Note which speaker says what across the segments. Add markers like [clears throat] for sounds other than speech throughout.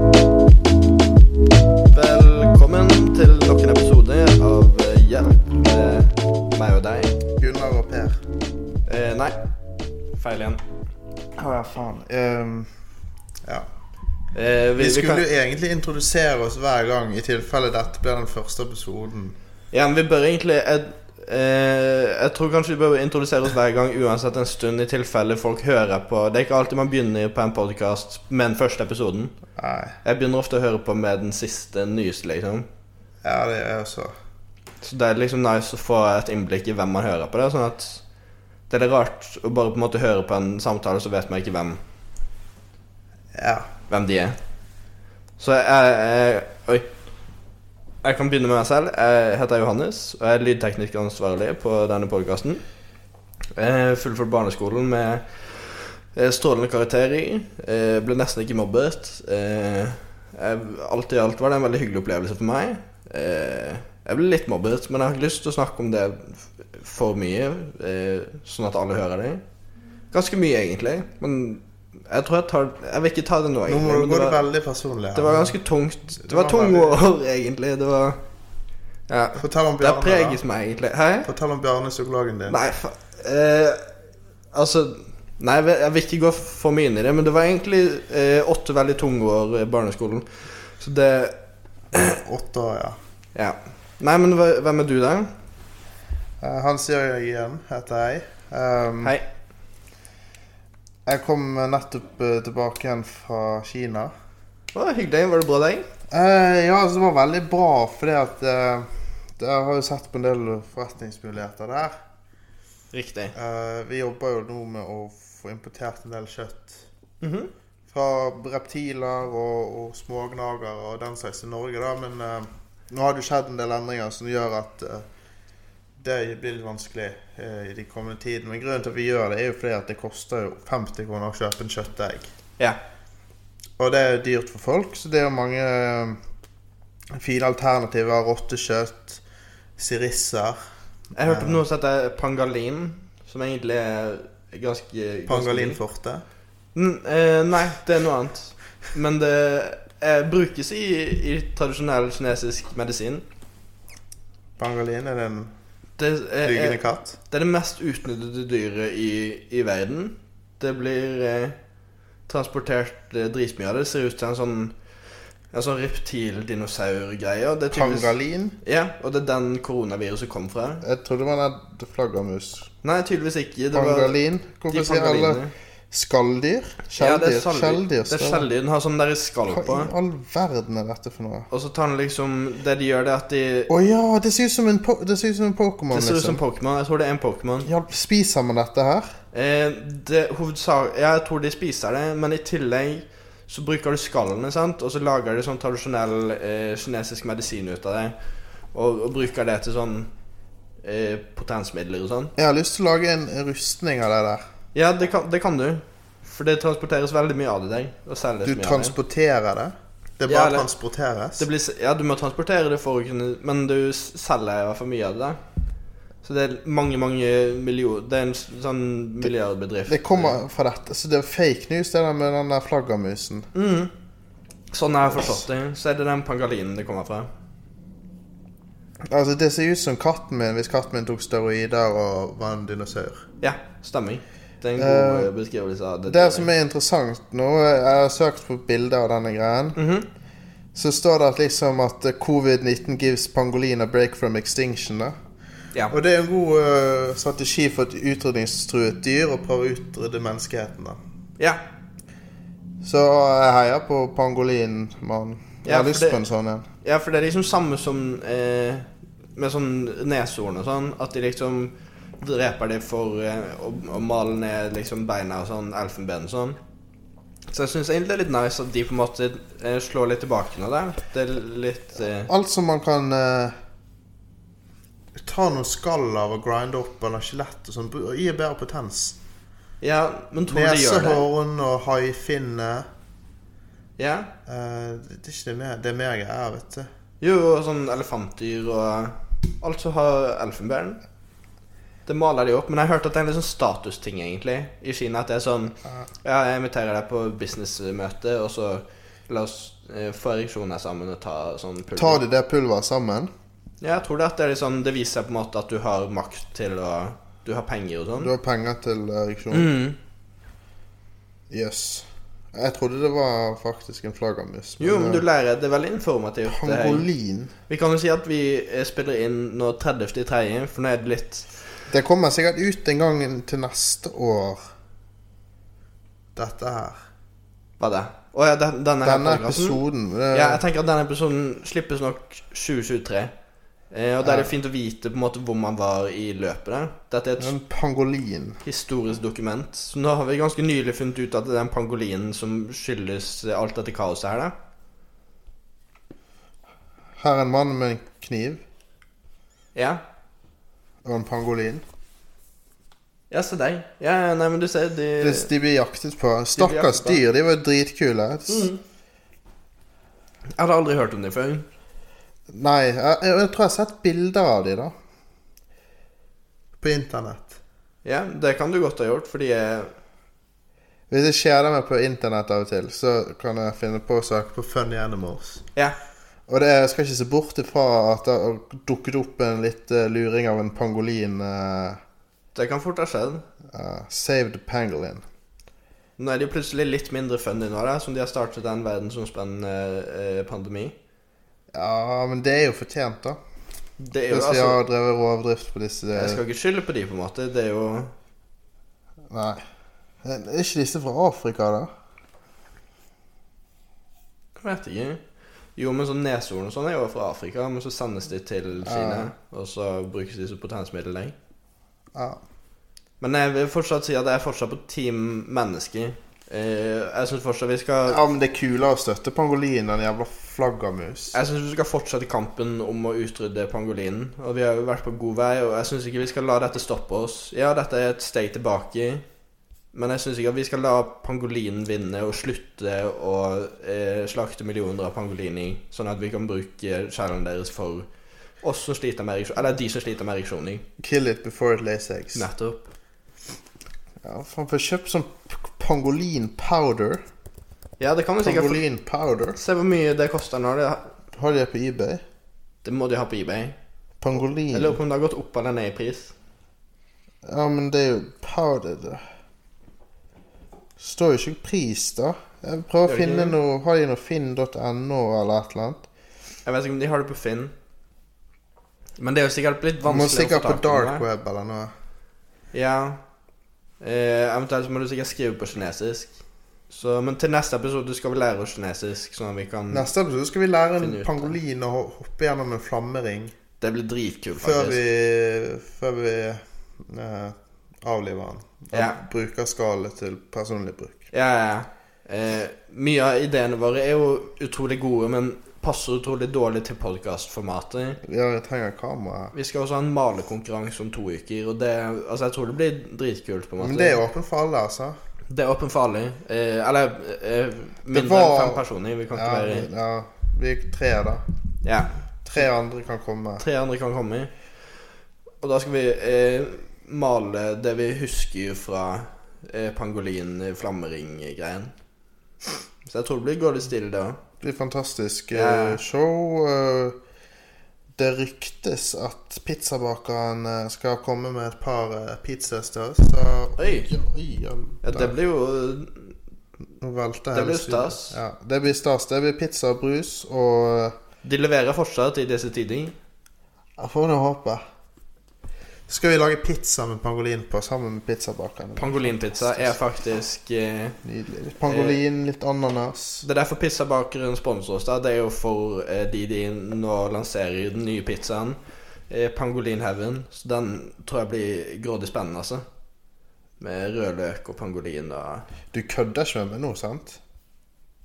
Speaker 1: eh, Eh, nei.
Speaker 2: Feil igjen.
Speaker 1: Å ja, faen. Ehm,
Speaker 3: Ja.
Speaker 1: eh,
Speaker 3: Vi
Speaker 1: kan-
Speaker 3: skulle jo egentlig introdusere oss hver gang, i tilfelle dette blir den første episoden.
Speaker 1: Ja, men vi bør egentlig jeg, eh, jeg tror kanskje vi bør introdusere oss hver gang uansett en stund, i tilfelle folk hører på. Det er ikke alltid man begynner på en podkast med den første episoden.
Speaker 3: Nei.
Speaker 1: Jeg begynner ofte å høre på med den siste nyeste, liksom.
Speaker 3: Ja, det er altså- jeg også.
Speaker 1: Så det er liksom nice å få et innblikk i hvem man hører på. Det er sånn at det er litt rart å bare på en måte høre på en samtale, så vet man ikke hvem,
Speaker 3: Ja.
Speaker 1: hvem de er. Så jeg, jeg Oi. Jeg kan begynne med meg selv. Jeg heter Johannes og jeg er lydteknikeransvarlig på denne podkasten. Fullført barneskolen med eh, strålende karakter i. Eh, Ble nesten ikke mobbet. Eh, jeg- Alt i alt var det en veldig hyggelig opplevelse for meg. Eh, Jeg ble litt mobbet, men jeg har ikke lyst til å snakke om det f- for mye, eh, sånn at alle hører det. Ganske mye, egentlig, men jeg tror jeg tar Jeg vil ikke ta det nå,
Speaker 3: Nå
Speaker 1: egentlig.
Speaker 3: må du
Speaker 1: men
Speaker 3: gå
Speaker 1: det
Speaker 3: det
Speaker 1: var-
Speaker 3: veldig personlig. her.
Speaker 1: det var ganske tungt. Det
Speaker 3: Det
Speaker 1: var
Speaker 3: var
Speaker 1: tunge
Speaker 3: veldig-
Speaker 1: år, [laughs] egentlig. Det var Ja.
Speaker 3: Fortell
Speaker 1: [laughs]
Speaker 3: om
Speaker 1: Det har
Speaker 3: Bjarne,
Speaker 1: preget
Speaker 3: da.
Speaker 1: meg, egentlig. Hæ?
Speaker 3: Fortell om Bjarne, psykologen din.
Speaker 1: Nei, fa... Eh, altså Nei, jeg vil- jeg vil ikke gå for mye inn i det, men det var egentlig eh, åtte veldig tunge år i barneskolen. Så det
Speaker 3: Åtte år, ja.
Speaker 1: Ja. Nei, men hva- hvem er du, da?
Speaker 3: Eh, Hans Jørgen Gien heter jeg. Um,
Speaker 1: Hei.
Speaker 3: Jeg kom nettopp eh, tilbake igjen fra Kina.
Speaker 1: Å, hyggelig. Var det bra, deg?
Speaker 3: Eh, ja, altså, det var veldig bra, fordi at eh, Jeg har jo sett på en del forretningsmuligheter der.
Speaker 1: Riktig.
Speaker 3: Eh, vi jobber jo nå med å få importert en del kjøtt.
Speaker 1: Mhm.
Speaker 3: Fra reptiler og, og smågnager og den slags i Norge, da. Men eh, nå har det jo skjedd en del endringer som gjør at eh, det blir litt vanskelig eh, i de kommende tiden. Men grunnen til at vi gjør det, er jo fordi at det koster jo 50 kroner å kjøpe en kjøttdeig.
Speaker 1: Ja.
Speaker 3: Og det er jo dyrt for folk, så det er jo mange eh, fine alternativer. Rottekjøtt, sirisser
Speaker 1: Jeg hørte om noe som heter pangalin, som egentlig er ganske ganske-
Speaker 3: Pangalin forte.
Speaker 1: N eh, nei, det er noe annet. Men det eh, brukes i, i tradisjonell kinesisk medisin.
Speaker 3: Pangalin er det en
Speaker 1: Det er,
Speaker 3: flygende
Speaker 1: er,
Speaker 3: katt.
Speaker 1: det er det mest utnyttede dyret i, i verden. Det blir eh, transportert eh, dritmye av det. Det ser ut til en sånn En sånn reptil-dinosaur-greie. Og det er tydeligvis-
Speaker 3: Pangalin?
Speaker 1: Ja, og det er den koronaviruset kom fra.
Speaker 3: Jeg trodde man hadde flaggermus.
Speaker 1: Nei, tydeligvis ikke. Det var de
Speaker 3: Pangalin? Hvorfor sier alle
Speaker 1: pangalinene. Ja,
Speaker 3: skalldyr?
Speaker 1: det
Speaker 3: Skjelldyr?
Speaker 1: er skjelldyr. Det er skjelldyr. Den har sånn derre skall
Speaker 3: Hva
Speaker 1: på.
Speaker 3: i all verden er dette for noe?
Speaker 1: Og så tar den liksom Det de gjør, det er at de
Speaker 3: Å ja, det ser ut som en, po det ser ut som en Pokémon,
Speaker 1: Det ser ut som
Speaker 3: liksom.
Speaker 1: Pokémon. Jeg tror det er en Pokémon.
Speaker 3: Ja, spiser man dette her?
Speaker 1: Eh, det hovedsak... Jeg tror de spiser det, men i tillegg så bruker du skallene, sant? Og så lager de sånn tradisjonell eh, kinesisk medisin ut av det. Og, og bruker det til sånn eh, potensmidler og sånn.
Speaker 3: Jeg har lyst til å lage en rustning av det der.
Speaker 1: Ja, det kan, det kan du. For det transporteres veldig mye av det der. Og selges
Speaker 3: Du
Speaker 1: mye av det.
Speaker 3: transporterer det? Det
Speaker 1: Ja,
Speaker 3: bare
Speaker 1: eller-
Speaker 3: transporteres?
Speaker 1: det blir, s- ja, du må transportere det for å kunne Men du s- selger i hvert fall mye av det der. Så det er mange, mange millioner Det er en s- sånn milliardbedrift.
Speaker 3: Det kommer fra dette. Så det er fake news, det der med den der flaggermusen.
Speaker 1: Mm. Sånn jeg har forstått det, så er det den pangalinen det kommer fra.
Speaker 3: Altså, det ser ut som katten min hvis katten min tok steroider og var en dinosaur.
Speaker 1: Ja, stemmer. Det er en god
Speaker 3: Eh,
Speaker 1: eh, beskrivelse av det.
Speaker 3: Det som er interessant nå, jeg har søkt på bilder av denne greien,
Speaker 1: Mhm.
Speaker 3: så står det at liksom at covid-19 gives pangolin a break from extinction. da.
Speaker 1: ja.
Speaker 3: Og det er en god eh, strategi for et utrydningstruet dyr å prøve å utrydde menneskeheten. da.
Speaker 1: ja.
Speaker 3: Så jeg heier på pangolin, mann. Jeg
Speaker 1: Ja,
Speaker 3: har
Speaker 1: for
Speaker 3: lyst
Speaker 1: det-
Speaker 3: på en sånn en.
Speaker 1: ja, for det er liksom samme som eh, med sånn neshorn og sånn, at de liksom dreper de for eh, å, å male ned liksom beina og sånn, elfenben og sånn. Så jeg syns egentlig det er litt nice at de på en måte eh, slår litt tilbake nå der. Det er litt eh,
Speaker 3: Alt som man kan eh, ta noe skall av og grinde opp, eller skjelett og sånn, br- gir bedre potens.
Speaker 1: Ja, men tror du de gjør det?
Speaker 3: Nesehorn og haifinne.
Speaker 1: Ja.
Speaker 3: Eh, det det er ikke det mer, det er mer greier, vet du.
Speaker 1: Jo, og sånn elefantdyr og eh, alt som har elfenbein. Det maler de opp. Men jeg hørte at det er en litt sånn statusting, egentlig, i Kina. At det er sånn Ja, jeg inviterer deg på businessmøte, og så la oss eh, få ereksjoner sammen og ta sånn pulver.
Speaker 3: Tar de det pulveret sammen?
Speaker 1: Ja, jeg tror det at det er litt sånn Det viser på en måte at du har makt til å Du har penger og
Speaker 3: Du
Speaker 1: sånn?
Speaker 3: har penger til ereksjon.
Speaker 1: Mm.
Speaker 3: Yes. Jeg trodde det var faktisk en flaggermus.
Speaker 1: Jo, men du
Speaker 3: eh,
Speaker 1: lærer Det er veldig informativt. det her.
Speaker 3: Pangolin
Speaker 1: Vi kan jo si at vi eh, spiller inn nå 30.3., for nå er det litt
Speaker 3: Det kommer sikkert ut en gang til neste år, dette her.
Speaker 1: Hva er det? Å ja, den, denne, her
Speaker 3: Denne
Speaker 1: podcasten.
Speaker 3: episoden. Det,
Speaker 1: Ja, jeg tenker at denne episoden slippes nok 2023. Eh, og da er det fint å vite på en måte hvor man var i løpet der. Dette er et
Speaker 3: en pangolin.
Speaker 1: historisk dokument. Så nå har vi ganske nylig funnet ut at det er den pangolinen som skyldes eh, alt dette kaoset her, da.
Speaker 3: Her er en mann med en kniv
Speaker 1: Ja.
Speaker 3: og en pangolin.
Speaker 1: Ja, se deg. Ja, nei, men du ser, de
Speaker 3: Hvis de blir jaktet på Stakkars
Speaker 1: Eh. jaktet på.
Speaker 3: dyr, de var jo dritkule.
Speaker 1: Mhm. Jeg hadde aldri hørt om dem før.
Speaker 3: Nei, jeg, jeg, jeg tror jeg har sett bilder av de da. På internett.
Speaker 1: Ja, det kan du godt ha gjort, fordi eh,
Speaker 3: Hvis jeg kjeder meg på internett av og til, så kan jeg finne på å søke på Funny Animals.
Speaker 1: Ja.
Speaker 3: Og det, jeg skal ikke se bort ifra at det har dukket opp en litt eh, luring av en pangolin. eh,
Speaker 1: Det kan fort ha skjedd.
Speaker 3: eh, Save the pangolin.
Speaker 1: Nå er de plutselig litt mindre funny nå, da, som de har startet en verdensomspennende eh, pandemi.
Speaker 3: Ja, men det er jo fortjent, da.
Speaker 1: Det er jo
Speaker 3: Hvis vi
Speaker 1: altså
Speaker 3: har drevet rovdrift på disse
Speaker 1: Jeg skal ikke skylde på de, på en måte. Det er jo
Speaker 3: Nei. Er ikke disse fra Afrika, da?
Speaker 1: Jeg vet ikke. Jo, men sånn neshorn og sånn er jo fra Afrika, men så sendes de til Kina, og så brukes de som potensmiddel der.
Speaker 3: Ja.
Speaker 1: Men jeg vil fortsatt si at jeg er fortsatt på team mennesker. Eh, jeg syns fortsatt vi skal
Speaker 3: ja, men det er kulere å støtte pangolin enn jævla flaggermus.
Speaker 1: Jeg syns vi skal fortsette kampen om å utrydde pangolinen. Og vi har jo vært på god vei, og jeg syns ikke vi skal la dette stoppe oss. Ja, dette er et steg tilbake, men jeg syns ikke at vi skal la pangolinen vinne og slutte å eh, slakte millioner av pangolini, sånn at vi kan bruke skjellene deres for oss som sliter med ereksjon Eller de som sliter med ereksjoner.
Speaker 3: Kill it before it lays eggs.
Speaker 1: Nettopp.
Speaker 3: Ja, faen, får kjøpt sånn p- pangolin powder.
Speaker 1: Ja, det kan vi sikkert få.
Speaker 3: Pangolin powder.
Speaker 1: Se hvor mye det koster nå. Det,
Speaker 3: Har de det på eBay?
Speaker 1: det må de ha på eBay. Jeg
Speaker 3: Pangolin
Speaker 1: lurer på om det har gått opp eller ned i pris.
Speaker 3: Ja, men det er jo powder, det. Står jo ikke pris, da. Jeg
Speaker 1: Gjør
Speaker 3: prøver å
Speaker 1: det
Speaker 3: finne
Speaker 1: ikke det?
Speaker 3: noe Har de noe finn.no eller et eller annet?
Speaker 1: Jeg vet ikke om de har det på Finn. Men det er jo sikkert blitt
Speaker 3: Du må
Speaker 1: vanskelig
Speaker 3: sikkert på dark
Speaker 1: det.
Speaker 3: web eller noe.
Speaker 1: Ja. Eh, eventuelt så må du sikkert skrive på kinesisk. Så, men til neste episode skal vi lære oss kinesisk, sånn at vi kan
Speaker 3: Neste episode skal vi lære en
Speaker 1: Finn ut det.
Speaker 3: pangolin å ho- hoppe gjennom en flammering
Speaker 1: Det blir dritkult,
Speaker 3: før
Speaker 1: faktisk.
Speaker 3: vi, før vi eh, avliver den.
Speaker 1: Ja.
Speaker 3: Bruker skallet til personlig bruk.
Speaker 1: Ja, ja, ja. Eh, mye av ideene våre er jo utrolig gode, men passer utrolig dårlig til podkastformatet.
Speaker 3: Ja, vi trenger kamera.
Speaker 1: Vi skal også ha en malekonkurranse om to uker, og det Altså, jeg tror det blir dritkult, på en måte.
Speaker 3: Men det er åpent for alle, altså.
Speaker 1: Det er åpen for alle. Eh, eller eh, mindre
Speaker 3: var-
Speaker 1: enn fem personer. Vi kan
Speaker 3: Ja,
Speaker 1: ikke være
Speaker 3: vi- ja, vi er tre, da.
Speaker 1: Ja.
Speaker 3: Tre andre kan komme.
Speaker 1: Tre andre kan komme. Og da skal vi eh, male det vi husker fra eh, pangolin-flammering-greien. Så jeg tror det blir gå litt stille da.
Speaker 3: Det blir fantastisk eh,
Speaker 1: Ja.
Speaker 3: show. eh, Det ryktes at pizzabakeren eh, skal komme med et par eh, pizzas til oss. Så
Speaker 1: Oi.
Speaker 3: Ja, oi, ja,
Speaker 1: Ja, det blir jo
Speaker 3: Nå velter
Speaker 1: Det
Speaker 3: hele
Speaker 1: blir
Speaker 3: studioet.
Speaker 1: stas.
Speaker 3: Ja, det blir stas. Det blir pizza og brus og eh,
Speaker 1: De leverer fortsatt i disse tider.
Speaker 3: Jeg får nå håpe. Så skal vi lage pizza med pangolin på, sammen med pizzabakeren.
Speaker 1: Pangolinpizza er faktisk eh,
Speaker 3: Nydelig. Litt pangolin, litt ananas.
Speaker 1: Det er derfor pizzabakeren sponser oss. da Det er jo for eh, de de nå lanserer den nye pizzaen. Eh, Pangolin Heaven. Så den tror jeg blir grådig spennende, altså. Med rødløk og pangolin og
Speaker 3: Du kødder ikke med meg nå, sant?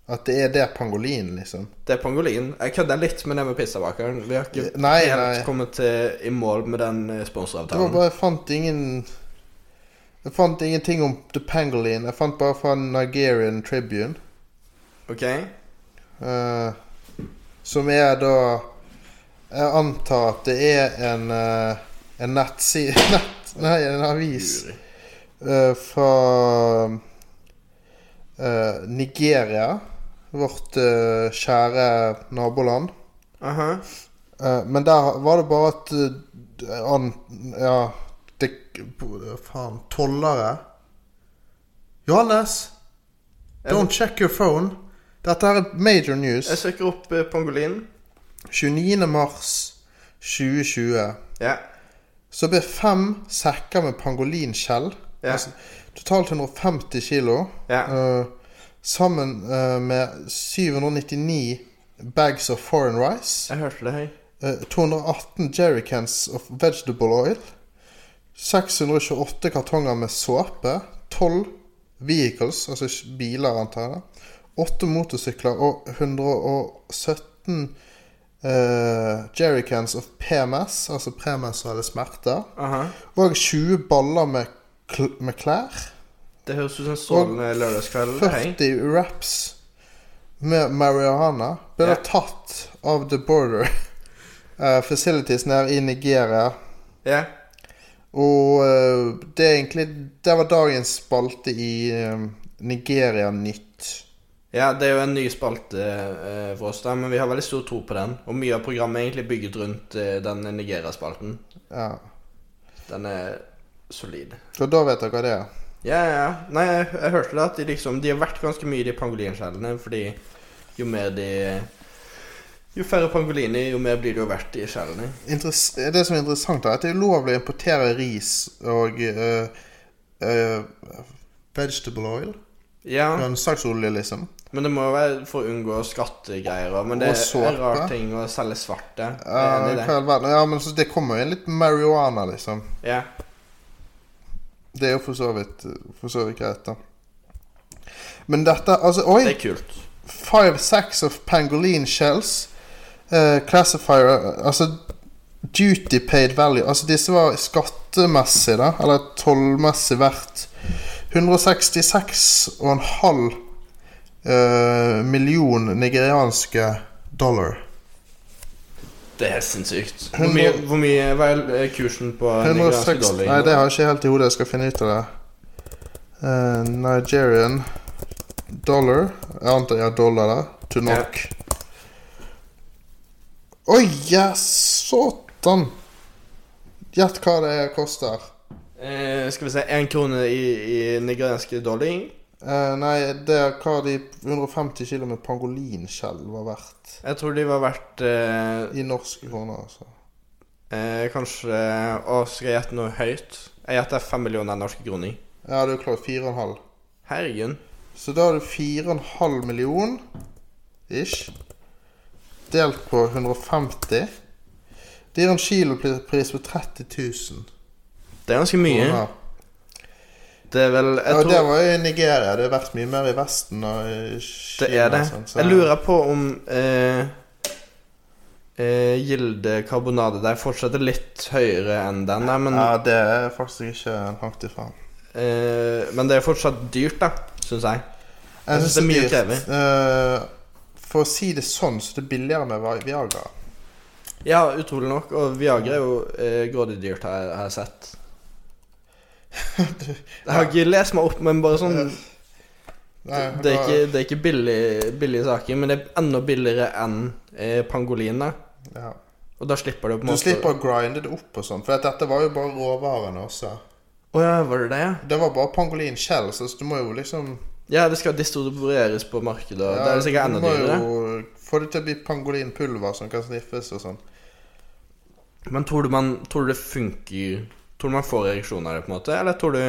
Speaker 3: At det er det pangolin, liksom?
Speaker 1: Det er pangolin. Jeg kødder litt med det med pizzabakeren. Vi har ikke
Speaker 3: Nei,
Speaker 1: helt
Speaker 3: nei.
Speaker 1: kommet til, i mål med den eh,
Speaker 3: Det var
Speaker 1: sponsoravtalen.
Speaker 3: bare, jeg fant ingen Jeg fant ingenting om The Pangolin. Jeg fant bare fra Nigerian Tribune.
Speaker 1: Ok?
Speaker 3: eh, som er da Jeg antar at det er en eh, En [laughs] nettside nett, Nei, en avis eh, fra eh, Nigeria. Vårt eh, kjære naboland.
Speaker 1: Aha.
Speaker 3: Eh, men der var det bare at eh, an, Ja, det- Faen, tollere. Johannes! Don't check your phone. Dette her er major news.
Speaker 1: Jeg søker opp eh, pangolinen.
Speaker 3: 29. mars 2020
Speaker 1: Ja.
Speaker 3: så ble fem sekker med pangolinskjell,
Speaker 1: Ja.
Speaker 3: altså, totalt 150 kilo,
Speaker 1: Ja.
Speaker 3: eh, sammen eh, med 799 bags of foreign rice,
Speaker 1: Jeg hørte det, hei.
Speaker 3: eh, 218 jerrycans of vegetable oil, 628 kartonger med såpe, 12 vehicles, altså sk- biler antar jeg, da, 8 motorsykler og 117 eh, jerrycans of PMS, altså premenstruelle smerter,
Speaker 1: Aha.
Speaker 3: og 20 baller med, kl med klær.
Speaker 1: Det høres ut som en strålende lørdagskveld. Hei.
Speaker 3: 40 wraps med marihuana ble
Speaker 1: Ja.
Speaker 3: da tatt av The Border [laughs] eh, Facilities nede i Nigeria.
Speaker 1: Ja.
Speaker 3: Og eh, det er egentlig Det var dagens spalte i eh, Nigeria Nytt.
Speaker 1: ja, det er jo en ny spalte eh, for oss, da, men vi har veldig stor tro på den. Og mye av programmet er egentlig bygget rundt eh, den Nigeria-spalten.
Speaker 3: Ja.
Speaker 1: Den er solid.
Speaker 3: Og da vet dere hva det er.
Speaker 1: Ja, ja. ja. Nei, jeg, jeg hørte det at de liksom De har vært ganske mye i de pangolinskjellene, fordi jo mer de Jo færre pangoliner, jo mer blir det jo verdt i skjellene.
Speaker 3: Interess det som er interessant, er at det er ulovlig å importere ris og eh, eh, vegetable oil.
Speaker 1: Ja,
Speaker 3: Grønnsaksolje, liksom.
Speaker 1: men det må jo være for å unngå skattegreier òg. Men det
Speaker 3: Og
Speaker 1: er
Speaker 3: såpe.
Speaker 1: en rar ting å selge svarte. Jeg
Speaker 3: Ja,
Speaker 1: er enig i det.
Speaker 3: hva i all verden. Eh, ja, men så det kommer jo inn litt marihuana, liksom.
Speaker 1: Ja.
Speaker 3: Det er jo for så vidt, for så vidt greit, da. Men dette Altså, oi!
Speaker 1: Det er kult.
Speaker 3: Five sacks of pangolin shells. eh, classifier eh, Altså duty paid value. Altså disse var skattemessig, da. Eller tollmessig verdt 166,5 eh, million nigerianske dollar.
Speaker 1: Det er sinnssykt. Hvor mye, hvor mye hva er eh, kursen på
Speaker 3: 106
Speaker 1: nigerianske
Speaker 3: Nei,
Speaker 1: dollar?
Speaker 3: det har jeg ikke helt i hodet. Jeg skal finne ut av det. Eh, Nigerian dollar. Jeg antar jeg har dollar der. To knock. Oi, ja, satan! Gjett hva det koster.
Speaker 1: Eh, skal vi se Én krone i, i nigerianske dollar.
Speaker 3: Eh, nei, det er hva de 150 kilo med pangolinskjell var verdt.
Speaker 1: Jeg tror de var verdt eh,
Speaker 3: I norske kroner, altså.
Speaker 1: Eh, kanskje Å, skal jeg gjette noe høyt? Jeg gjetter fem millioner norske kroner.
Speaker 3: Ja, det er jo klart. 4,5.
Speaker 1: Herregud.
Speaker 3: Så da har du 4,5 million ish delt på 150. Det gir en kilopris på 30 000.
Speaker 1: Det er ganske mye.
Speaker 3: kroner.
Speaker 1: Det er vel
Speaker 3: Ja,
Speaker 1: Jeg
Speaker 3: Det
Speaker 1: tror
Speaker 3: var jo i Nigeria. Det har vært mye mer i Vesten og i Kina.
Speaker 1: det er det.
Speaker 3: og sånn, så-
Speaker 1: Jeg lurer på om eh, eh, Gilde karbonade der fortsetter litt høyere enn den der, men,
Speaker 3: Ja, det er faktisk ikke langt ifra.
Speaker 1: eh, men det er fortsatt dyrt, da, syns jeg. Jeg synes det er mye å kreve.
Speaker 3: krevende. eh, For å si det sånn, så det er billigere med Vi- Viagra. [laughs]
Speaker 1: Ja, utrolig nok. Og Viagra er jo eh, grådig dyrt, har jeg, har jeg sett. Jeg har ikke lest meg opp, men bare sånn
Speaker 3: Nei,
Speaker 1: det, er
Speaker 3: da-
Speaker 1: ikke, det er ikke billig, billige saker, men det er enda billigere enn eh, pangolin. da.
Speaker 3: ja.
Speaker 1: Og da slipper du på en
Speaker 3: Du
Speaker 1: måte
Speaker 3: slipper å grinde det opp og sånn, for at dette var jo bare råvarene også.
Speaker 1: Å ja, var det det? ja?
Speaker 3: Det var bare pangolin selv, så du må jo liksom
Speaker 1: Ja, det skal distribueres på markedet. og det er sikkert enda
Speaker 3: du må
Speaker 1: dyrere.
Speaker 3: jo få det til å bli pangolinpulver som kan sniffes og sånn.
Speaker 1: Men tror du, man, tror du det funker Tror du man får ereksjon av det, på en måte? Eller tror du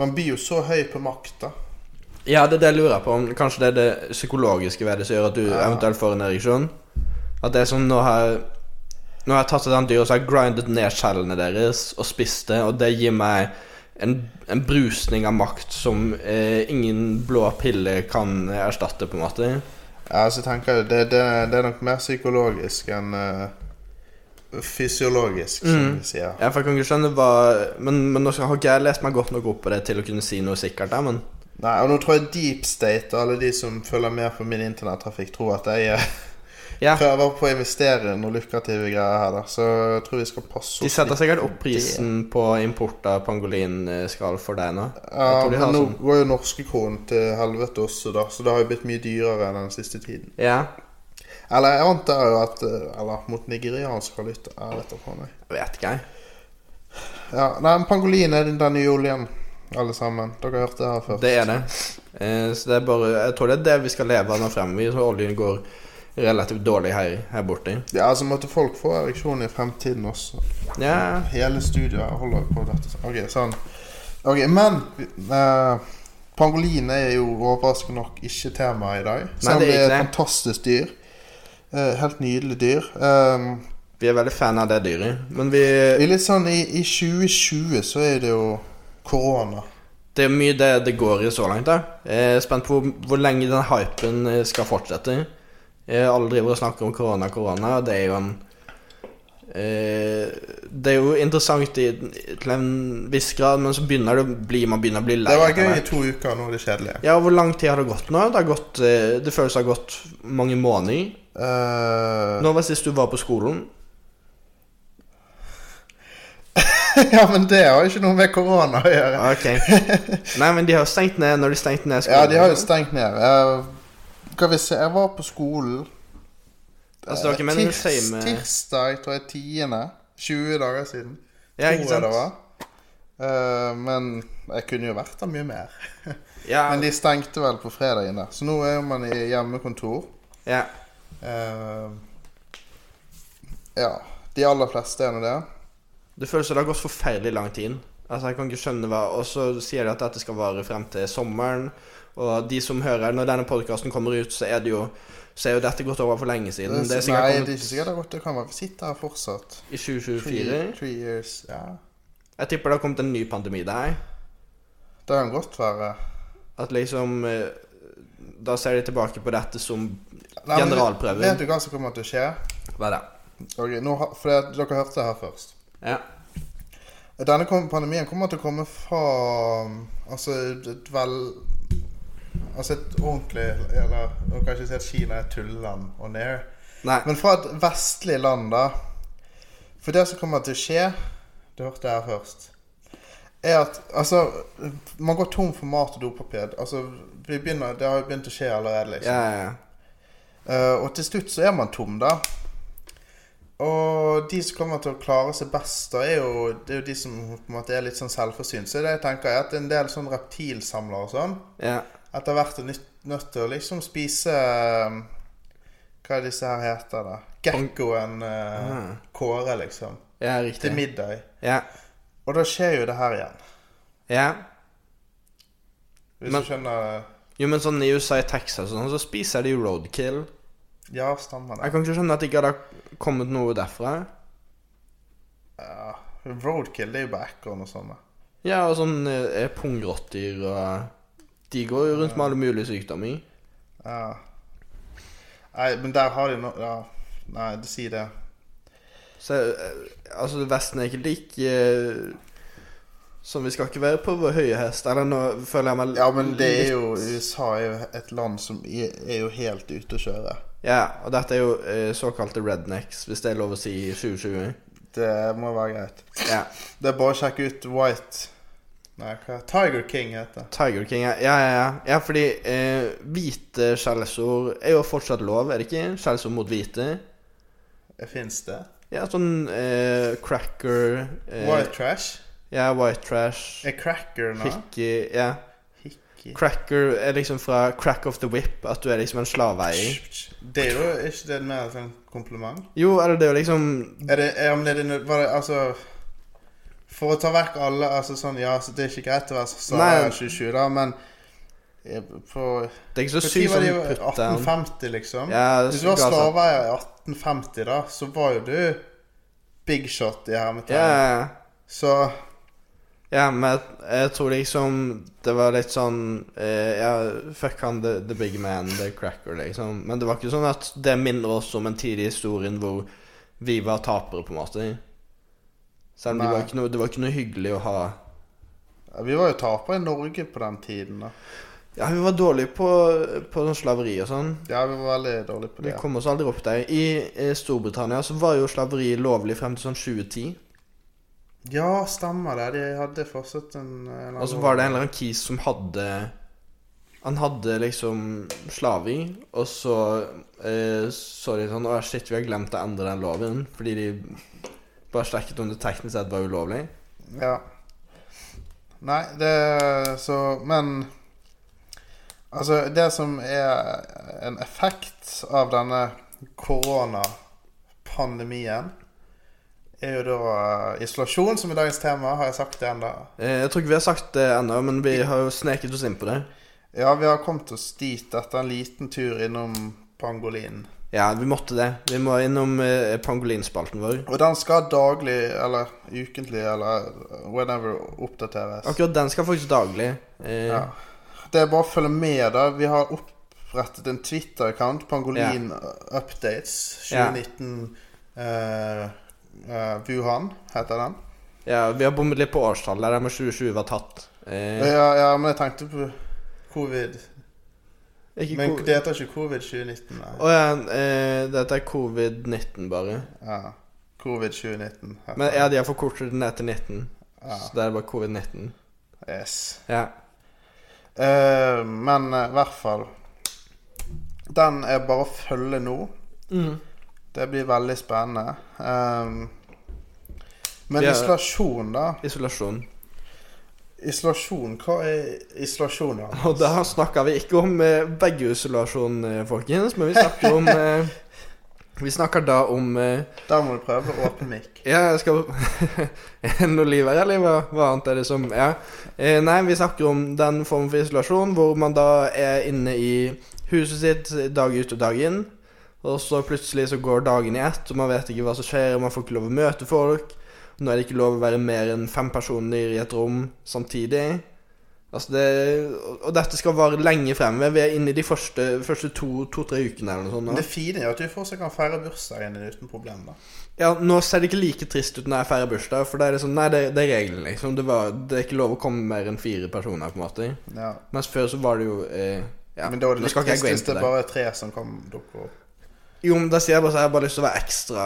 Speaker 3: Man blir jo så høy på makt, da.
Speaker 1: Ja, det er det jeg lurer på. om Kanskje det er det psykologiske ved det som gjør at du eventuelt får en ereksjon? At det er sånn Nå har Nå har jeg tatt et annet dyr og så har jeg grindet ned skjellene deres og spist det, og det gir meg en, en brusning av makt som eh, ingen blå pille kan eh, erstatte, på en måte.
Speaker 3: Ja, så tenker jeg det, det, det er nok mer psykologisk enn eh, fysiologisk, som vi sier.
Speaker 1: Ja, for jeg kan ikke skjønne hva Men, men nå skal- har ikke jeg lest meg godt nok opp på det til å kunne si noe sikkert, da, men
Speaker 3: Nei, og nå tror jeg deep state og alle de som følger med på min internettrafikk, tror at jeg eh,
Speaker 1: Ja.
Speaker 3: prøver på å investere i noen lukrative greier her, da. Så jeg tror vi skal passe
Speaker 1: De
Speaker 3: oss
Speaker 1: setter sikkert opp prisen på import av pangolinskall for deg nå. Jeg
Speaker 3: Ja,
Speaker 1: tror de har
Speaker 3: men nå
Speaker 1: sånn-
Speaker 3: går jo norske kronen til helvete også, da, så det har jo blitt mye dyrere den siste tiden.
Speaker 1: Ja.
Speaker 3: Eller jeg antar jo at eh, Eller mot nigeriansk valuta. Jeg vet da faen, jeg.
Speaker 1: Jeg vet ikke, jeg.
Speaker 3: Ja, nei, men pangolin er den den nye oljen, alle sammen. Dere har hørt det her før.
Speaker 1: Det er det. Eh, så det er bare Jeg tror det er det vi skal leve av nå fremover. Så oljen går relativt dårlig her, her borte.
Speaker 3: Ja, altså måtte folk få ereksjon i fremtiden også.
Speaker 1: Ja.
Speaker 3: Hele studioet holder på dette. Ok, sånn. Ok, men eh, pangolin er jo overraskende nok ikke tema i dag. Selv om
Speaker 1: det er
Speaker 3: det er
Speaker 1: ikke
Speaker 3: et
Speaker 1: det.
Speaker 3: fantastisk dyr. Eh, helt nydelig dyr. Um,
Speaker 1: Vi er veldig fan av det dyret. Men vi
Speaker 3: I litt sånn i, i 2020 så er det jo korona.
Speaker 1: Det er mye det det går i så langt. da Jeg er spent på hvor, hvor lenge den hypen eh, skal fortsette. Eh, Alle driver og snakker om korona, korona, og det er jo en eh, Det er jo interessant i, til en viss grad, men så begynner det å bli man begynner å bli lei.
Speaker 3: Det var
Speaker 1: av
Speaker 3: gøy i to uker, nå er det kjedelig.
Speaker 1: Ja, Hvor lang tid har det gått nå? Det, har gått, eh, det føles det har gått mange måneder.
Speaker 3: Eh,
Speaker 1: Når var sist du var på skolen?
Speaker 3: [laughs] ja, men det har jo ikke noe med korona å gjøre.
Speaker 1: Ah,
Speaker 3: [laughs]
Speaker 1: Ok Nei, men de har jo stengt ned når de stengte ned skolen.
Speaker 3: Ja, de har jo stengt ned. Eh, skal vi se, jeg var på skolen
Speaker 1: Altså, dere
Speaker 3: eh,
Speaker 1: mener det
Speaker 3: tirs-
Speaker 1: same-
Speaker 3: Tirsdag, tror jeg, 10. 20 dager siden.
Speaker 1: Ja, ikke
Speaker 3: Tror jeg
Speaker 1: sant?
Speaker 3: det var. Eh, men jeg kunne jo vært der mye mer.
Speaker 1: Ja,
Speaker 3: Men de stengte vel på fredagen der. Så nå er man i hjemmekontor.
Speaker 1: ja.
Speaker 3: Eh, ja. De aller fleste er nå det.
Speaker 1: Det føles som det har gått forferdelig lang tid. Altså, jeg kan ikke skjønne hva Og så sier de at dette skal vare frem til sommeren. Og de som hører Når denne podkasten kommer ut, så er det jo Så er jo dette gått over for lenge siden. Det er sikkert
Speaker 3: Nei, det er
Speaker 1: kommet
Speaker 3: ikke sikkert det er godt. Det kan være vi sitter her fortsatt.
Speaker 1: i 2024.
Speaker 3: Three years, ja.
Speaker 1: Jeg tipper det har kommet en ny pandemi der.
Speaker 3: Det kan godt være.
Speaker 1: At liksom eh, Da ser de tilbake på dette som
Speaker 3: Nei, men
Speaker 1: Generalprøven.
Speaker 3: Vet du hva som kommer til å skje?
Speaker 1: Hva er det?
Speaker 3: Ok, nå, har- for det, dere hørte det her først.
Speaker 1: Ja.
Speaker 3: Denne kom, pandemien kommer til å komme fra Altså et vel Altså et ordentlig Eller nå kan jeg ikke si at Kina er et tulleland on air.
Speaker 1: Nei.
Speaker 3: Men fra et vestlig land, da. For det som kommer til å skje Du hørte det her først. Er at Altså, man går tom for mat og dopapir. Altså, vi begynner, det har jo begynt å skje allerede, liksom.
Speaker 1: Ja, ja, ja.
Speaker 3: Eh, og til slutt så er man tom, da. Og de som kommer til å klare seg best, da, er jo, det er jo de som på en måte er litt sånn selvforsynt. Så det jeg tenker er at en del sånn reptilsamlere og sånn
Speaker 1: ja.
Speaker 3: etter hvert er nytt, nødt til å liksom spise eh, Hva er disse her heter, da? Gekkoen eh,
Speaker 1: Ah.
Speaker 3: Kåre, liksom.
Speaker 1: ja
Speaker 3: Til
Speaker 1: riktig.
Speaker 3: middag.
Speaker 1: Ja.
Speaker 3: Og da skjer jo det her igjen.
Speaker 1: ja.
Speaker 3: Hvis
Speaker 1: Men-
Speaker 3: du skjønner
Speaker 1: Jo, men sånn i USA, i Texas og sånn, så spiser de jo roadkill.
Speaker 3: Ja, stemmer det.
Speaker 1: Jeg kan ikke skjønne at det ikke hadde kommet noe derfra.
Speaker 3: Ja. Roadkill, det er jo bare ekorn og sånn, sånne.
Speaker 1: Ja, og sånn eh, pungrotter og eh, De går jo rundt med alle mulige sykdommer.
Speaker 3: Ja. Nei, men der har de no... Ja. Nei, det sier det.
Speaker 1: Så eh, altså, Vesten er ikke like eh, Som vi skal ikke være på vår høye hest. Eller nå føler jeg meg
Speaker 3: Ja, men det er jo USA er jo et land som er er jo helt ute å kjøre.
Speaker 1: Ja, og dette er jo eh, såkalte rednecks, hvis det er lov å si i 2020.
Speaker 3: eh, Det må være greit.
Speaker 1: Ja.
Speaker 3: Det er bare å sjekke ut White Nei, hva Tiger King heter det.
Speaker 1: Tiger King, ja. Ja, ja, ja. ja fordi eh, hvite skjellsord er jo fortsatt lov, er det ikke? Skjellsord mot hvite.
Speaker 3: Fins det?
Speaker 1: Ja, sånn eh, cracker eh,
Speaker 3: White Trash?
Speaker 1: Ja, white trash.
Speaker 3: Er Cracker nå?
Speaker 1: Hickey, ja.
Speaker 3: Hickey.
Speaker 1: Cracker er liksom fra crack of the whip, at du er liksom en slaveeier.
Speaker 3: Det er jo er ikke det mer et sånt kompliment?
Speaker 1: Jo, eller det er jo liksom
Speaker 3: Er det, er, men er det, nød- var det Altså For å ta vekk alle altså sånn, Ja, så det er ikke greit å være så
Speaker 1: Nei.
Speaker 3: 27, da, men eh, på
Speaker 1: Det er ikke så
Speaker 3: Når
Speaker 1: sykt
Speaker 3: var
Speaker 1: som
Speaker 3: det jo
Speaker 1: putt down.
Speaker 3: 1850, liksom?
Speaker 1: Ja,
Speaker 3: Hvis du var
Speaker 1: ga seg.
Speaker 3: slaveeier i 1850, da, så var jo du big shot i hermetegn.
Speaker 1: Ja, ja,
Speaker 3: Så
Speaker 1: ja, men jeg, jeg tror liksom det var litt sånn eh, Ja, fuck han, the, the big man, the cracker, liksom. Men det var ikke sånn at det minner oss om en tidlig historie hvor vi var tapere, på en måte. Selv om det
Speaker 3: Nei.
Speaker 1: var, ikke noe, det var ikke noe hyggelig å ha
Speaker 3: ja, vi var jo tapere i Norge på den tiden. da.
Speaker 1: Ja, vi var dårlige på, på sånn slaveri og sånn.
Speaker 3: Ja, vi var veldig dårlige på
Speaker 1: Vi
Speaker 3: det.
Speaker 1: kom oss aldri opp der. I eh, Storbritannia så var jo slaveri lovlig frem til sånn 2010.
Speaker 3: Ja, stemmer det. De hadde fortsatt en, en eller
Speaker 1: Og så var det en eller annen kis som hadde Han hadde liksom slavi, og så eh, så de sånn Å, shit, vi har glemt å endre den loven. Fordi de bare sjekket om det teknisk sett var ulovlig.
Speaker 3: Ja. Nei, det Så Men altså, det som er en effekt av denne koronapandemien, er jo da eh, isolasjon, som er dagens tema. Har jeg sagt det ennå?
Speaker 1: Eh, Jeg tror ikke vi har sagt det ennå, men vi har jo sneket oss inn på det.
Speaker 3: Ja, vi har kommet oss dit etter en liten tur innom pangolinen.
Speaker 1: Ja, vi måtte det. Vi må innom eh, pangolinspalten vår.
Speaker 3: Og den skal daglig, eller ukentlig, eller whenever oppdateres.
Speaker 1: Akkurat den skal faktisk daglig. Eh,
Speaker 3: Ja. Det er bare å følge med, da. Vi har opprettet en Twitter-account, Pangolin Updates
Speaker 1: Ja.
Speaker 3: 2019 eh, eh, Wuhan, heter den.
Speaker 1: ja, Vi har bommet litt på årstallet, der med 2020 var tatt. Eh,
Speaker 3: Ja, ja, men jeg tenkte på covid.
Speaker 1: ikke
Speaker 3: Men
Speaker 1: ko-
Speaker 3: det heter ikke covid 2019, nei.
Speaker 1: Å ja, eh, dette er covid-19 bare.
Speaker 3: Ja. Covid 2019. heter
Speaker 1: Men ja,
Speaker 3: den.
Speaker 1: de har forkortet den etter 19,
Speaker 3: Ja.
Speaker 1: så det er bare covid-19.
Speaker 3: Yes.
Speaker 1: Ja.
Speaker 3: Eh, men eh, i hvert fall Den er bare å følge nå. Det blir veldig spennende. Ehm, men
Speaker 1: Ja.
Speaker 3: isolasjon, da.
Speaker 1: Isolasjon.
Speaker 3: Isolasjon? Hva er isolasjon? da?
Speaker 1: Og da snakker vi ikke om eh, veggisolasjon, eh, folkens, men vi snakker om eh, Vi snakker da om eh,
Speaker 3: Der må du prøve åpen mikk.
Speaker 1: Ja, jeg skal [laughs] Noe liv her, eller hva, hva annet er det som Ja. Eh, nei, vi snakker om den formen for isolasjon hvor man da er inne i huset sitt dag ut og dag inn. Og så plutselig så går dagen i ett, og man vet ikke hva som skjer, og man får ikke lov å møte folk. Nå er det ikke lov å være mer enn fem personer i et rom samtidig. Altså det, og- og dette skal vare lenge fremover. Vi er inne i de første, første to- to-tre ukene eller noe sånt. [laughs] nå.
Speaker 3: Men det fine er jo at du fortsatt kan feire bursdagen din uten problem. da.
Speaker 1: Ja, nå ser det ikke like trist ut når jeg feirer bursdag, for da er det sånn Nei, det, det er regelen, liksom. Det, var, det er ikke lov å komme mer enn fire personer, på en måte.
Speaker 3: Ja.
Speaker 1: Mens før så var det jo eh, ja.
Speaker 3: Men da er det
Speaker 1: Nå
Speaker 3: litt
Speaker 1: skal ikke jeg gå
Speaker 3: trist
Speaker 1: inn
Speaker 3: hvis
Speaker 1: på
Speaker 3: det
Speaker 1: det.
Speaker 3: er bare tre som kan dukke opp.
Speaker 1: Jo, men da sier jeg bare så jeg har bare lyst til å være ekstra,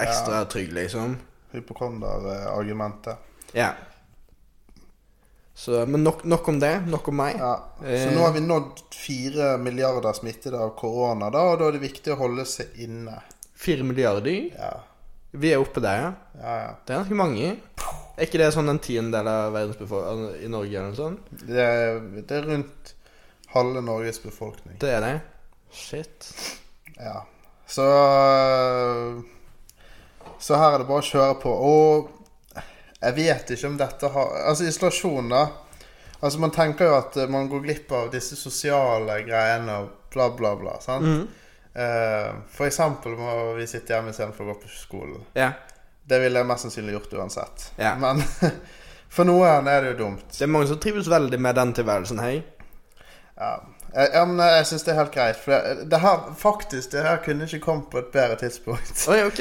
Speaker 1: ekstra trygg, liksom.
Speaker 3: Hypokonder-argumentet.
Speaker 1: Ja. Så, men nok, nok om det. Nok om meg.
Speaker 3: Ja. Så
Speaker 1: Eh.
Speaker 3: nå har vi nådd fire milliarder smittede av korona, da, og da er det viktig å holde seg inne.
Speaker 1: Fire milliarder.
Speaker 3: Ja,
Speaker 1: Vi er oppe der, ja.
Speaker 3: ja. ja.
Speaker 1: Det er ganske mange. Er ikke det sånn en tiendedel av verdensbefolkningen i Norge eller noe sånt?
Speaker 3: Det, er, det er rundt halve Norges befolkning.
Speaker 1: Det er det. Shit.
Speaker 3: Ja. Så eh, Så her er det bare å kjøre på. Og jeg vet ikke om dette har Altså isolasjon, da. Altså Man tenker jo at eh, man går glipp av disse sosiale greiene og bla, bla, bla. sant?
Speaker 1: Mm.
Speaker 3: Eh, for eksempel må vi sitte hjemme istedenfor å gå på skolen.
Speaker 1: Ja.
Speaker 3: Det ville jeg mest sannsynlig gjort uansett.
Speaker 1: Ja.
Speaker 3: Men [laughs] for noen er det jo dumt.
Speaker 1: Det er mange som trives veldig med den tilværelsen her.
Speaker 3: Ja, jeg, jeg, jeg syns det er helt greit. For det, det her, faktisk, det her kunne ikke kommet på et bedre tidspunkt.
Speaker 1: Oi, ok.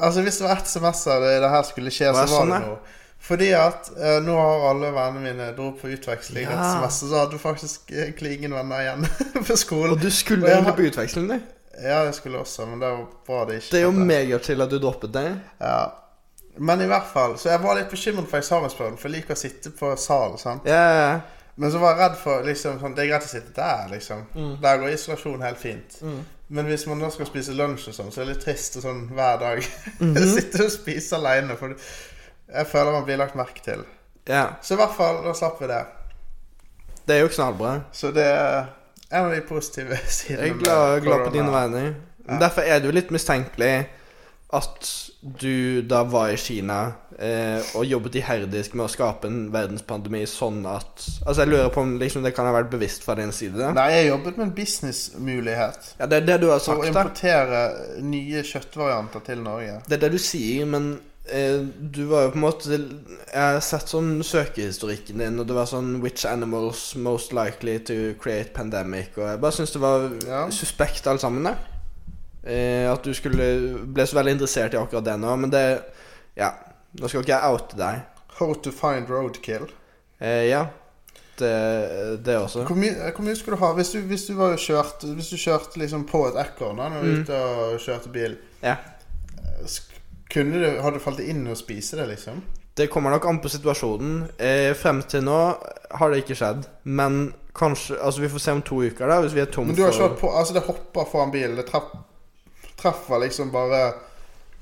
Speaker 3: Altså Hvis det var ett semester det, det her skulle skje,
Speaker 1: Hva
Speaker 3: så
Speaker 1: er
Speaker 3: var
Speaker 1: sånn,
Speaker 3: det
Speaker 1: ja?
Speaker 3: noe. Fordi at eh, nå har alle vennene mine dro på utveksling
Speaker 1: Ja.
Speaker 3: et semester, så hadde faktisk eh, egentlig ingen venner igjen [laughs] på skolen.
Speaker 1: Og du skulle
Speaker 3: Og jeg
Speaker 1: egentlig
Speaker 3: har-
Speaker 1: på utveksling, du.
Speaker 3: Ja, jeg skulle også, men det var bra det ikke
Speaker 1: Det er jo
Speaker 3: skjedde.
Speaker 1: megachill at du droppet det.
Speaker 3: ja. Men i hvert fall, så jeg var litt bekymret for eksamensprøven, for jeg liker å sitte på sal. sant?
Speaker 1: Ja, ja, ja.
Speaker 3: Men så var jeg redd for liksom, sånn, Det er greit å sitte der, liksom.
Speaker 1: Mm.
Speaker 3: Der går isolasjon helt fint. Men hvis man da skal spise lunsj og sånn, så er det litt trist og sånn hver dag. [laughs]
Speaker 1: Mhm.
Speaker 3: sitte og spise aleine, for jeg føler man blir lagt merke til.
Speaker 1: ja.
Speaker 3: Så i hvert fall, da slapp vi det.
Speaker 1: Det er jo knallbra.
Speaker 3: Så det er en av de positive [laughs] sidene
Speaker 1: Jeg er glad, glad på
Speaker 3: eh, korona.
Speaker 1: dine vegne. Men Derfor er det jo litt mistenkelig at du da var i Kina eh, og jobbet iherdisk med å skape en verdenspandemi sånn at Altså, jeg lurer på om liksom, det kan ha vært bevisst fra din side? da?
Speaker 3: Nei, jeg jobbet med en businessmulighet.
Speaker 1: Ja, det er det du har
Speaker 3: Å
Speaker 1: sagt, da.
Speaker 3: importere nye kjøttvarianter til Norge.
Speaker 1: Det er det du sier, men eh, du var jo på en måte Jeg har sett sånn søkehistorikken din, og det var sånn 'Which animals most likely to create pandemic?' Og jeg bare syns det var
Speaker 3: Ja.
Speaker 1: suspekt alt sammen, da. Eh, at du skulle ble så veldig interessert i akkurat det nå, men det Ja. Nå skal ikke jeg oute deg.
Speaker 3: How to find roadkill.
Speaker 1: Eh, ja. Det, det også.
Speaker 3: Hvor mye, eh, hvor mye skulle du ha hvis du, hvis du, var jo kjørt, hvis du kjørte liksom på et ekorn da, når du var ute og kjørte bil?
Speaker 1: Mm.
Speaker 3: eh,
Speaker 1: Ja.
Speaker 3: sk- Kunne du, hadde du falt inn å spise det, liksom?
Speaker 1: Det kommer nok an på situasjonen. Eh, frem til nå har det ikke skjedd. Men kanskje Altså, vi får se om to uker, da, hvis vi er tom
Speaker 3: Men du har
Speaker 1: for
Speaker 3: kjørt på Altså, det hopper foran bilen. Det treff, treffer liksom bare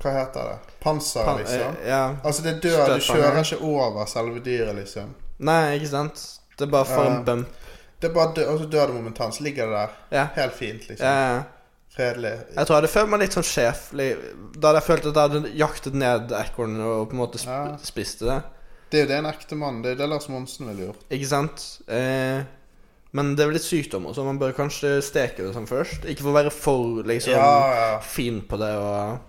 Speaker 3: Hva heter det? Panser,
Speaker 1: Pan-
Speaker 3: liksom.
Speaker 1: eh, ja.
Speaker 3: Altså, det dør. Du
Speaker 1: Støtfanger.
Speaker 3: kjører ikke over selve dyret, liksom.
Speaker 1: Nei, ikke sant? Det er bare for
Speaker 3: Ja.
Speaker 1: en bump.
Speaker 3: Det er bare dø, og så dør det momentant. Så ligger det der.
Speaker 1: Ja.
Speaker 3: Helt fint, liksom.
Speaker 1: Ja, ja.
Speaker 3: Fredelig.
Speaker 1: Jeg tror jeg hadde følt meg litt sånn sjeflig da hadde jeg følt at jeg hadde jaktet ned ekornet og på en måte sp
Speaker 3: Ja.
Speaker 1: spiste det.
Speaker 3: Det er jo det en ekte mann Det er det Lars Monsen ville gjort.
Speaker 1: Ikke sant? Eh, men det er vel litt sykdom også. Man bør kanskje steke det sånn først. Ikke for å være for liksom
Speaker 3: Ja, ja.
Speaker 1: fin på det og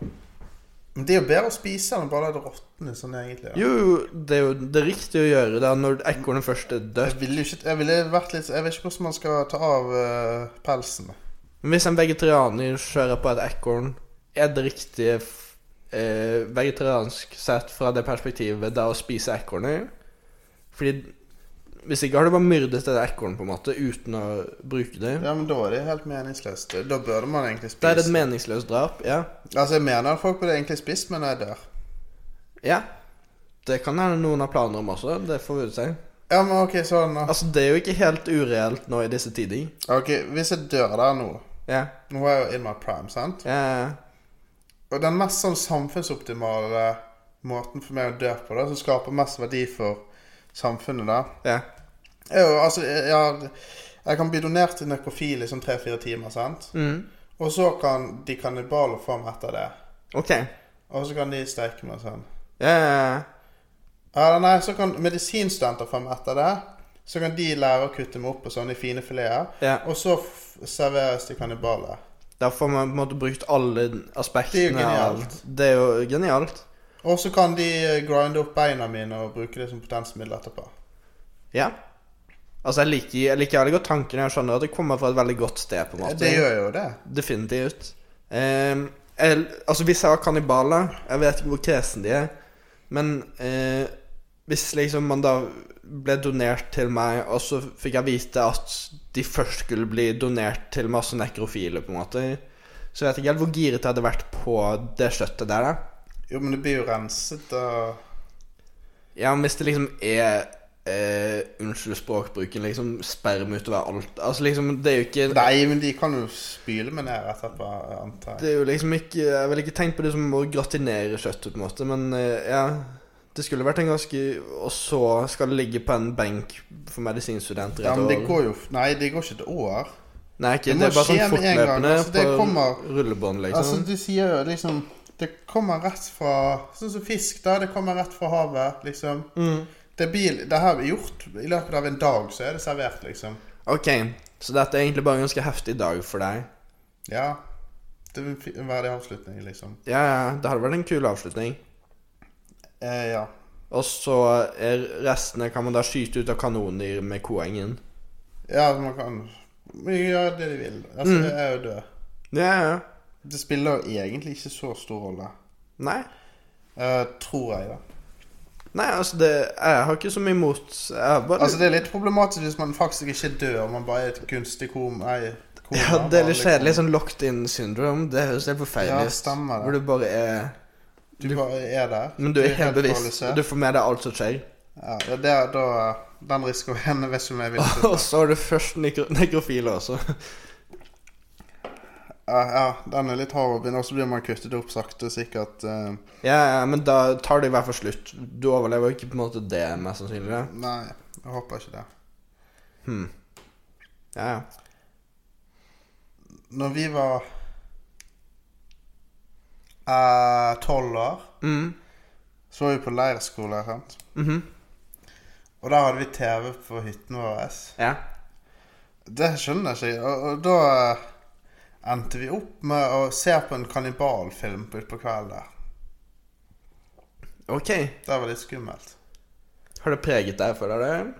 Speaker 3: Men det er jo bedre å spise enn å bare la det råtne sånn, egentlig. Da.
Speaker 1: Jo, det er jo det riktige å gjøre det er når ekornet først er dødt.
Speaker 3: Jeg ville jo ikke Jeg ville vært litt Jeg vet ikke hvordan man skal ta av eh, pelsen. da.
Speaker 1: Men hvis en vegetarianer kjører på et ekorn, er det riktige f- eh, vegetariansk sett fra det perspektivet da å spise ekornet? Fordi hvis ikke har du bare myrdet et ekorn på en måte uten å bruke det.
Speaker 3: Ja, men da er det helt meningsløst. Da burde man egentlig
Speaker 1: Da er det
Speaker 3: spise.
Speaker 1: et meningsløst drap. Ja.
Speaker 3: Altså, jeg mener at folk burde egentlig spist, men jeg dør.
Speaker 1: ja. Det kan hende noen har planer om også. Det får vi se.
Speaker 3: Ja, men ok, sånn da.
Speaker 1: Altså, det er jo ikke helt ureelt nå i disse tider.
Speaker 3: Ok, hvis jeg dør der nå
Speaker 1: Ja.
Speaker 3: Nå er jeg jo in my prime, sant?
Speaker 1: ja.
Speaker 3: Og den mest sånn samfunnsoptimale måten for meg å dø på, da, som skaper mest verdi for samfunnet, da,
Speaker 1: ja.
Speaker 3: er jo altså Ja, jeg kan bli donert til nekrofile i sånn tre-fire timer, sant?
Speaker 1: Mm.
Speaker 3: Og så kan de kannibaler få meg etter det.
Speaker 1: OK.
Speaker 3: Og så kan de steike meg sånn.
Speaker 1: Ja, ja.
Speaker 3: Eller nei, så kan medisinstudenter få meg etter det. Så kan de lære å kutte meg opp og sånn i fine fileter.
Speaker 1: ja.
Speaker 3: Og så f serveres de kannibaler.
Speaker 1: Der får man på en måte brukt alle aspektene.
Speaker 3: Det er jo
Speaker 1: av-
Speaker 3: genialt.
Speaker 1: Det er jo genialt.
Speaker 3: Og så kan de eh, grinde opp beina mine og bruke det som potensmiddel etterpå.
Speaker 1: Ja. Altså, jeg liker, jeg liker veldig godt tanken. Jeg skjønner at det kommer fra et veldig godt sted. på en måte.
Speaker 3: Det gjør jo det.
Speaker 1: Definitivt. Ehm, jeg, altså, hvis jeg var kannibaler Jeg vet ikke hvor kresen de er. Men eh, hvis liksom man da ble donert til meg, og så fikk jeg vite at de først skulle bli donert til masse nekrofile, på en måte, så vet jeg ikke helt hvor giret jeg hadde vært på det kjøttet der. da
Speaker 3: Jo, men det blir jo renset og
Speaker 1: Ja, men hvis det liksom er eh, Unnskyld språkbruken, liksom sperm utover alt Altså liksom, det er jo ikke
Speaker 3: Nei, men de kan jo spyle meg ned etterpå, antar jeg.
Speaker 1: Det er jo liksom ikke Jeg ville ikke tenkt på det som å gratinere kjøttet, på en måte, men eh, ja Det skulle vært en ganske Og så skal det ligge på en benk for medisinstudenter
Speaker 3: Ja, men det
Speaker 1: år.
Speaker 3: går jo f- Nei, det går ikke et år.
Speaker 1: Nei, ikke, det
Speaker 3: det må
Speaker 1: er bare sånn
Speaker 3: skje med en gang,
Speaker 1: fortløpende
Speaker 3: altså, det
Speaker 1: på
Speaker 3: kommer-
Speaker 1: rullebånd, liksom.
Speaker 3: Altså, de sier jo liksom Det kommer rett fra Sånn som fisk, da. Det kommer rett fra havet, liksom.
Speaker 1: mm.
Speaker 3: Det, blir, det her blir gjort i løpet av en dag, så er det servert, liksom.
Speaker 1: Ok, så dette er egentlig bare en ganske heftig dag for deg.
Speaker 3: Ja. Det vil fi- være en avslutning, liksom.
Speaker 1: Ja, ja, det hadde vært en kul avslutning.
Speaker 3: Eh, ja.
Speaker 1: Og så er restene kan man da skyte ut av kanoner med koengen.
Speaker 3: Ja, man kan gjøre det de vil. Altså,
Speaker 1: Mm.
Speaker 3: jeg er jo død.
Speaker 1: Ja, ja.
Speaker 3: Det spiller jo egentlig ikke så stor rolle.
Speaker 1: Nei.
Speaker 3: Eh, tror jeg, da.
Speaker 1: Nei, altså, det, jeg har ikke så mye imot jeg har bare,
Speaker 3: Altså, det er litt problematisk hvis man faktisk ikke dør, og man bare er et kunstig kom... Nei, liksom. koma,
Speaker 1: ja, det er litt
Speaker 3: vanlig
Speaker 1: kjedelig.
Speaker 3: koma.
Speaker 1: Sånn locked in syndrome. Det høres helt
Speaker 3: Ja,
Speaker 1: forferdelig ut.
Speaker 3: stemmer
Speaker 1: hvor
Speaker 3: det.
Speaker 1: du bare er
Speaker 3: Du bare er der.
Speaker 1: Men du er helt bevisst.
Speaker 3: paralysert.
Speaker 1: Du får med deg alt som skjer.
Speaker 3: Ja, det er der, da Den risikoen [laughs] vet ikke om jeg vil til.
Speaker 1: Og så har du først nekro nekrofile også.
Speaker 3: Ja, ja, den er litt hard å begynne, og så blir man kuttet opp sakte og sikkert. eh,
Speaker 1: Ja, ja, men da tar det i hvert fall slutt. Du overlever jo ikke på en måte det, mest sannsynlig. da.
Speaker 3: nei, jeg håper ikke det.
Speaker 1: Hmm. Ja, ja.
Speaker 3: Når vi var eh, tolv år,
Speaker 1: Mm.
Speaker 3: så var vi på leirskole, sant?
Speaker 1: mhm.
Speaker 3: Og der hadde vi TV på hytten vår.
Speaker 1: Ja.
Speaker 3: Det skjønner jeg ikke. Og, og da eh, endte vi opp med å se på en kannibalfilm på utpå kvelden der.
Speaker 1: OK.
Speaker 3: Det var litt skummelt.
Speaker 1: Har det preget deg, føler du?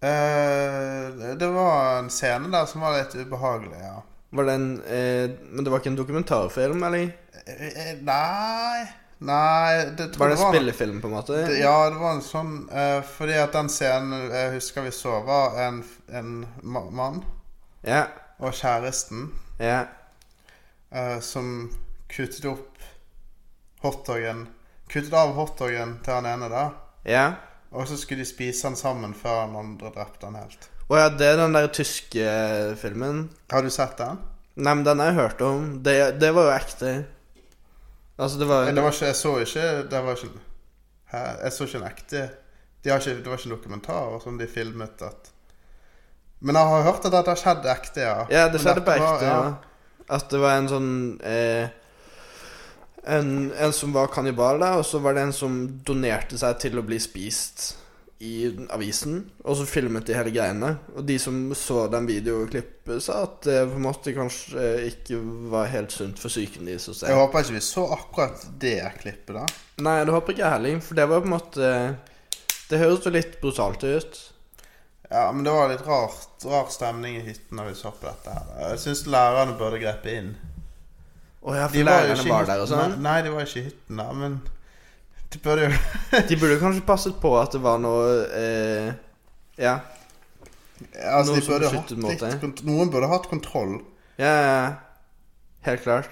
Speaker 3: Eh, det var en scene der som var litt ubehagelig, ja.
Speaker 1: Var det en eh, Men det var ikke en dokumentarfilm, eller?
Speaker 3: Eh, eh, Nei Nei, det tror
Speaker 1: Var det
Speaker 3: jeg
Speaker 1: en spillefilm, på en måte?
Speaker 3: Det- Ja, det var en sånn eh, Fordi at den scenen jeg husker vi så, var en, en ma- mann
Speaker 1: Ja.
Speaker 3: og kjæresten
Speaker 1: ja.
Speaker 3: eh, som kuttet opp hotdogen Kuttet av hotdogen til han ene, da.
Speaker 1: Ja.
Speaker 3: Og så skulle de spise den sammen før han andre drepte han helt.
Speaker 1: Å ja, det er den der tyske eh, filmen.
Speaker 3: Har du sett den?
Speaker 1: Nei, men den har jeg hørt om. Det, det var jo ekte. Altså, det var
Speaker 3: Men det var ikke, jeg så ikke det var ikke, hæ? Jeg så ikke en ekte de har ikke, Det var ikke en dokumentar som de filmet at Men jeg har hørt at det har skjedd ekte, ja.
Speaker 1: Ja, det
Speaker 3: Men
Speaker 1: skjedde på
Speaker 3: dette var-
Speaker 1: ekte.
Speaker 3: ja.
Speaker 1: ja. At det var en sånn eh, en, en som var kannibal, da, og så var det en som donerte seg til å bli spist i avisen. Og så filmet de hele greiene. Og de som så den videoklippet, sa at det på en måte kanskje eh, ikke var helt sunt for psyken deres å se.
Speaker 3: Jeg håper ikke vi så akkurat det klippet, da.
Speaker 1: Nei, det håper ikke jeg heller, for det var på en måte Det høres jo litt brutalt ut.
Speaker 3: Ja, men det var litt rart, rar stemning i hytten når vi så på dette her. Jeg syns lærerne burde grepe inn.
Speaker 1: Å ja, for
Speaker 3: De var jo
Speaker 1: lærerne
Speaker 3: ikke i
Speaker 1: var der og
Speaker 3: hytten,
Speaker 1: sånn.
Speaker 3: Nei, nei, de var ikke i hytten da, men de burde jo
Speaker 1: De burde kanskje passet på at det var noe eh, Ja.
Speaker 3: Altså,
Speaker 1: Noen
Speaker 3: de
Speaker 1: som
Speaker 3: burde hatt
Speaker 1: beskyttet mot
Speaker 3: litt
Speaker 1: deg.
Speaker 3: kont- Noen burde hatt kontroll.
Speaker 1: Ja, ja, ja. Helt klart.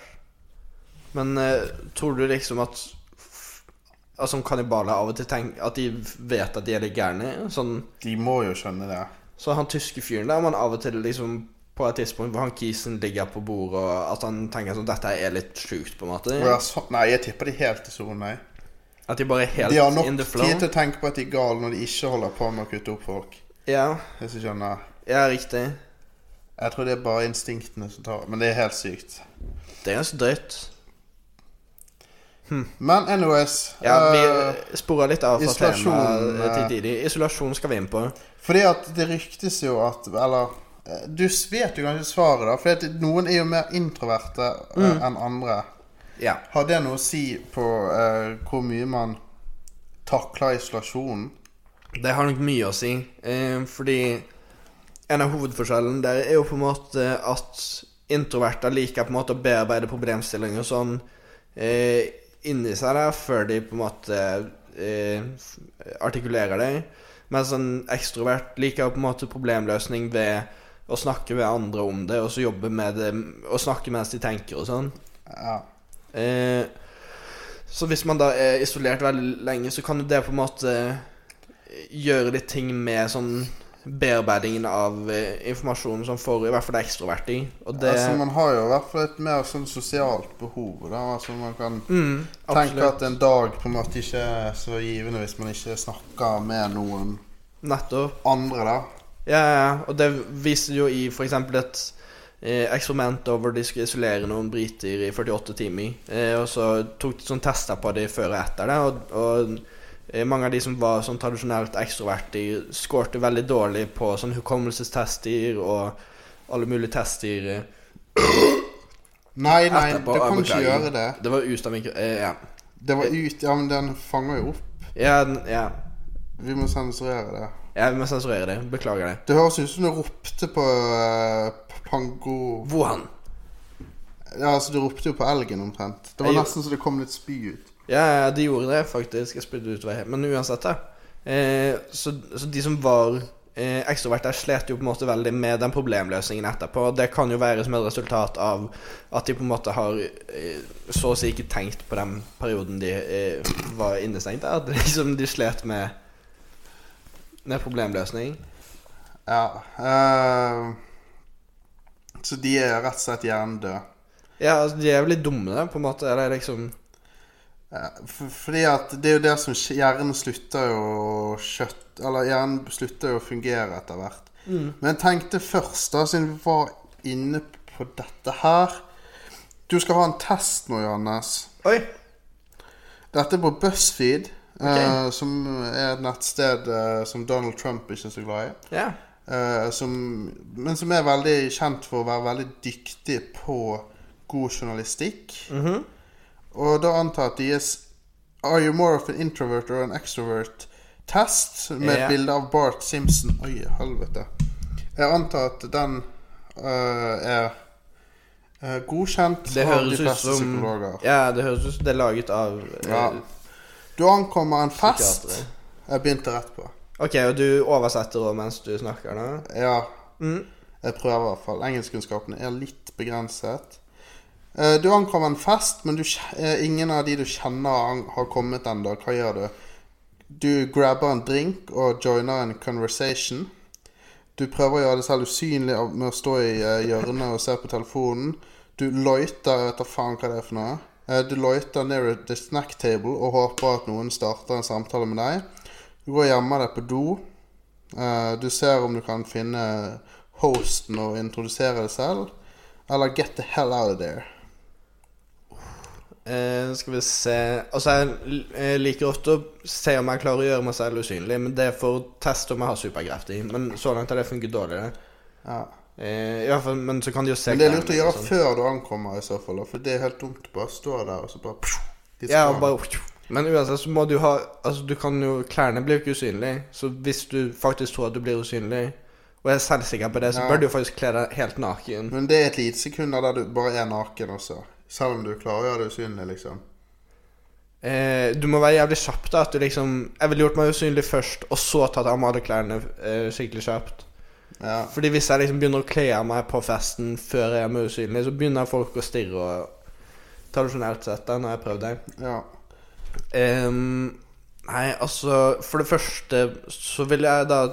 Speaker 1: Men eh, tror du liksom at f- altså, Som kannibaler av og til tenker At de vet at de er litt gærne? Sånn,
Speaker 3: De må jo skjønne det.
Speaker 1: så han tyske fyren der, man av og til liksom På et tidspunkt hvor han kisen ligger på bordet, og at han tenker sånn Dette er litt sjukt, på en måte.
Speaker 3: Og jeg sa- Nei, jeg tipper de helt i sonen, jeg.
Speaker 1: At de bare er helt
Speaker 3: De har nok
Speaker 1: in the flow.
Speaker 3: tid til å tenke på at de er gale når de ikke holder på med å kutte opp folk.
Speaker 1: Ja,
Speaker 3: Hvis du skjønner.
Speaker 1: ja, riktig.
Speaker 3: Jeg tror det er bare instinktene som tar Men det er helt sykt.
Speaker 1: Det er ganske drøyt.
Speaker 3: Men anyways
Speaker 1: Ja,
Speaker 3: eh,
Speaker 1: vi sporer litt av fra
Speaker 3: isolasjon,
Speaker 1: temaet
Speaker 3: eh,
Speaker 1: til Didi. Isolasjon skal vi inn på.
Speaker 3: Fordi at det ryktes jo at Eller eh, du vet jo kanskje svaret, da. For noen er jo mer introverte eh, enn andre.
Speaker 1: Ja.
Speaker 3: Har det noe å si på eh, hvor mye man takler isolasjonen?
Speaker 1: Det har nok mye å si, eh, fordi en av hovedforskjellen der er jo på en måte at introverter liker på en måte å bearbeide problemstillinger sånn eh, inni seg der, før de på en måte eh, artikulerer det. Mens en ekstrovert liker på en måte problemløsning ved å snakke med andre om det, og så jobbe med det, og snakke mens de tenker og sånn.
Speaker 3: Ja.
Speaker 1: Eh, så hvis man da er isolert veldig lenge, så kan jo det på en måte eh, gjøre litt ting med sånn bearbeidingen av eh, informasjonen som får i hvert fall det ekstroverte i. Og det
Speaker 3: Altså, man har jo i hvert fall et mer sånn sosialt behov. Da. Altså, man kan
Speaker 1: mm,
Speaker 3: tenke
Speaker 1: Absolutt.
Speaker 3: at en dag på en måte ikke er så givende hvis man ikke snakker med noen
Speaker 1: Nettopp.
Speaker 3: andre, da.
Speaker 1: Ja, ja. Og det viser jo i f.eks. et eh, eksperiment over de skulle isolere noen briter i 48 timer. Eh, og så tok de sånn tester på de før og etter det, og, og eh, mange av de som var sånn tradisjonelt ekstroverte, skårte veldig dårlig på sånn hukommelsestester og alle mulige tester. eh,
Speaker 3: Nei, nei,
Speaker 1: etterpå.
Speaker 3: du
Speaker 1: Ah,
Speaker 3: kan ikke
Speaker 1: beklager.
Speaker 3: gjøre det.
Speaker 1: Det var ut av mikro... Eh, ja.
Speaker 3: Det var ut Ja, men den fanger jo opp.
Speaker 1: Ja, den- ja.
Speaker 3: Vi må sensurere det.
Speaker 1: Jeg må sensurere det. Beklager det.
Speaker 3: Det høres ut som du ropte på eh, p- Pango
Speaker 1: Wuhan.
Speaker 3: Ja, altså du ropte jo på elgen omtrent. Det var
Speaker 1: Jeg-
Speaker 3: nesten så det kom litt spy ut.
Speaker 1: Ja, ja, de gjorde det faktisk. Jeg spydde utover hele Men uansett, da. Eh, så, så de som var eh, ekstroverter, slet jo på en måte veldig med den problemløsningen etterpå. Og det kan jo være som et resultat av at de på en måte har eh, så å si ikke tenkt på den perioden de eh, var innestengt der. At liksom de slet med, med problemløsning.
Speaker 3: Ja. eh, så de er rett og slett hjernedøde.
Speaker 1: Ja, altså, de er jo litt dumme, da, på en måte. Eller liksom
Speaker 3: Eh, for- Fordi at det er jo det som skj- Hjernen slutter jo å kjøtt Eller hjernen slutter jo å fungere etter hvert. Men jeg tenkte først, da, siden vi var inne på dette her Du skal ha en test nå, Johannes.
Speaker 1: Oi!
Speaker 3: Dette er på BuzzFeed, eh, som er et nettsted eh, som Donald Trump ikke er så glad i.
Speaker 1: Ja.
Speaker 3: eh, som, men som er veldig kjent for å være veldig dyktig på god journalistikk. Og da antar jeg at deres Are you more of an introvert or an extrovert? Test med
Speaker 1: Ja.
Speaker 3: et bilde av Bart Simpson. Oi, helvete. Jeg antar at den eh, er eh, godkjent
Speaker 1: Det
Speaker 3: av de
Speaker 1: høres ut
Speaker 3: fleste
Speaker 1: som
Speaker 3: psykologer.
Speaker 1: Ja, det høres ut som det er laget av eh,
Speaker 3: Ja. Du ankommer en fest
Speaker 1: Psykiatere.
Speaker 3: Jeg begynte rett på.
Speaker 1: Ok, og du oversetter også mens du snakker nå?
Speaker 3: Ja,
Speaker 1: Mm.
Speaker 3: jeg prøver i hvert fall. Engelskkunnskapene er litt begrenset. Eh, Du ankommer en fest, men du, kje- eh, ingen av de du kjenner an- har kommet ennå. Hva gjør du? Du grabber en drink og joiner en conversation. Du prøver å gjøre det selv usynlig av- med å stå i eh, hjørnet og se på telefonen. Du loiter, jeg vet da faen hva det er for noe. Eh, Du loiter near the snack table og håper at noen starter en samtale med deg. Du går og gjemmer deg på do. Eh, Du ser om du kan finne hosten og introdusere deg selv. Eller get the hell out of there.
Speaker 1: Eh, skal vi se Altså, jeg l- eh, liker ofte å se om jeg klarer å gjøre meg selv usynlig, men det er for å teste om jeg har superkrefter. Men så langt har det funket dårligere.
Speaker 3: Ja.
Speaker 1: Eh, I hvert fall, men så kan de jo se
Speaker 3: Men det er
Speaker 1: klærne
Speaker 3: lurt å
Speaker 1: mine og
Speaker 3: gjøre
Speaker 1: sånn.
Speaker 3: før du ankommer, i så fall. da, For det er helt dumt å bare stå der og så bare de
Speaker 1: Ja,
Speaker 3: skal-
Speaker 1: og bare Men uansett så må du ha Altså, du kan jo Klærne blir jo ikke usynlige, så hvis du faktisk tror at du blir usynlig, og er selvsikker på det, så
Speaker 3: Ja.
Speaker 1: bør du jo faktisk kle deg helt naken.
Speaker 3: Men det er et lite sekund der du bare er naken også. Selv om du klarer å gjøre det usynlig, liksom.
Speaker 1: Eh, du må være jævlig kjapp, da. At du liksom Jeg ville gjort meg usynlig først, og så tatt av meg alle klærne eh, skikkelig kjapt.
Speaker 3: Ja.
Speaker 1: Fordi hvis jeg liksom begynner å kle av meg på festen før jeg er med usynlig, så begynner folk å stirre og Tradisjonelt sett, da, når jeg prøvd det.
Speaker 3: ja.
Speaker 1: Ehm, nei, altså For det første så ville jeg da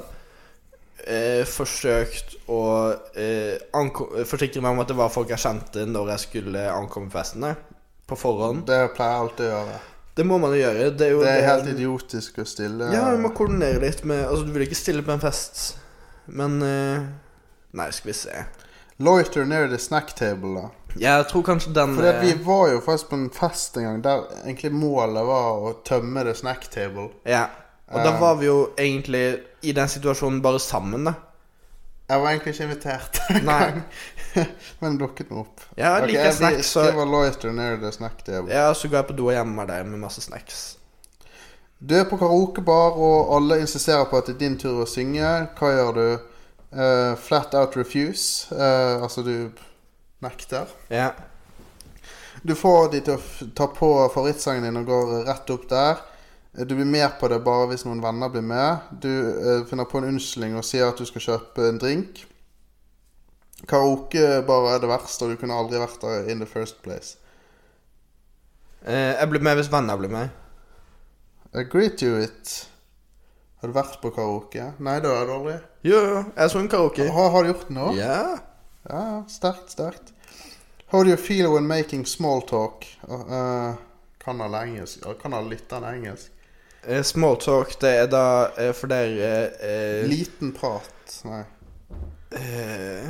Speaker 1: eh, forsøkt å eh, anko- forsikre meg om at det var folk jeg kjente når jeg skulle ankomme festene. På forhånd.
Speaker 3: Det pleier jeg alltid å gjøre.
Speaker 1: Det må man jo gjøre. Det er Sånn. jo
Speaker 3: Det er helt idiotisk å stille
Speaker 1: Ja, du må koordinere litt med Altså, du vil ikke stille på en fest, men eh, Nei, skal vi se.
Speaker 3: Loiter near the snack table, da.
Speaker 1: Jeg tror kanskje den
Speaker 3: For
Speaker 1: eh,
Speaker 3: vi var jo faktisk på en fest en gang der egentlig målet var å tømme the snack table.
Speaker 1: eh, Ja. Um, Og da var vi jo egentlig i den situasjonen bare sammen, [laughs] da.
Speaker 3: Jeg var egentlig ikke invitert [laughs]
Speaker 1: Nei.
Speaker 3: men dukket meg opp.
Speaker 1: Ja, jeg
Speaker 3: Ok,
Speaker 1: liker snacks,
Speaker 3: Jeg
Speaker 1: så
Speaker 3: skriver loiter near the snack table.
Speaker 1: Ja, så går jeg på do og gjemmer meg der med masse snacks.
Speaker 3: Du er på karaokebar, og alle insisterer på at det er din tur å synge. Hva gjør du? Eh, flat out refuse. Eh, altså, du nekter.
Speaker 1: Ja.
Speaker 3: Du får de til å f- ta på favorittsangen din og går rett opp der. Eh, Du blir med på det bare hvis noen venner blir med. Du eh, finner på en unnskyldning og sier at du skal kjøpe en drink. Karaokebar er det verste, og du kunne aldri vært der in the first place.
Speaker 1: Eh, jeg blir med hvis venner blir med.
Speaker 3: Agree to it. Har du vært på karaoke? Nei, det har du aldri.
Speaker 1: Jo, jo, jeg så en karaoke.
Speaker 3: Har, har du gjort det nå?
Speaker 1: Ja.
Speaker 3: Ja, ja, sterkt, sterkt. How do you feel when making small talk? Uh, uh, kan alle engelsk? Ja, Kan alle litt av engelsk?
Speaker 1: Eh, Smalltalk, det er da eh, for dere eh,
Speaker 3: Liten prat. Nei.
Speaker 1: eh,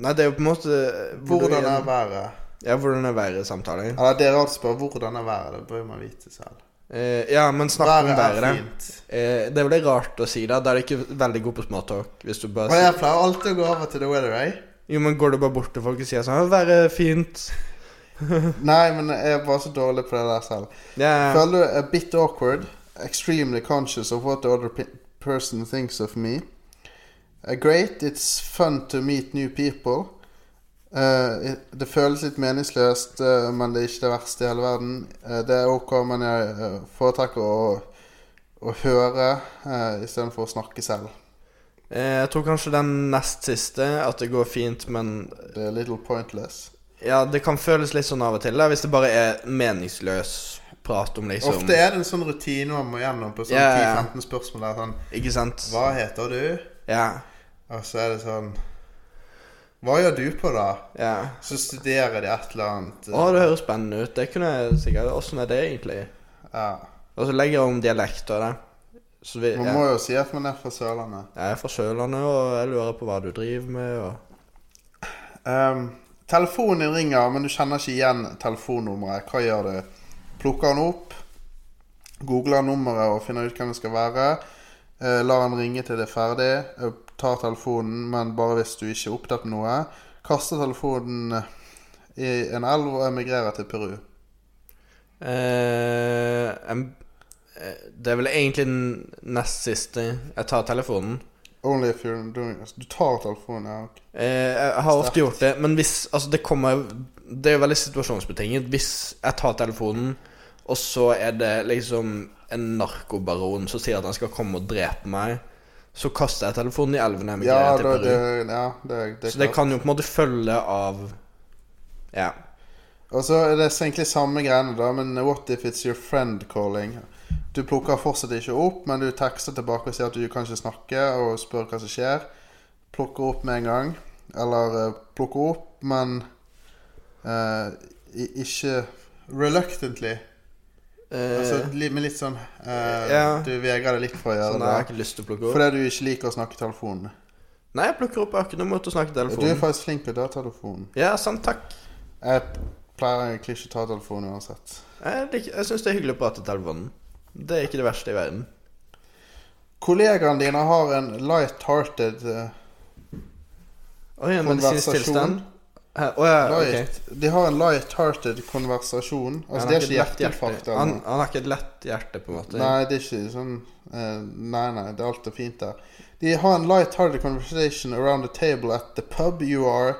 Speaker 1: Nei, det er jo på en måte eh, hvor
Speaker 3: Hvordan
Speaker 1: du-
Speaker 3: er været?
Speaker 1: Ja, hvordan er været i samtaler?
Speaker 3: Eller dere alltid spør hvordan er været. Det bør man vite selv.
Speaker 1: Eh, ja, men snakk om
Speaker 3: Været
Speaker 1: været.
Speaker 3: er
Speaker 1: da.
Speaker 3: fint.
Speaker 1: Eh, det er veldig rart å si det. Da er du ikke veldig god på smalltalk. Hvis du bare
Speaker 3: Og
Speaker 1: sier
Speaker 3: jeg pleier alltid å gå over til the weather, eh?
Speaker 1: [laughs] Jo, men går du bare bort til folk og sier sånn «Å, 'Været er fint'.
Speaker 3: Nei, men jeg er bare så dårlig på det der selv.
Speaker 1: Ja.
Speaker 3: Føler du a bit awkward? Extremely conscious of what the other pe person thinks of me? Uh, great, it's fun to meet new people. Eh, det føles litt meningsløst, eh, men det er ikke det verste i hele verden. Eh, det er ok, men jeg eh, foretrekker å, å høre uh, istedenfor å snakke selv.
Speaker 1: Eh, jeg tror kanskje den nest siste, at det går fint, men
Speaker 3: Det er little pointless.
Speaker 1: Ja, det kan føles litt sånn av og til, da, hvis det bare er meningsløs prat om liksom
Speaker 3: Ofte er det en sånn rutine man må gjennom på sånn
Speaker 1: Ja, ja, ja.
Speaker 3: 10-15 spørsmål. Der, sånn,
Speaker 1: Ikke sant?
Speaker 3: Hva heter du?
Speaker 1: Ja.
Speaker 3: Og så er det sånn Hva gjør du på, da?
Speaker 1: ja.
Speaker 3: Så studerer de et eller annet. eh,
Speaker 1: Å, det høres spennende ut. Det kunne jeg sikkert Åssen er det egentlig?
Speaker 3: Ja.
Speaker 1: Og så legger jeg om dialekter, da. Så vi, ja.
Speaker 3: Man må jo si at man er fra Sørlandet.
Speaker 1: Jeg er fra Sørlandet, og jeg lurer på hva du driver med, og
Speaker 3: Ehm, telefonen din ringer, men du kjenner ikke igjen telefonnummeret. Hva gjør du? Plukker den opp, googler nummeret og finner ut hvem det skal være. Eh, lar den ringe til det er ferdig. Eh, tar telefonen, men bare hvis du ikke er opptatt med noe. Kaster telefonen eh, i en elv og emigrerer til Peru.
Speaker 1: eh, em- eh, Det er vel egentlig den nest siste. Jeg tar telefonen.
Speaker 3: Only if you're doing Du tar telefonen, ja. ok.
Speaker 1: Eh, jeg har ofte gjort det, men hvis Altså, det kommer Det er jo veldig situasjonsbetinget. Hvis jeg tar telefonen, og så er det liksom en narkobaron som sier at han skal komme og drepe meg, så kaster jeg telefonen i elven jeg
Speaker 3: Ja,
Speaker 1: migrerer
Speaker 3: da,
Speaker 1: til
Speaker 3: det,
Speaker 1: Peru.
Speaker 3: ja, det, det, er
Speaker 1: Så det
Speaker 3: klart.
Speaker 1: kan jo på en måte følge av Ja.
Speaker 3: Og så er det egentlig samme greiene, da, men what if it's your friend calling? Du plukker fortsatt ikke opp, men du tekster tilbake og sier at du kan ikke snakke, og spør hva som skjer. Plukker opp med en gang. Eller eh, plukker opp, men eh, i- ikke Reluctantly.
Speaker 1: Eh,
Speaker 3: Altså, li- med litt sånn eh,
Speaker 1: Ja.
Speaker 3: Du vegrer deg litt for å gjøre
Speaker 1: sånn, jeg har
Speaker 3: det.
Speaker 1: ikke lyst til å plukke opp.
Speaker 3: Fordi du ikke liker å snakke i telefonen.
Speaker 1: Nei, jeg plukker opp. Jeg har ikke noe mot å snakke i
Speaker 3: Du er
Speaker 1: telefonen.
Speaker 3: faktisk flink til å ta telefonen.
Speaker 1: Ja, sant, takk.
Speaker 3: Jeg pleier egentlig ikke å ta telefonen uansett.
Speaker 1: Jeg, liker- jeg syns det er hyggelig å prate i telefonen. Det er ikke det verste i verden.
Speaker 3: Kollegaene dine har en light-hearted eh,
Speaker 1: Oi, en medisinsk
Speaker 3: Konversasjon.
Speaker 1: tilstand? Hæ, Å ja, ok.
Speaker 3: light, De har en light-hearted konversasjon. Altså,
Speaker 1: Han har
Speaker 3: det er ikke
Speaker 1: et lett
Speaker 3: hjerteinfarkt.
Speaker 1: hjerte.
Speaker 3: eller
Speaker 1: Han,
Speaker 3: noe.
Speaker 1: han har ikke et lett hjerte, på en måte.
Speaker 3: Nei, det er ikke sånn eh, Nei, nei, det er alt er fint der. De har en light-hearted conversation around the table at the pub you are.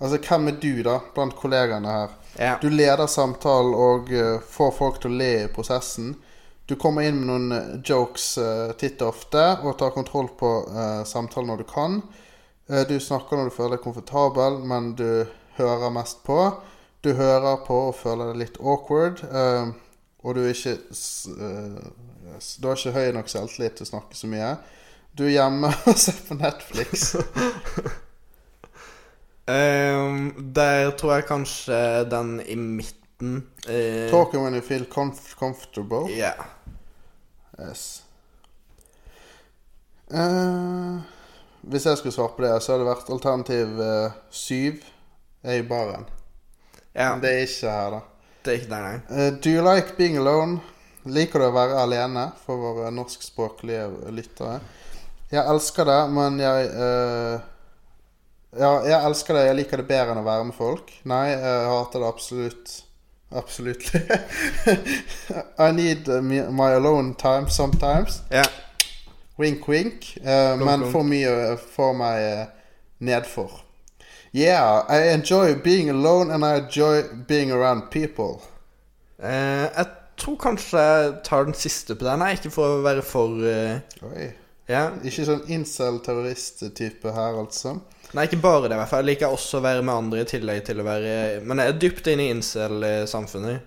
Speaker 3: Altså, hvem er du, da, blant kollegaene her?
Speaker 1: Ja.
Speaker 3: Du leder samtalen og eh, får folk til å le i prosessen. Du kommer inn med noen eh, jokes eh, titt og ofte og tar kontroll på eh, samtalen når du kan. Eh, du snakker når du føler deg komfortabel, men du hører mest på. Du hører på og føler deg litt awkward, eh, og du er ikke s- eh, s- Du har ikke høy nok selvtillit til å snakke så mye. Du er hjemme [laughs] og ser på Netflix.
Speaker 1: Ehm, der tror jeg kanskje den i midten eh,
Speaker 3: Talking when you feel comf comfortable.
Speaker 1: Ja.
Speaker 3: Yes. Eh, hvis jeg skulle svare på det, så hadde det vært alternativ eh, syv er i baren.
Speaker 1: ja.
Speaker 3: Men det er ikke her, da.
Speaker 1: Det er ikke der, nei.
Speaker 3: Eh, do you like being alone? Liker du å være alene, for våre norskspråklige lyttere? Jeg elsker det, men jeg eh, Ja, jeg elsker det. Jeg liker det bedre enn å være med folk. Nei, jeg hater det absolutt. Absolutt. [laughs] I need eh, me- my alone time sometimes.
Speaker 1: Ja.
Speaker 3: Wink, wink. eh, men
Speaker 1: blunk.
Speaker 3: for mye eh, får meg eh, nedfor. Yeah, I enjoy being alone and I enjoy being around people.
Speaker 1: Eh, jeg tror kanskje jeg tar den siste på den. Nei, ikke for å være for eh,
Speaker 3: Oi.
Speaker 1: Ja.
Speaker 3: Ikke sånn incel-terrorist-type her, altså.
Speaker 1: Nei, ikke bare det, i hvert fall. Jeg liker også å være med andre i tillegg til å være Men jeg er dypt inne i incel-samfunnet.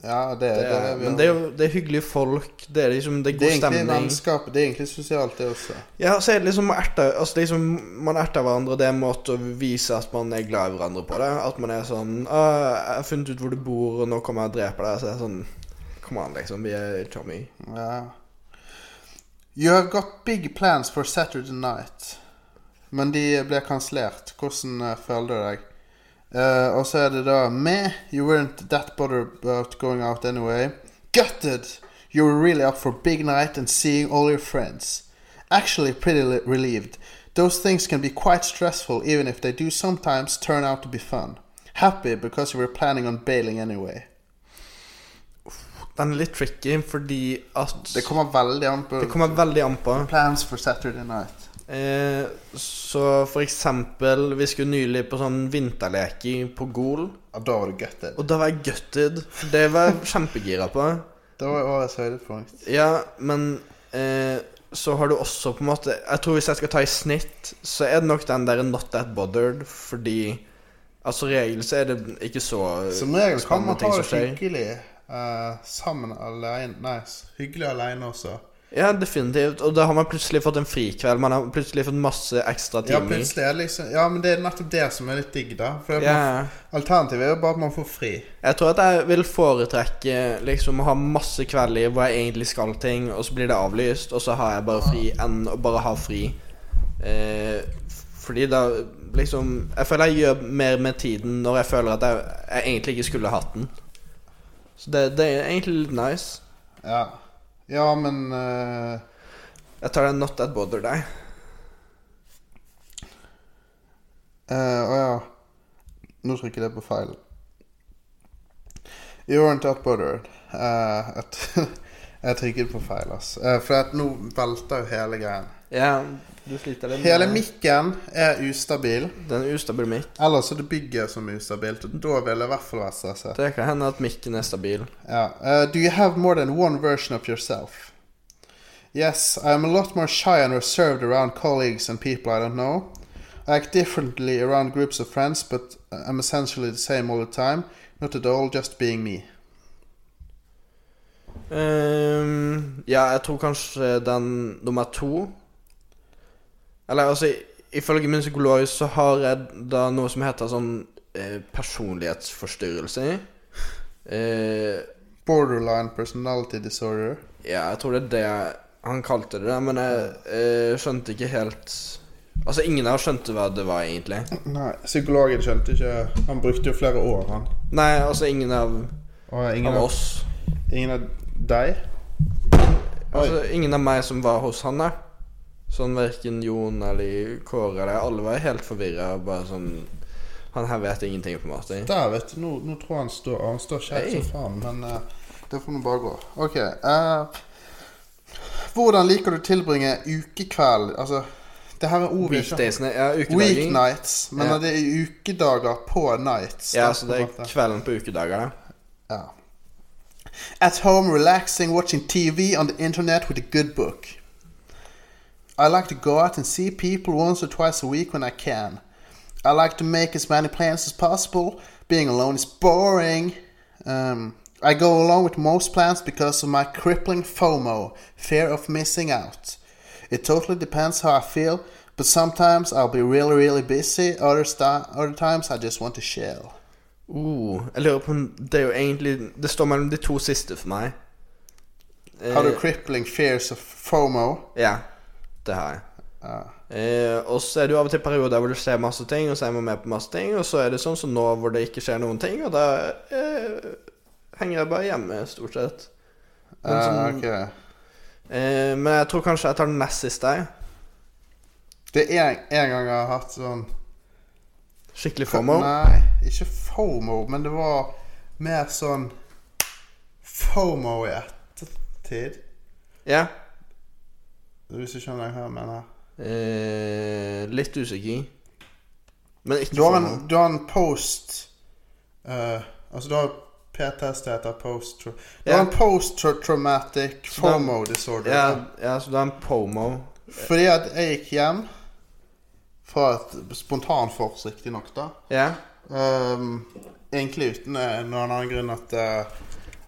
Speaker 3: Ja, det,
Speaker 1: Det
Speaker 3: det,
Speaker 1: er-
Speaker 3: vi
Speaker 1: Eh, Men
Speaker 3: har-
Speaker 1: det er jo det er hyggelige folk. Det er liksom det er
Speaker 3: det er
Speaker 1: god
Speaker 3: egentlig
Speaker 1: stemning.
Speaker 3: vennskap. Det er egentlig sosialt, det også.
Speaker 1: Ja, så er det liksom å erte Altså det er liksom, Man erter hverandre. Det er en måte å vise at man er glad i hverandre på det. At man er sånn «Å, 'Jeg har funnet ut hvor du bor, og nå kommer jeg og dreper deg.' Så det er sånn Kom an, liksom. Vi er chummy.
Speaker 3: Ja. You have got big plans for Saturday night. Men de ble kansellert. Hvordan eh, føler du deg? Eh, og så er det da Meh, you weren't that bothered about going out anyway. Gutted! You were really up for big night and seeing all your friends. Actually pretty li- relieved. Those things can be quite stressful even if they do sometimes turn out to be fun. Happy because you were planning on bailing anyway.
Speaker 1: Den er litt tricky fordi at
Speaker 3: Det kommer veldig an på
Speaker 1: det kommer veldig an på.
Speaker 3: plans for Saturday night.
Speaker 1: Eh, så for eksempel Vi skulle nylig på sånn vinterleker på Gol,
Speaker 3: Ja, da var det gutted.
Speaker 1: og da var jeg gutted. For det var jeg kjempegira på.
Speaker 3: Det var årets høydepunkt.
Speaker 1: Ja, men eh, så har du også på en måte Jeg tror hvis jeg skal ta i snitt, så er det nok den der 'not that bothered', fordi Altså regel så er det ikke så
Speaker 3: Som regel kan man
Speaker 1: spennende
Speaker 3: ta
Speaker 1: ting
Speaker 3: det
Speaker 1: som skjer.
Speaker 3: skikkelig eh, sammen alene. Nei, s- hyggelig alene også.
Speaker 1: Ja, definitivt. Og da har man plutselig fått en frikveld. Man har plutselig fått masse ekstra
Speaker 3: Ja,
Speaker 1: timer.
Speaker 3: plutselig er det liksom Ja, men det er nettopp det som er litt digg, da. For det-
Speaker 1: Ja.
Speaker 3: Alternativet er jo bare at man får fri.
Speaker 1: Jeg tror at jeg vil foretrekke liksom å ha masse kvelder hvor jeg egentlig skal ting, og så blir det avlyst, og så har jeg bare fri enn å bare ha fri. Eh, f- fordi da liksom Jeg føler jeg gjør mer med tiden når jeg føler at jeg, jeg egentlig ikke skulle hatt den. Så det, det er egentlig litt nice.
Speaker 3: Ja, ja men eh,
Speaker 1: Jeg tar den Not That Bother deg.
Speaker 3: Eh, Å ja. Nå trykker jeg på feil. You weren't that bothered. Eh, at, [laughs] jeg trykket på feil, ass. Eh, for at nå velter jo hele greien.
Speaker 1: Ja, du sliter litt
Speaker 3: Hele mikken er ustabil.
Speaker 1: Den er ustabil mikk.
Speaker 3: Ellers er det bygget som er ustabilt, og da vil det i hvert fall være stresset.
Speaker 1: Det kan hende at mikken er stabil.
Speaker 3: Ja. Eh, do you have more than one version of yourself? Yes, I am a lot more shy and reserved around colleagues and people I don't know. I act differently around groups of friends, but I'm essentially the same all the time. Not at all, just being me.
Speaker 1: Ehm, ja, jeg tror kanskje den nummer to Eller altså, ifølge min psykolog så har jeg da noe som heter sånn eh, personlighetsforstyrrelse. Eh,
Speaker 3: Borderline personality disorder. [clears throat]
Speaker 1: ja, jeg tror det er det han kalte det, men jeg eh, skjønte ikke helt Altså, ingen av oss skjønte hva det var, egentlig.
Speaker 3: Nei, psykologen skjønte ikke Han brukte jo flere år, han.
Speaker 1: Nei, altså, ingen av,
Speaker 3: Og ingen
Speaker 1: av
Speaker 3: av,
Speaker 1: oss
Speaker 3: ingen av deg?
Speaker 1: Altså, ingen av meg som var hos han, da. Sånn verken Jon eller Kåre eller Alle var helt forvirra. Bare sånn Han her vet ingenting, på en måte.
Speaker 3: Der, vet du. Nå, nå tror jeg han står Han står skjevt
Speaker 1: Hei.
Speaker 3: som faen, men eh, det får nå bare gå. OK. eh, hvordan liker du å tilbringe ukekveld Altså, det her er ord vi ikke
Speaker 1: Weekdaysene Ja, ukedagen.
Speaker 3: Weeknights. Men
Speaker 1: Ja.
Speaker 3: det er ukedager på nights.
Speaker 1: Ja,
Speaker 3: da,
Speaker 1: så
Speaker 3: på
Speaker 1: det
Speaker 3: en
Speaker 1: er
Speaker 3: måte.
Speaker 1: kvelden på ukedager, da.
Speaker 3: ja. Oh. At home relaxing, watching TV on the internet with a good book. I like to go out and see people once or twice a week when I can. I like to make as many plans as possible. Being alone is boring. Um, I go along with most plans because of my crippling FOMO, fear of missing out. It totally depends how I feel, but sometimes I'll be really, really busy. Other, sti- other times I just want to chill.
Speaker 1: Uh, jeg lurer på om Det er jo egentlig Det står mellom de to siste for meg. Eh,
Speaker 3: Har du crippling fears of FOMO?
Speaker 1: Ja, det har jeg. Eh, og så er det jo av og til perioder hvor du ser masse ting, og så er man med på masse ting, og så er det sånn som nå hvor det ikke skjer noen ting, og da eh, henger jeg bare hjemme, stort sett. Men,
Speaker 3: Ah,
Speaker 1: sånn,
Speaker 3: ok.
Speaker 1: eh, men jeg tror kanskje jeg tar den nest siste. jeg.
Speaker 3: Det er en, en gang jeg har hatt sånn
Speaker 1: Skikkelig FOMO.
Speaker 3: Nei, ikke FOMO, men det var mer sånn FOMO i ettertid.
Speaker 1: Ja.
Speaker 3: Hvis du skjønner hva jeg mener.
Speaker 1: Eh, litt usikker. Men ikke
Speaker 3: Du har en,
Speaker 1: FOMO.
Speaker 3: du har en post eh, Altså, du har PTSD etter post Du har
Speaker 1: Ja.
Speaker 3: en post-traumatic
Speaker 1: da-
Speaker 3: FOMO disorder.
Speaker 1: Ja, ja, så du har en POMO.
Speaker 3: Fordi at jeg gikk hjem fra et spontanfors, riktignok, da.
Speaker 1: Ja.
Speaker 3: Ehm, egentlig uten eh, noen annen grunn at eh,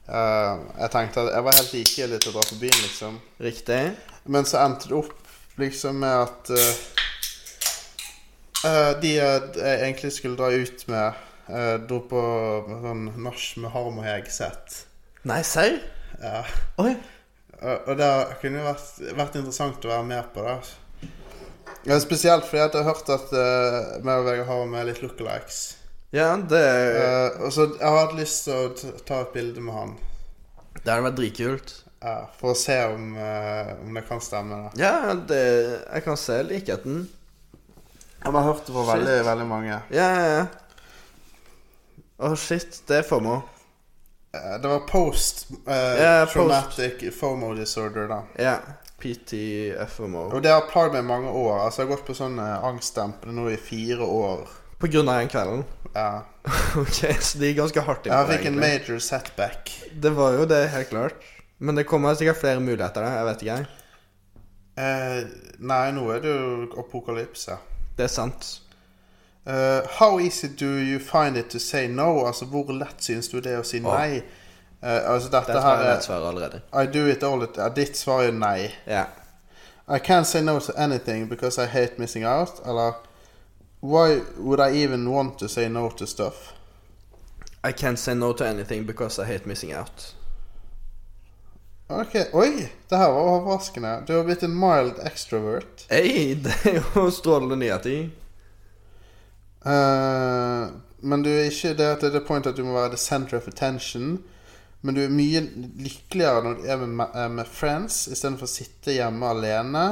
Speaker 3: eh, jeg tenkte at jeg var helt likegyldig til å dra på byen, liksom.
Speaker 1: Riktig.
Speaker 3: Men så endte det opp liksom med at eh, eh, de jeg jeg egentlig skulle dra ut med, eh, dro på sånn nach med Harm og Hegseth.
Speaker 1: Nei, serr?
Speaker 3: Ja.
Speaker 1: Oi.
Speaker 3: Og og det kunne jo vært, vært interessant å være med på, da. Ja, spesielt fordi at jeg har hørt at uh, meg og Vegard Harm er litt lookalikes.
Speaker 1: Ja, det,
Speaker 3: Eh, og så jeg har hatt lyst til å t- ta et bilde med han.
Speaker 1: det hadde vært dritkult.
Speaker 3: ja, for å se om, eh, om det kan stemme. Da.
Speaker 1: Ja, det, jeg kan se likheten.
Speaker 3: Jeg har hørt det fra veldig, veldig mange.
Speaker 1: Ja, ja, ja. Å, shit. Det er FOMO.
Speaker 3: Eh, Det var post eh,
Speaker 1: Ja, post.
Speaker 3: traumatic FOMO disorder, da.
Speaker 1: Ja. PTFMO.
Speaker 3: Og det har plaget meg i mange år. Altså, jeg har gått på sånn eh, angstdempende nå i fire år.
Speaker 1: På grunn av den kvelden. [laughs]
Speaker 3: Ja.
Speaker 1: ok, så de er ganske hardt
Speaker 3: Jeg
Speaker 1: innpå,
Speaker 3: fikk en major setback.
Speaker 1: Det var jo det, helt klart. Men det kommer sikkert flere muligheter der. Jeg vet ikke, jeg.
Speaker 3: Eh, nei, nå er det jo apokalypse.
Speaker 1: Det er sant.
Speaker 3: Eh, how easy do you find it to say no? Altså, hvor lett synes du det er å si nei? Eh, altså, dette
Speaker 1: Der tar
Speaker 3: her
Speaker 1: jeg
Speaker 3: er
Speaker 1: et svar allerede.
Speaker 3: I do it all the time. Ditt svar er nei.
Speaker 1: Ja.
Speaker 3: I can't say no to anything because I hate missing out. Eller Why would I even want to say no to stuff?
Speaker 1: I can't say no to anything because I hate missing out.
Speaker 3: Ok, Oi! Det her var overraskende. Du har blitt en mild extrovert.
Speaker 1: Ei, [laughs] det er jo strålende nyheter.
Speaker 3: Eh, men du er ikke det at det er det point at du må være the center of attention. Men du er mye lykkeligere når du er med, eh, med friends istedenfor å sitte hjemme alene.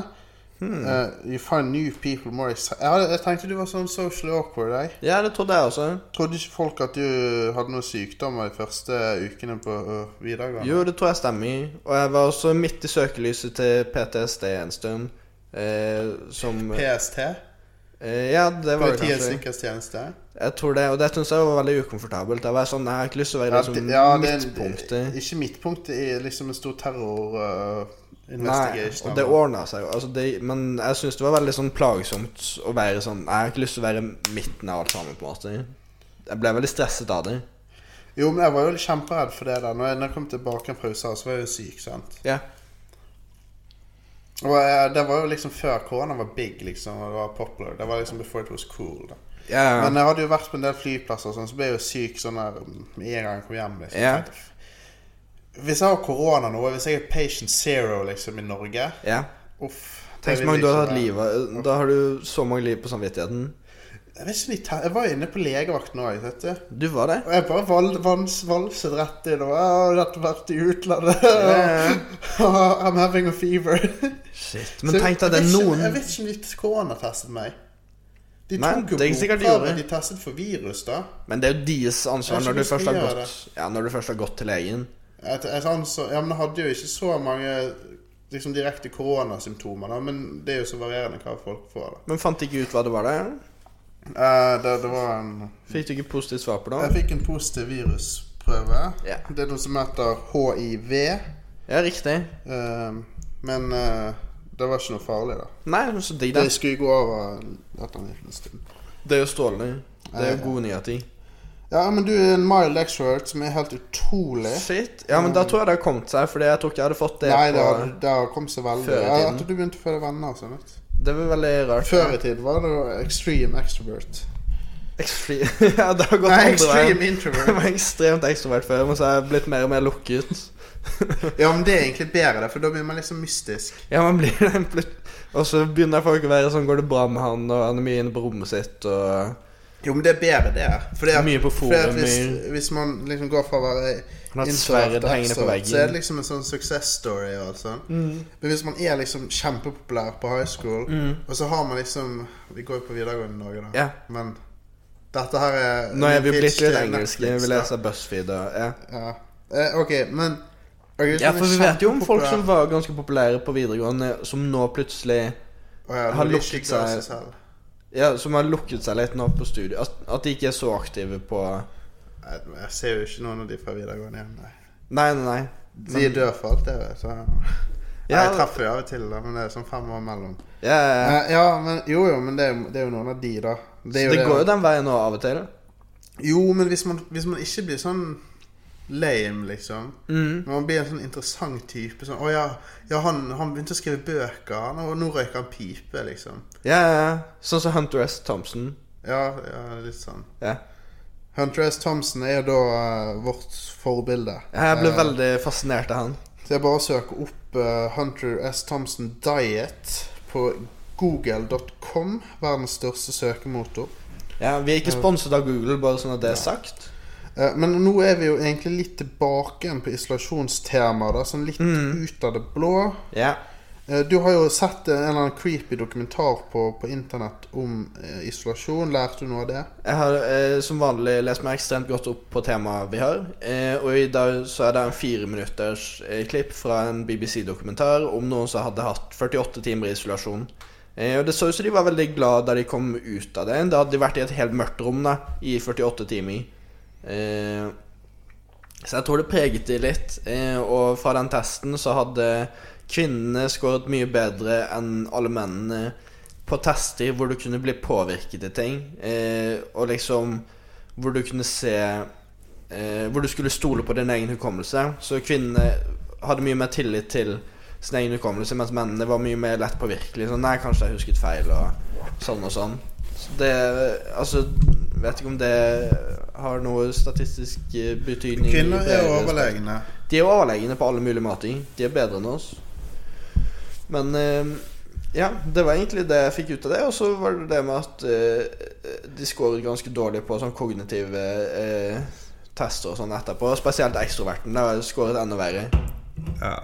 Speaker 3: Eh, you find new people more exciting. Jeg, hadde- jeg tenkte du var sånn socially awkward. Jeg.
Speaker 1: Ja, det trodde jeg også.
Speaker 3: Trodde ikke folk at du hadde noen sykdommer de første ukene på ø, videregående?
Speaker 1: Jo, det tror jeg stemmer. Og jeg var også midt i søkelyset til PTSD en stund. Eh, som
Speaker 3: PST?
Speaker 1: eh, Ja, det var det
Speaker 3: Politiets
Speaker 1: kanskje.
Speaker 3: sikkerhetstjeneste?
Speaker 1: Jeg tror det, Og det syns jeg var veldig ukomfortabelt. Jeg var sånn, jeg har ikke lyst til å være
Speaker 3: Ja,
Speaker 1: liksom,
Speaker 3: det- ja, det er-
Speaker 1: midtpunktet.
Speaker 3: Ikke midtpunktet i liksom en stor terror ø,
Speaker 1: Nei,
Speaker 3: investigation.
Speaker 1: og det ordna seg jo. Altså, det- men jeg syns det var veldig sånn plagsomt å være sånn Jeg har ikke lyst til å være midten av alt sammen, på en måte. Jeg ble veldig stresset av det.
Speaker 3: Jo, men jeg var jo kjemperedd for det der. Når jeg, når jeg kom tilbake fra USA, så var jeg jo syk, sant.
Speaker 1: Ja.
Speaker 3: Og eh, det var jo liksom før korona var big, liksom, og det var popular. Det var liksom before it was cool. da.
Speaker 1: Ja, ja.
Speaker 3: Men jeg hadde jo vært på en del flyplasser, og sånn, så ble jeg jo syk sånn der med en gang jeg kom hjem. liksom.
Speaker 1: Ja.
Speaker 3: Tenkte, Hvis jeg har korona nå, hvis jeg er patient zero liksom i Norge
Speaker 1: ja.
Speaker 3: Uff. det
Speaker 1: Tenk så
Speaker 3: vil
Speaker 1: mange du har
Speaker 3: ikke
Speaker 1: hatt
Speaker 3: være.
Speaker 1: liv av. eh, Da har du så mange liv på samvittigheten.
Speaker 3: Jeg, vet ikke, om de te- jeg var jo inne på legevakten òg, vet du.
Speaker 1: Du var det.
Speaker 3: Og jeg bare val, vans, valset rett inn og «Å, Dette har vært i utlandet. [laughs]
Speaker 1: Ja.
Speaker 3: I'm having a fever.
Speaker 1: Shit. Men
Speaker 3: Så
Speaker 1: tenk deg det er
Speaker 3: jeg vet ikke-
Speaker 1: noen
Speaker 3: Jeg vet ikke om de koronatestet meg. De
Speaker 1: Nei,
Speaker 3: tok jo
Speaker 1: det er ikke sikkert de
Speaker 3: blodprøver,
Speaker 1: gjorde.
Speaker 3: de testet for virus, da.
Speaker 1: Men det er jo deres ansvar
Speaker 3: Jeg
Speaker 1: når du,
Speaker 3: tror vi skal
Speaker 1: først har
Speaker 3: gjøre
Speaker 1: gått, ja, når du først har gått til legen.
Speaker 3: Et, et ansvar, ja, men jeg hadde jo ikke så mange liksom, direkte koronasymptomer, da, men det er jo så varierende hva folk får. da.
Speaker 1: Men fant ikke ut hva det var der?
Speaker 3: Eh, det, det var en
Speaker 1: Fikk du ikke positivt svar på
Speaker 3: Jeg
Speaker 1: det?
Speaker 3: fikk en positiv virusprøve.
Speaker 1: Ja.
Speaker 3: Det er noe som heter hiv.
Speaker 1: Ja, riktig.
Speaker 3: eh, men eh, det var ikke noe farlig, da.
Speaker 1: Nei, men så digg,
Speaker 3: Det
Speaker 1: da.
Speaker 3: skulle gå over etter en liten stund.
Speaker 1: Det er jo strålende. Det er
Speaker 3: Ja, ja.
Speaker 1: jo gode nyheter.
Speaker 3: Ja, men du er en mild extrovert som er helt utrolig.
Speaker 1: Shit. Ja, men da tror jeg det har kommet seg, Fordi jeg tror ikke jeg hadde fått det
Speaker 3: Nei, det
Speaker 1: på
Speaker 3: har, det har kommet seg veldig.
Speaker 1: Før i
Speaker 3: Ja,
Speaker 1: tiden.
Speaker 3: Etter du begynte å føde venner og sånn. vet du.
Speaker 1: Det var veldig rart.
Speaker 3: Før i tiden var det jo extreme extrovert.
Speaker 1: Extreme [laughs] Ja, det har gått
Speaker 3: Nei,
Speaker 1: andre veien.
Speaker 3: extreme
Speaker 1: [laughs]
Speaker 3: introvert.
Speaker 1: Jeg var ekstremt ekstrovert før, men så har jeg blitt mer og mer lukket.
Speaker 3: [laughs] Ja, men det er egentlig bedre, for da blir man liksom mystisk.
Speaker 1: Ja, man blir [laughs] det plut- Og så begynner folk å være sånn Går det bra med han, og han er mye inne på rommet sitt, og
Speaker 3: Jo, men det er bedre, det. For det er,
Speaker 1: Mye på
Speaker 3: fordi at
Speaker 1: forum,
Speaker 3: hvis,
Speaker 1: mye-
Speaker 3: hvis man liksom går fra å være
Speaker 1: Han har et
Speaker 3: introvert
Speaker 1: sverd
Speaker 3: til
Speaker 1: hengende på
Speaker 3: extrovert,
Speaker 1: veggen. Mm.
Speaker 3: Så er det liksom en sånn success story og alt sånn. Men hvis man er liksom kjempepopulær på high school, og så har man liksom Vi går jo på videregående i Norge, da.
Speaker 1: Mm. Ja.
Speaker 3: Men dette her er
Speaker 1: Nå er vi
Speaker 3: en pitch
Speaker 1: blitt litt
Speaker 3: til
Speaker 1: engelske.
Speaker 3: Netflix,
Speaker 1: Vi
Speaker 3: da.
Speaker 1: leser BuzzFeed og ja.
Speaker 3: Ja. Eh, ok, men ok, hvis
Speaker 1: ja,
Speaker 3: man er sånn
Speaker 1: for vi vet jo om folk
Speaker 3: kjempepopulær-
Speaker 1: som var ganske populære på videregående, som nå plutselig
Speaker 3: Å ja,
Speaker 1: har
Speaker 3: har
Speaker 1: lukket seg- Ja, som har lukket seg litt nå på studiet. At, at de ikke er så aktive på
Speaker 3: Jeg ser jo ikke noen av de fra videregående igjen. Nei.
Speaker 1: Nei, nei, nei.
Speaker 3: De
Speaker 1: Men-
Speaker 3: dør for alt det, vet du. Ja,
Speaker 1: Ja,
Speaker 3: jeg traff jo av og til, da, men det er sånn fem år mellom.
Speaker 1: ja, ja, ja.
Speaker 3: Eh, ja, men jo, jo, men det er, jo- det er jo noen av de, da.
Speaker 1: Det, går jo den veien nå av og til.
Speaker 3: Jo, men hvis man, hvis man ikke blir sånn lame, liksom
Speaker 1: Mhm.
Speaker 3: Når man blir en sånn interessant type sånn, 'Å ja, ja han, han begynte å skrive bøker, han, og nå røyker han pipe', liksom.
Speaker 1: Ja, ja, ja. Sånn som Hunter S. Thompson.
Speaker 3: Ja, ja litt sånn.
Speaker 1: Ja.
Speaker 3: Hunter S. Thompson er jo da eh, vårt forbilde.
Speaker 1: Jeg ble
Speaker 3: Eh,
Speaker 1: veldig fascinert av han.
Speaker 3: Så jeg bare søker opp eh, Hunter S. Thompson Diet på google.com, verdens største søkemotor.
Speaker 1: Ja, Vi er ikke sponset av Google, bare sånn at det er sagt.
Speaker 3: Eh, Men nå er vi jo egentlig litt tilbake igjen på isolasjonstemaer, da, sånn litt
Speaker 1: Mm.
Speaker 3: ut av det blå.
Speaker 1: Ja.
Speaker 3: Eh, Du har jo sett eh, en eller annen creepy dokumentar på, på internett om eh, isolasjon. Lærte du noe av det?
Speaker 1: Jeg har eh, som vanlig lest meg ekstremt godt opp på temaet vi har. Eh, og i dag så er det en fire minutters eh, klipp fra en BBC-dokumentar om noen som hadde hatt 48 timer i isolasjon. Eh, og det så ut som de var veldig glad da de kom ut av det. Da hadde de vært i et helt mørkt rom da, i 48 timer. Eh, så jeg tror det preget de litt. Eh, og fra den testen så hadde kvinnene skåret mye bedre enn alle mennene på tester hvor du kunne bli påvirket til ting. Eh, og liksom hvor du kunne se eh, Hvor du skulle stole på din egen hukommelse. Så kvinnene hadde mye mer tillit til sin egen hukommelse, mens mennene var mye mer lett påvirkelige. Sånn, nei, kanskje jeg husket feil, og sånn og sånn. Så det Altså, vet ikke om det har noe statistisk eh, betydning. i
Speaker 3: Kvinner er jo
Speaker 1: deres-
Speaker 3: overlegne.
Speaker 1: de er jo overlegne på alle mulige måter. De er bedre enn oss. Men eh, ja, det var egentlig det jeg fikk ut av det. Og så var det det med at eh, de scoret ganske dårlig på sånn kognitive eh, tester og sånn etterpå. Spesielt ekstroverten. Der har jeg scoret enda verre.
Speaker 3: Ja.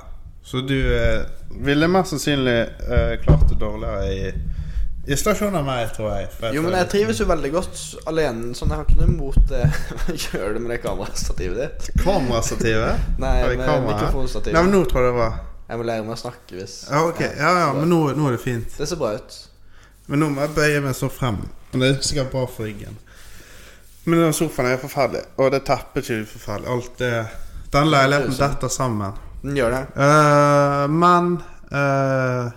Speaker 3: Så du eh, ville mest sannsynlig eh, klart det dårligere i isolasjon enn meg, tror jeg.
Speaker 1: Jo, men jeg trives jo veldig godt alene, sånn jeg har ikke noe imot det. [laughs] Hva gjør du med det kamerastativet ditt?
Speaker 3: Kamerastativet?
Speaker 1: Nei,
Speaker 3: eh? Har vi
Speaker 1: med
Speaker 3: kamera her? Nei,
Speaker 1: mikrofonstativet.
Speaker 3: men nå tror jeg det var
Speaker 1: Jeg må lære meg å snakke hvis
Speaker 3: Ja, ok. Ja, ja, men nå, nå er det fint.
Speaker 1: Det ser bra ut.
Speaker 3: Men nå må jeg bøye meg så frem. Men det er sikkert bra for ryggen. Men den sofaen er jo forferdelig, og det teppet er jo forferdelig. Alt det Den leiligheten detter sammen.
Speaker 1: Den gjør det.
Speaker 3: Eh, men eh,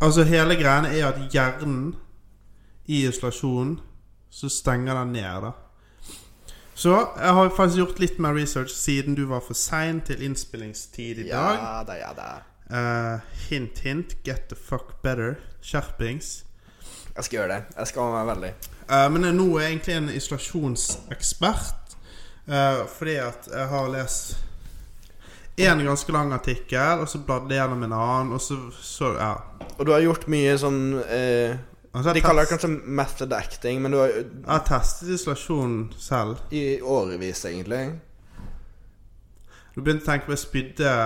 Speaker 3: Altså, hele greiene er at hjernen i isolasjon så stenger den ned, da. Så jeg har faktisk gjort litt mer research siden du var for sein til innspillingstid i dag.
Speaker 1: Ja da, ja da.
Speaker 3: Eh, hint, hint. Get the fuck better. Skjerpings.
Speaker 1: Jeg skal gjøre det. Jeg skal være veldig
Speaker 3: Eh, men jeg, nå er jeg egentlig en isolasjonsekspert. eh, fordi at jeg har lest én ganske lang artikkel, og så bladde jeg gjennom en annen, og så, så ja.
Speaker 1: Og du har gjort mye sånn eh,
Speaker 3: Og så
Speaker 1: De
Speaker 3: har jeg
Speaker 1: kaller det
Speaker 3: test-
Speaker 1: kanskje method acting, men du har
Speaker 3: jeg har testet isolasjon selv.
Speaker 1: i årevis, egentlig.
Speaker 3: Du begynte å tenke på at jeg spydde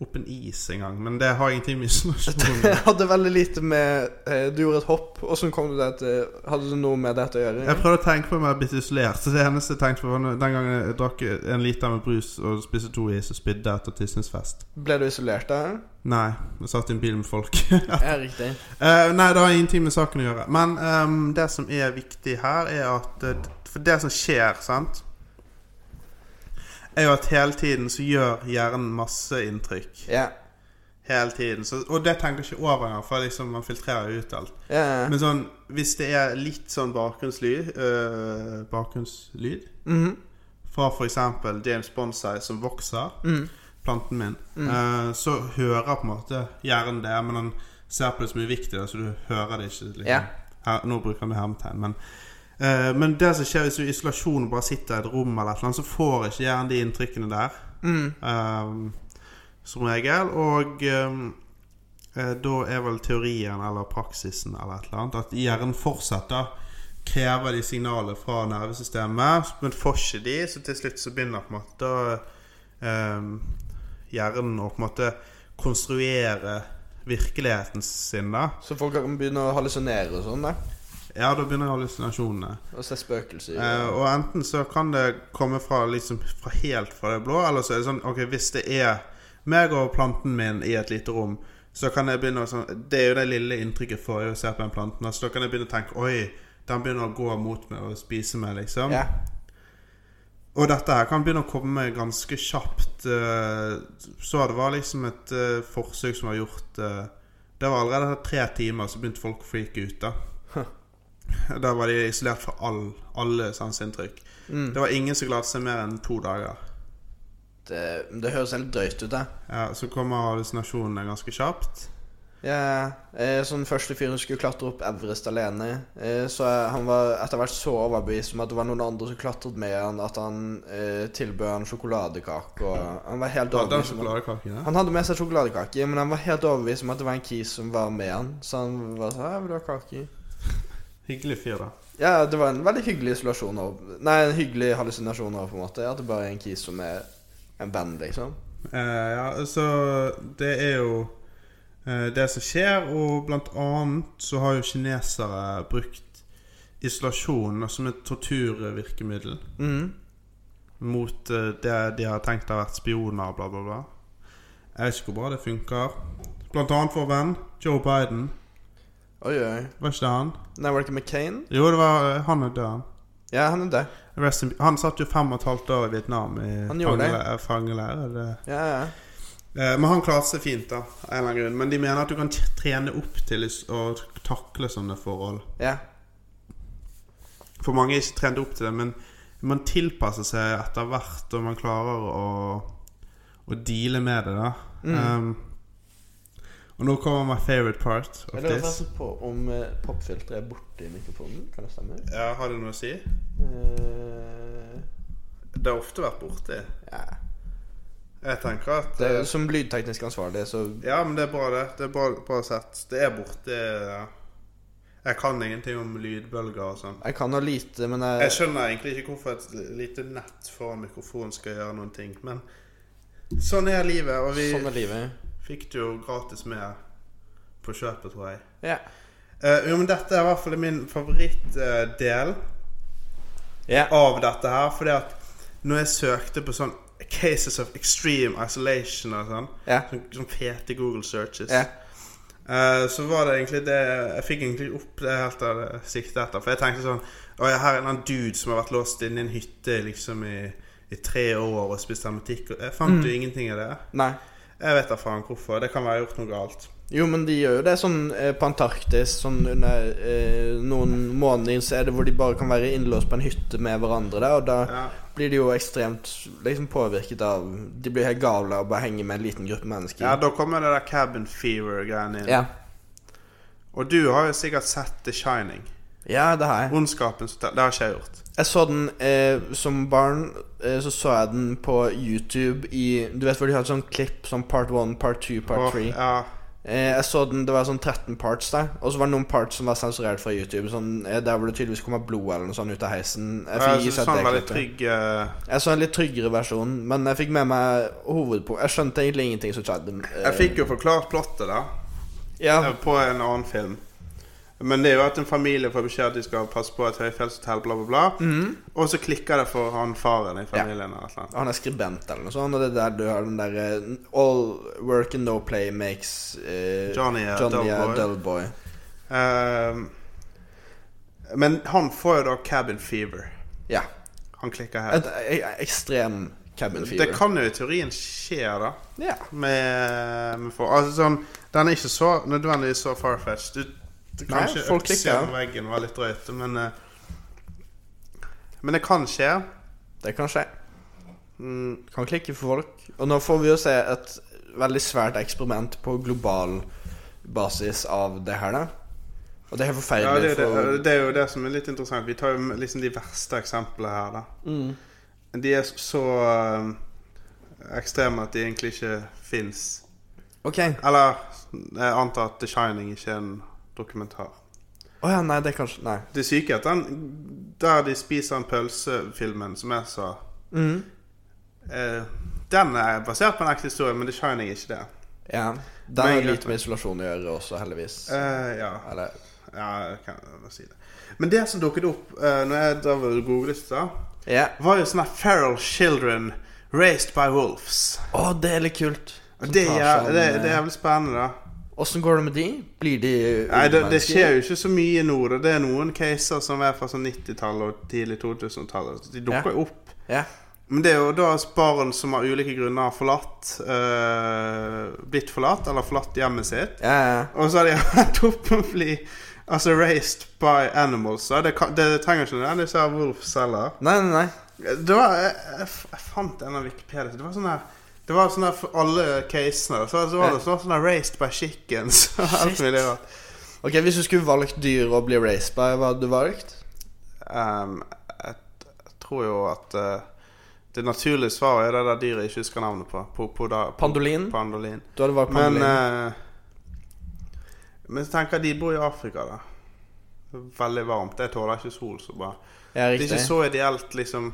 Speaker 3: opp en is en gang, men det har ingenting med isolasjon å gjøre.
Speaker 1: Jeg [laughs] hadde veldig lite med eh, Du gjorde et hopp, og så kom du deg til Hadde du noe med dette å gjøre?
Speaker 3: Jeg prøvde å tenke på om jeg hadde blitt isolert. Så det eneste jeg tenkte på var når- den gangen jeg drakk en liter med brus og spiste to is og spydde etter Tissens fest.
Speaker 1: Ble du isolert der?
Speaker 3: Nei, jeg satt i en bil med folk. [laughs]
Speaker 1: Ja, riktig.
Speaker 3: Eh, nei, det har ingenting med saken å gjøre. Men ehm, det som er viktig her, er at eh, For det som skjer, sant Er jo at hele tiden så gjør hjernen masse inntrykk.
Speaker 1: Ja.
Speaker 3: Hele tiden. Så, og det tenker jeg ikke over engang, for liksom man filtrerer ut alt.
Speaker 1: ja.
Speaker 3: Men sånn, hvis det er litt sånn bakgrunnslyd eh, Bakgrunnslyd
Speaker 1: Mhm.
Speaker 3: fra f.eks. James Bonsai som vokser,
Speaker 1: Mm.
Speaker 3: planten min, eh, så hører på en måte hjernen det, men han ser på det som uviktig, da, så du hører det ikke. Liksom.
Speaker 1: Ja.
Speaker 3: Her, nå bruker han hermetegn, men eh, Men det som skjer hvis du i isolasjon og bare sitter i et rom, eller et eller annet, så får ikke hjernen de inntrykkene der,
Speaker 1: Mm.
Speaker 3: eh, som regel. Og eh, eh, da er vel teorien eller praksisen eller et eller annet at hjernen fortsetter krever de signalene fra nervesystemet, men får ikke de, så til slutt så begynner på en måte ehm, hjernen å på en måte konstruere virkeligheten sin, da.
Speaker 1: Så folk kan begynne å hallusinere og sånn, da?
Speaker 3: Ja, da begynner hallusinasjonene.
Speaker 1: Og se spøkelser?
Speaker 3: Eh, og enten så kan det komme fra, liksom, fra helt fra det blå, eller så er det sånn Ok, hvis det er meg og planten min i et lite rom, så kan jeg begynne å sånn Det er jo det lille inntrykket for å se på den planten. altså, da, Så da kan jeg begynne å tenke Oi, den begynner å gå mot meg og spise meg, liksom.
Speaker 1: ja.
Speaker 3: Og dette her kan begynne å komme ganske kjapt. eh, Så det var liksom et eh, forsøk som var gjort eh, Det var allerede etter tre timer, så begynte folk å freake ut. da [laughs] Der var de isolert fra all, alle sanseinntrykk.
Speaker 1: Mm.
Speaker 3: Det var ingen som gladde seg mer enn to dager.
Speaker 1: Det, det høres helt drøyt ut, da.
Speaker 3: Ja, så kommer hallusinasjonene ganske kjapt.
Speaker 1: Ja, eh, sånn første fyren skulle klatre opp Everest alene. Eh, så han var etter hvert så overbevist om at det var noen andre som klatret med han, at han eh, tilbød han sjokoladekake og Han var helt
Speaker 3: Da, den
Speaker 1: overbevist om at-
Speaker 3: sjokoladekaken der.
Speaker 1: Han hadde med seg sjokoladekake, men han var helt overbevist om at det var en kis som var med han. Så han var sånn «Ja, 'Vil du ha kake?'
Speaker 3: Hyggelig fyr, da.
Speaker 1: Ja, det var en veldig hyggelig isolasjon over Nei, en hyggelig hallusinasjon over, på en måte. At det bare er en kis som er en venn, liksom.
Speaker 3: Eh, ja, så det er jo eh, det som skjer, og blant annet så har jo kinesere brukt isolasjon som et torturvirkemiddel
Speaker 1: Mhm.
Speaker 3: mot eh, det de har tenkt har vært spioner, bla, bla, bla. Jeg vet ikke hvor bra det funker. Blant annet vår venn Joe Biden.
Speaker 1: Oi, oi.
Speaker 3: Var ikke det han?
Speaker 1: Nei, var det ikke McCain?
Speaker 3: Jo, det var eh, han er død.
Speaker 1: Ja, han er død.
Speaker 3: Rest in, han satt jo fem og et halvt år i Vietnam i
Speaker 1: Han gjorde det.
Speaker 3: fangele- fangeleir. er det-
Speaker 1: Ja, ja.
Speaker 3: Eh, Men han klarte seg fint, da. Av en eller annen grunn. Men de mener at du kan t- trene opp til is- å takle sånne forhold.
Speaker 1: ja.
Speaker 3: For mange er ikke trent opp til det, men man tilpasser seg etter hvert, og man klarer å, å deale med det, da.
Speaker 1: Mm.
Speaker 3: Um, og nå kommer my favorite part of
Speaker 1: Jeg lurer
Speaker 3: this.
Speaker 1: faktisk på om eh, popfilteret er borte i mikrofonen. Kan det stemme?
Speaker 3: Ja, har det noe å si?
Speaker 1: Eh,
Speaker 3: Det har ofte vært borti.
Speaker 1: ja.
Speaker 3: Jeg tenker at eh,
Speaker 1: det, er- som lydteknisk ansvarlig, så
Speaker 3: Ja, men det er bra, det. Det er bra, bra sett. Det er borte. Ja. Jeg kan ingenting om lydbølger og sånn.
Speaker 1: Jeg kan ha lite, men jeg,
Speaker 3: Jeg skjønner egentlig ikke hvorfor et lite nett foran mikrofonen skal gjøre noen ting, men sånn er livet, og vi
Speaker 1: sånn er livet.
Speaker 3: fikk det jo gratis med på kjøpet, tror jeg.
Speaker 1: Ja.
Speaker 3: Eh, jo, men dette er i hvert fall min favorittdel eh,
Speaker 1: ja.
Speaker 3: av dette her, fordi at når jeg søkte på sånn Cases of extreme isolation og sånn,
Speaker 1: Ja.
Speaker 3: sånn, sånn fete Google searches,
Speaker 1: ja.
Speaker 3: Eh, så var det egentlig det Jeg fikk egentlig opp det helt av det siktet etter. For jeg tenkte sånn Å, ja, her er en eller annen dude som har vært låst inne i en hytte liksom i, i tre år og
Speaker 1: Mm.
Speaker 3: spist hermetikk. Og jeg fant jo ingenting av det.
Speaker 1: Nei.
Speaker 3: Jeg vet da faen hvorfor. Det kan være gjort noe galt.
Speaker 1: Jo, men de gjør jo det sånn eh, på Antarktis. Sånn under eh, noen måneder så er det hvor de bare kan være innlåst på en hytte med hverandre. Der, og da
Speaker 3: Ja.
Speaker 1: blir de jo ekstremt liksom, påvirket av De blir helt gale av å bare henge med en liten gruppe mennesker.
Speaker 3: ja, da kommer det der cabin fever-greiene inn.
Speaker 1: ja.
Speaker 3: Og du har jo sikkert sett The Shining.
Speaker 1: ja, det har jeg.
Speaker 3: Ondskapens hotell. Det har ikke jeg gjort.
Speaker 1: Jeg så den eh, som barn. Eh, så så jeg den på YouTube i Du vet hvor de hadde sånn klipp sånn part one, part two, part
Speaker 3: Og-
Speaker 1: three.
Speaker 3: ja,
Speaker 1: Eh, jeg så den, Det var sånn 13 parts der. Og så var det noen parts som var sensurert fra YouTube. Sånn, eh, der hvor det tydeligvis kommer blod eller noe sånt ut av heisen. Jeg, fikk ikke
Speaker 3: jeg synes
Speaker 1: sett
Speaker 3: han
Speaker 1: det
Speaker 3: sånn var litt
Speaker 1: klippet.
Speaker 3: trygg. eh,
Speaker 1: jeg så en litt tryggere versjon, men jeg fikk med meg hovedpunkt. Jeg skjønte egentlig ingenting som skjedde.
Speaker 3: Jeg fikk jo forklart plottet, da.
Speaker 1: ja.
Speaker 3: eh, På en annen film. Men det er jo at en familie får beskjed at de skal passe på et høyfjellshotell, bla, bla, bla.
Speaker 1: Mm.
Speaker 3: Og så klikker det for han faren i familien. eller et eller annet.
Speaker 1: Mhm. Han er skribent eller noe sånt, og det er der du har den derre All work and no play makes eh,
Speaker 3: Johnny er
Speaker 1: Johnny
Speaker 3: dull
Speaker 1: a
Speaker 3: boy.
Speaker 1: dull boy.
Speaker 3: Ehm, men han får jo da cabin fever.
Speaker 1: Ja.
Speaker 3: Han klikker her.
Speaker 1: Et, e- ekstrem cabin fever.
Speaker 3: Det kan jo i teorien skje, da.
Speaker 1: Ja.
Speaker 3: Med, med for, altså sånn, Den er ikke så nødvendigvis så farfetched. Du, du
Speaker 1: Nei,
Speaker 3: kanskje
Speaker 1: folk
Speaker 3: økse
Speaker 1: klikker.
Speaker 3: gjennom veggen var litt drøyt, men eh, Men det kan skje.
Speaker 1: Det kan skje.
Speaker 3: Mm,
Speaker 1: Kan klikke for folk. Og nå får vi jo se et veldig svært eksperiment på global basis av det her, da. Og det er helt
Speaker 3: ja, det,
Speaker 1: forferdelig
Speaker 3: er jo
Speaker 1: for
Speaker 3: det, det er jo det som er litt interessant. Vi tar jo liksom de verste eksemplene her, da.
Speaker 1: Mm.
Speaker 3: De er så eh, ekstreme at de egentlig ikke fins.
Speaker 1: OK. Å
Speaker 3: Eller jeg antar at The Shining ikke er en dokumentar.
Speaker 1: ja, nei, det er kanskje Nei.
Speaker 3: Det syke er at den der de spiser en pølse-filmen, som jeg sa
Speaker 1: Mm.
Speaker 3: eh, Den er basert på en ekte historie, men The Shining er ikke det.
Speaker 1: Ja.
Speaker 3: Men
Speaker 1: Der har
Speaker 3: greit.
Speaker 1: lite med isolasjon å gjøre også, heldigvis.
Speaker 3: Eh, ja.
Speaker 1: Eller
Speaker 3: ja, jeg kan jeg si det. Men det som dukket opp uh, når jeg drev og googlet, da,
Speaker 1: Ja.
Speaker 3: var jo sånne feral children raised by wolves.
Speaker 1: Å, det er litt kult.
Speaker 3: Og det, er jæv- det, det er jævlig spennende, da.
Speaker 1: Åssen går det med de? Blir de
Speaker 3: Nei, det, det skjer jo ikke så mye nå. Da. Det er noen caser som er fra sånn 90-tallet og tidlig 2000-tallet. De dukker jo opp.
Speaker 1: Ja.
Speaker 3: Men det er jo da barn som av ulike grunner har forlatt eh, Blitt forlatt, eller forlatt hjemmet sitt.
Speaker 1: Ja, ja.
Speaker 3: Og så har de [laughs] endt opp med å bli altså, raised by animals. Da. Det, kan, det trenger ikke nødvendigvis å være wolves heller.
Speaker 1: Nei, nei, nei.
Speaker 3: Det var, jeg, jeg, f- jeg fant en av Wikipedia Det var sånn her Det var sånn her for alle casene. Så, så var det sånn sånn her raised by chickens. [laughs] og Alt
Speaker 1: Shit.
Speaker 3: mulig rart.
Speaker 1: Ok, Hvis du skulle valgt dyr å bli raised by, hva hadde du valgt?
Speaker 3: Ehm, jeg, jeg tror jo at eh, det naturlige svaret er det der dyret jeg ikke husker navnet på. på, på, da,
Speaker 1: Pandolin?
Speaker 3: Pandolin.
Speaker 1: Du hadde valgt
Speaker 3: Men
Speaker 1: pandolin.
Speaker 3: eh, Men så tenker jeg de bor i Afrika, da. Veldig varmt. Jeg tåler ikke sol så bra.
Speaker 1: ja,
Speaker 3: Det er
Speaker 1: riktig.
Speaker 3: ikke så ideelt, liksom.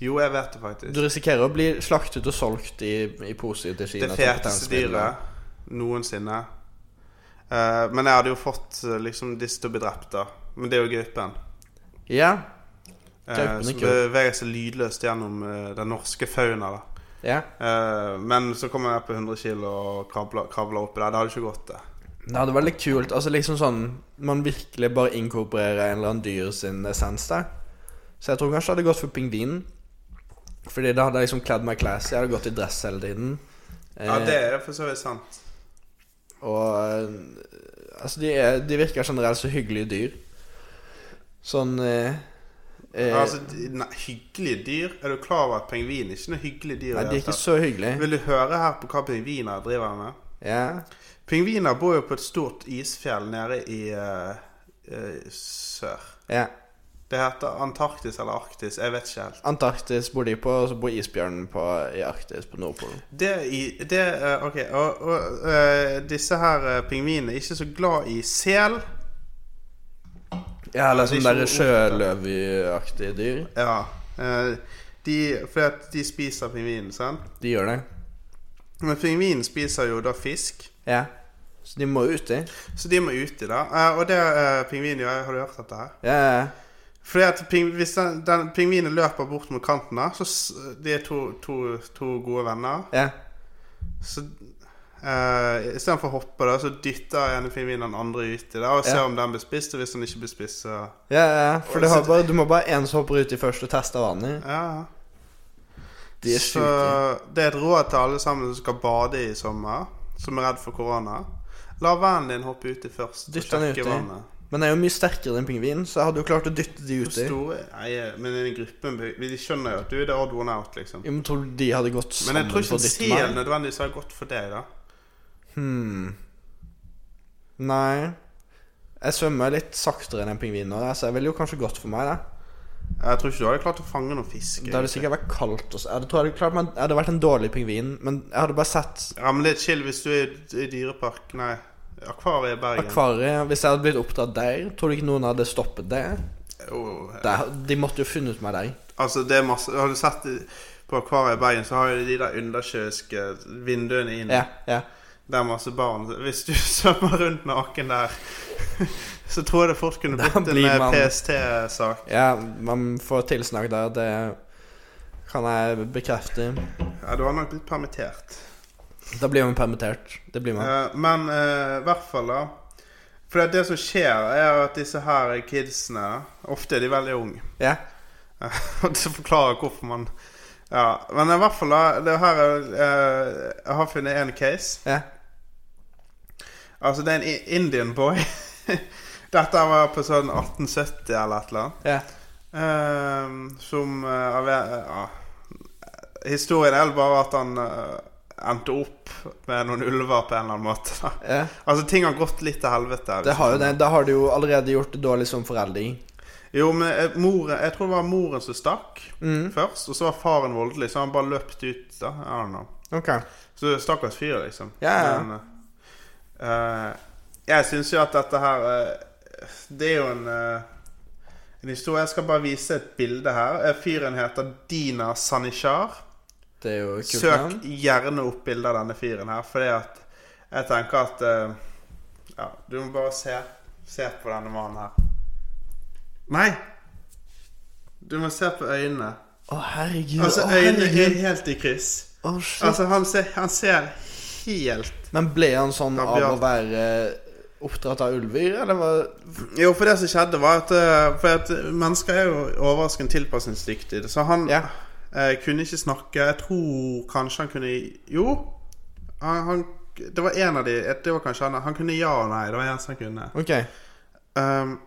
Speaker 3: Jo, jeg vet det faktisk.
Speaker 1: Du risikerer å bli slaktet og solgt i, i poser til Kina.
Speaker 3: det
Speaker 1: som
Speaker 3: feteste
Speaker 1: potensmiddel.
Speaker 3: dyret noensinne. Eh, men jeg hadde jo fått eh, liksom disse til å bli drept, da. Men det er jo gaupen.
Speaker 1: Ja.
Speaker 3: Uh,
Speaker 1: Gaupen er
Speaker 3: som
Speaker 1: kul.
Speaker 3: beveger seg lydløst gjennom eh, den norske fauna, da.
Speaker 1: ja.
Speaker 3: Eh, men så kommer jeg på 100 kilo og kravler, kravler oppi der. Det hadde ikke gått, det.
Speaker 1: Det hadde vært litt kult. Altså liksom sånn Man virkelig bare inkorporerer en eller annen dyr sin essens der. Så jeg tror kanskje jeg hadde gått for pingvinen. Fordi da hadde jeg liksom kledd meg classy. Jeg hadde gått i dress hele tiden. Eh.
Speaker 3: Ja, det er for så vidt sant.
Speaker 1: Og eh, altså, de, er, de virker generelt så hyggelige dyr. Sånn eh, eh,
Speaker 3: Altså, de- nei, hyggelige dyr? Er du klar over at pingvin er ikke noe hyggelig dyr? i
Speaker 1: Nei, de
Speaker 3: det
Speaker 1: er ikke
Speaker 3: hele
Speaker 1: så hyggelige.
Speaker 3: tatt? Vil du høre her på hva pingviner driver med?
Speaker 1: Ja.
Speaker 3: Pingviner bor jo på et stort isfjell nede i eh, eh, sør.
Speaker 1: ja.
Speaker 3: Det heter Antarktis eller Arktis, jeg vet ikke helt.
Speaker 1: Antarktis bor de på, og så bor isbjørnen på, i Arktis, på Nordpolen.
Speaker 3: Det, i- det eh, Ok, og, og eh, disse her eh, pingvinene er ikke så glad i sel.
Speaker 1: Ja, eller
Speaker 3: de
Speaker 1: sånn
Speaker 3: er
Speaker 1: derre
Speaker 3: ikke
Speaker 1: sjøløveaktige dyr.
Speaker 3: Ja. eh, de, fordi at de spiser pingvinen, sant?
Speaker 1: De gjør det.
Speaker 3: Men pingvinen spiser jo da fisk.
Speaker 1: Ja. Så de må uti.
Speaker 3: Så de må uti, da. Eh, og det eh, pingvinen gjør Har du hørt dette her?
Speaker 1: Ja, ja, ja.
Speaker 3: Fordi at ping, hvis den, den pingvinen løper bort mot kanten da, så s- de er to, to, to gode venner.
Speaker 1: ja.
Speaker 3: Så eh, istedenfor å hoppe, da, så dytter ene pingvinen den andre uti da, og ser
Speaker 1: Ja.
Speaker 3: om den blir spist. Og hvis den ikke blir spist, så
Speaker 1: ja, ja. For
Speaker 3: Og
Speaker 1: du, har
Speaker 3: så-
Speaker 1: bare, du må bare én som hopper uti først og tester vannet.
Speaker 3: Ja.
Speaker 1: De er
Speaker 3: så
Speaker 1: sjuke.
Speaker 3: det er et råd til alle sammen som skal bade i sommer, som er redd for korona. La vennen din hoppe uti først og
Speaker 1: Dytt han
Speaker 3: sjekke
Speaker 1: uti.
Speaker 3: vannet.
Speaker 1: Men jeg er jo mye sterkere enn pingvin, så jeg hadde jo klart å dytte de
Speaker 3: Hvor
Speaker 1: uti.
Speaker 3: store Nei, eh, men i gruppen De skjønner jo at du er the odd one out, liksom.
Speaker 1: Jo, men tror du de hadde gått
Speaker 3: Men
Speaker 1: sammen
Speaker 3: jeg tror ikke
Speaker 1: for å
Speaker 3: en
Speaker 1: dytte
Speaker 3: sel
Speaker 1: meg?
Speaker 3: nødvendigvis har gått for deg, da.
Speaker 1: Hmm. Nei. Jeg svømmer litt saktere enn en pingvin nå, så jeg ville jo kanskje gått for meg, da.
Speaker 3: Jeg tror ikke du hadde klart å fange noen fisk.
Speaker 1: Det hadde
Speaker 3: egentlig.
Speaker 1: sikkert vært kaldt også. Jeg hadde, tror jeg hadde, klart, meg- jeg hadde vært en dårlig pingvin, men jeg hadde bare sett
Speaker 3: Ja, men det er chill hvis du er i- i dyrepark Nei, akvariet i Bergen.
Speaker 1: akvariet. Hvis jeg hadde blitt oppdratt der, tror du ikke noen hadde stoppet det?
Speaker 3: Jo,
Speaker 1: det de måtte jo funnet meg der.
Speaker 3: Altså, det er masse Har du sett i- på akvariet i Bergen, så har jo de der undersjøiske vinduene inn.
Speaker 1: Ja, ja.
Speaker 3: Det er masse barn. Hvis du [laughs] svømmer rundt naken der, [laughs] så tror jeg det fort kunne
Speaker 1: Da
Speaker 3: blitt en
Speaker 1: blir
Speaker 3: eh,
Speaker 1: man-
Speaker 3: PST-sak.
Speaker 1: ja man får tilsnakk der. Det kan jeg bekrefte.
Speaker 3: Ja, du har nok blitt permittert.
Speaker 1: Da blir man permittert. Det blir man.
Speaker 3: Eh, men eh, i hvert fall, da. For det, det som skjer, er at disse her kidsene Ofte er de veldig unge. [laughs]
Speaker 1: Ja.
Speaker 3: Og det forklarer hvorfor man Ja, Men i hvert fall, da. Det her er, eh, Jeg har funnet én case.
Speaker 1: ja.
Speaker 3: Altså, det er en i- Indian boy. [laughs] Dette var på sånn 1870 eller et eller annet.
Speaker 1: ja.
Speaker 3: Eh, som eh, av ja. Historien er vel bare at han eh, endte opp med noen ulver på en eller annen måte. da.
Speaker 1: ja.
Speaker 3: Altså, ting har gått litt til helvete. liksom.
Speaker 1: Det har jo det. Da har du jo allerede gjort det dårlig som forelder.
Speaker 3: Jo, men eh, moren, jeg tror det var moren som stakk
Speaker 1: Mm.
Speaker 3: først, og så var faren voldelig, så han bare løpt ut, da. I don't know.
Speaker 1: Ok.
Speaker 3: Så stakkars fyr, liksom.
Speaker 1: Ja, ja.
Speaker 3: Men, eh, jeg syns jo at dette her eh, Det er jo en eh, en historie. Jeg skal bare vise et bilde her. Eh, Fyren heter Dina Sanishar.
Speaker 1: Det er jo et kult navn.
Speaker 3: Søk gjerne opp bilde av denne fyren her, fordi at jeg tenker at eh, Ja, du må bare se, se på denne mannen her. Nei! Du må se på øynene.
Speaker 1: Å, herregud.
Speaker 3: Altså,
Speaker 1: Å,
Speaker 3: øynene er
Speaker 1: herregud.
Speaker 3: helt i kryss.
Speaker 1: Å, shit.
Speaker 3: Altså, han ser, han ser helt
Speaker 1: Men ble han sånn
Speaker 3: Da
Speaker 1: av
Speaker 3: blir
Speaker 1: å
Speaker 3: han-
Speaker 1: være eh, oppdratt av ulver, eller hva?
Speaker 3: Jo, for det som skjedde var at, eh, for at Mennesker er jo overraskende tilpasningsdyktige. Så han
Speaker 1: Ja.
Speaker 3: eh, kunne ikke snakke. Jeg tror kanskje han kunne Jo. Han, han, det var en av de Det var kanskje han. Han kunne ja og nei. Det var eneste han kunne.
Speaker 1: Ok.
Speaker 3: Um,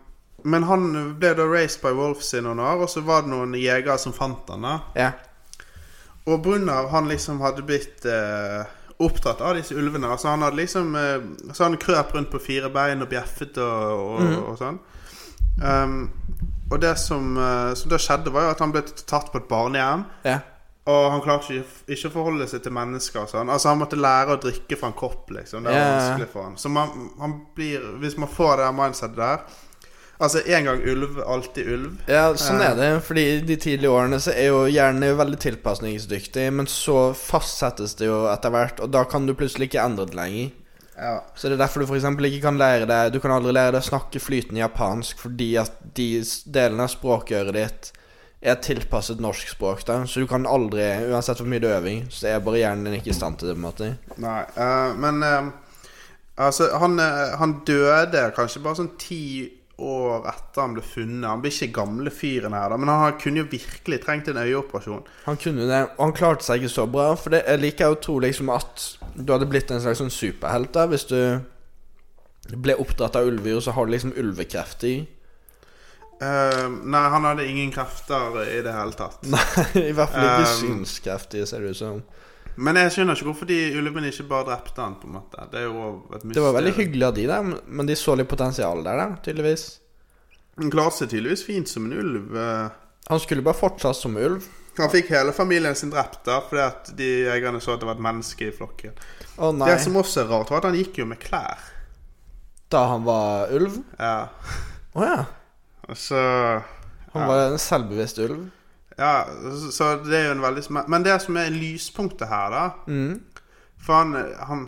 Speaker 3: men han ble da raised by wolves i noen år, og så var det noen jegere som fant han da.
Speaker 1: Ja.
Speaker 3: Og Brunner, han liksom hadde blitt eh, opptatt av disse ulvene. Altså han hadde liksom eh, Så han krøp rundt på fire bein og bjeffet og, og, og sånn. Um, og det som, eh, som da skjedde, var jo at han ble tatt på et barnehjem.
Speaker 1: Ja.
Speaker 3: Og han klarte ikke, ikke å forholde seg til mennesker. og Sånn. Altså Han måtte lære å drikke fra en kopp. liksom Det var
Speaker 1: Ja, ja, ja.
Speaker 3: vanskelig for han Så man, han blir, hvis man får det der mindsetet der Altså en gang ulv, alltid ulv.
Speaker 1: ja, sånn er det. Fordi i de tidlige årene så er jo hjernen er jo veldig tilpasningsdyktig, men så fastsettes det jo etter hvert, og da kan du plutselig ikke endre det lenger.
Speaker 3: Ja.
Speaker 1: Så det er derfor du f.eks. ikke kan lære deg Du kan aldri lære deg å snakke flytende japansk fordi at de s- delene av språkøret ditt er tilpasset norsk språk, da. Så du kan aldri, uansett hvor mye du øver i, så er bare hjernen din ikke i stand til det, på en måte.
Speaker 3: Nei, eh, men eh, altså, han, eh, han døde kanskje bare sånn ti år etter han ble funnet. Han ble ikke gamle fyren her, da, men han kunne jo virkelig trengt en øyeoperasjon.
Speaker 1: Han kunne det, og han klarte seg ikke så bra. For det, jeg liker jo å tro liksom at du hadde blitt en slags sånn superhelt da, hvis du ble oppdratt av ulver, og så har du liksom ulvekrefter.
Speaker 3: Eh, nei, han hadde ingen krefter i det hele tatt.
Speaker 1: Nei, [laughs] i hvert fall ikke
Speaker 3: Um,
Speaker 1: synskrefter, ser det ut som.
Speaker 3: Men jeg skjønner ikke hvorfor de ulvene ikke bare drepte han, på en måte. Det er jo et mysterium.
Speaker 1: Det var veldig hyggelig av de, da, men de så litt potensial der, da, tydeligvis.
Speaker 3: Han klarte seg tydeligvis fint som en ulv. eh.
Speaker 1: Han skulle bare fortsatt som ulv.
Speaker 3: Han fikk hele familien sin drept da, fordi at de jegerne så at det var et menneske i flokken.
Speaker 1: Å nei,
Speaker 3: Det som også er rart, var at han gikk jo med klær.
Speaker 1: da han var ulv?
Speaker 3: Ja,
Speaker 1: Å ja.
Speaker 3: så...
Speaker 1: Han var en selvbevisst ulv.
Speaker 3: Ja, så- så det er jo en veldig sma- Men det som er lyspunktet her, da
Speaker 1: Mm.
Speaker 3: For han Han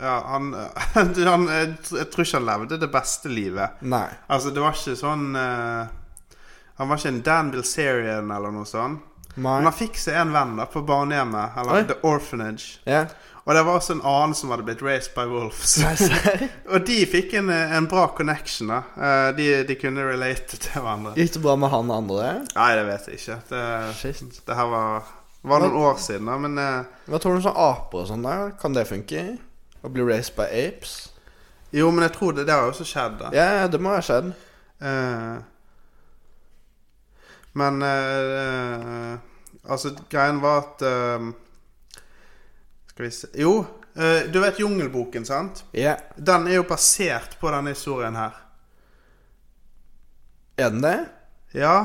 Speaker 3: Ja, han, [laughs] han jeg, tr- jeg tror ikke han levde det beste livet.
Speaker 1: Nei.
Speaker 3: Altså, det var ikke sånn eh, Han var ikke en Dan Bilzerian eller noe sånt. Men
Speaker 1: Nei.
Speaker 3: han fikk seg en venn da på barnehjemmet, eller
Speaker 1: Oi.
Speaker 3: The Orphanage.
Speaker 1: Ja.
Speaker 3: Og det var også en annen som hadde blitt raised by wolves.
Speaker 1: Nei, serr?
Speaker 3: [laughs] Og de fikk en, en bra connection, da. Eh, De, de kunne relate til hverandre.
Speaker 1: [laughs] Gikk det bra med han andre?
Speaker 3: Nei, det vet jeg ikke. Det,
Speaker 1: Shit.
Speaker 3: Det her var, var noen år siden, da, men eh,
Speaker 1: Hva tror du om sånne aper og sånn der? Kan det funke? Å bli raised by apes?
Speaker 3: Jo, men jeg tror det, det har også skjedd. da.
Speaker 1: Ja, det må ha skjedd.
Speaker 3: Eh, men eh, eh, Altså, greien var at eh, Skal vi se Jo, eh, du vet Jungelboken, sant?
Speaker 1: Ja.
Speaker 3: Den er jo basert på denne historien her.
Speaker 1: Er den det?
Speaker 3: Ja.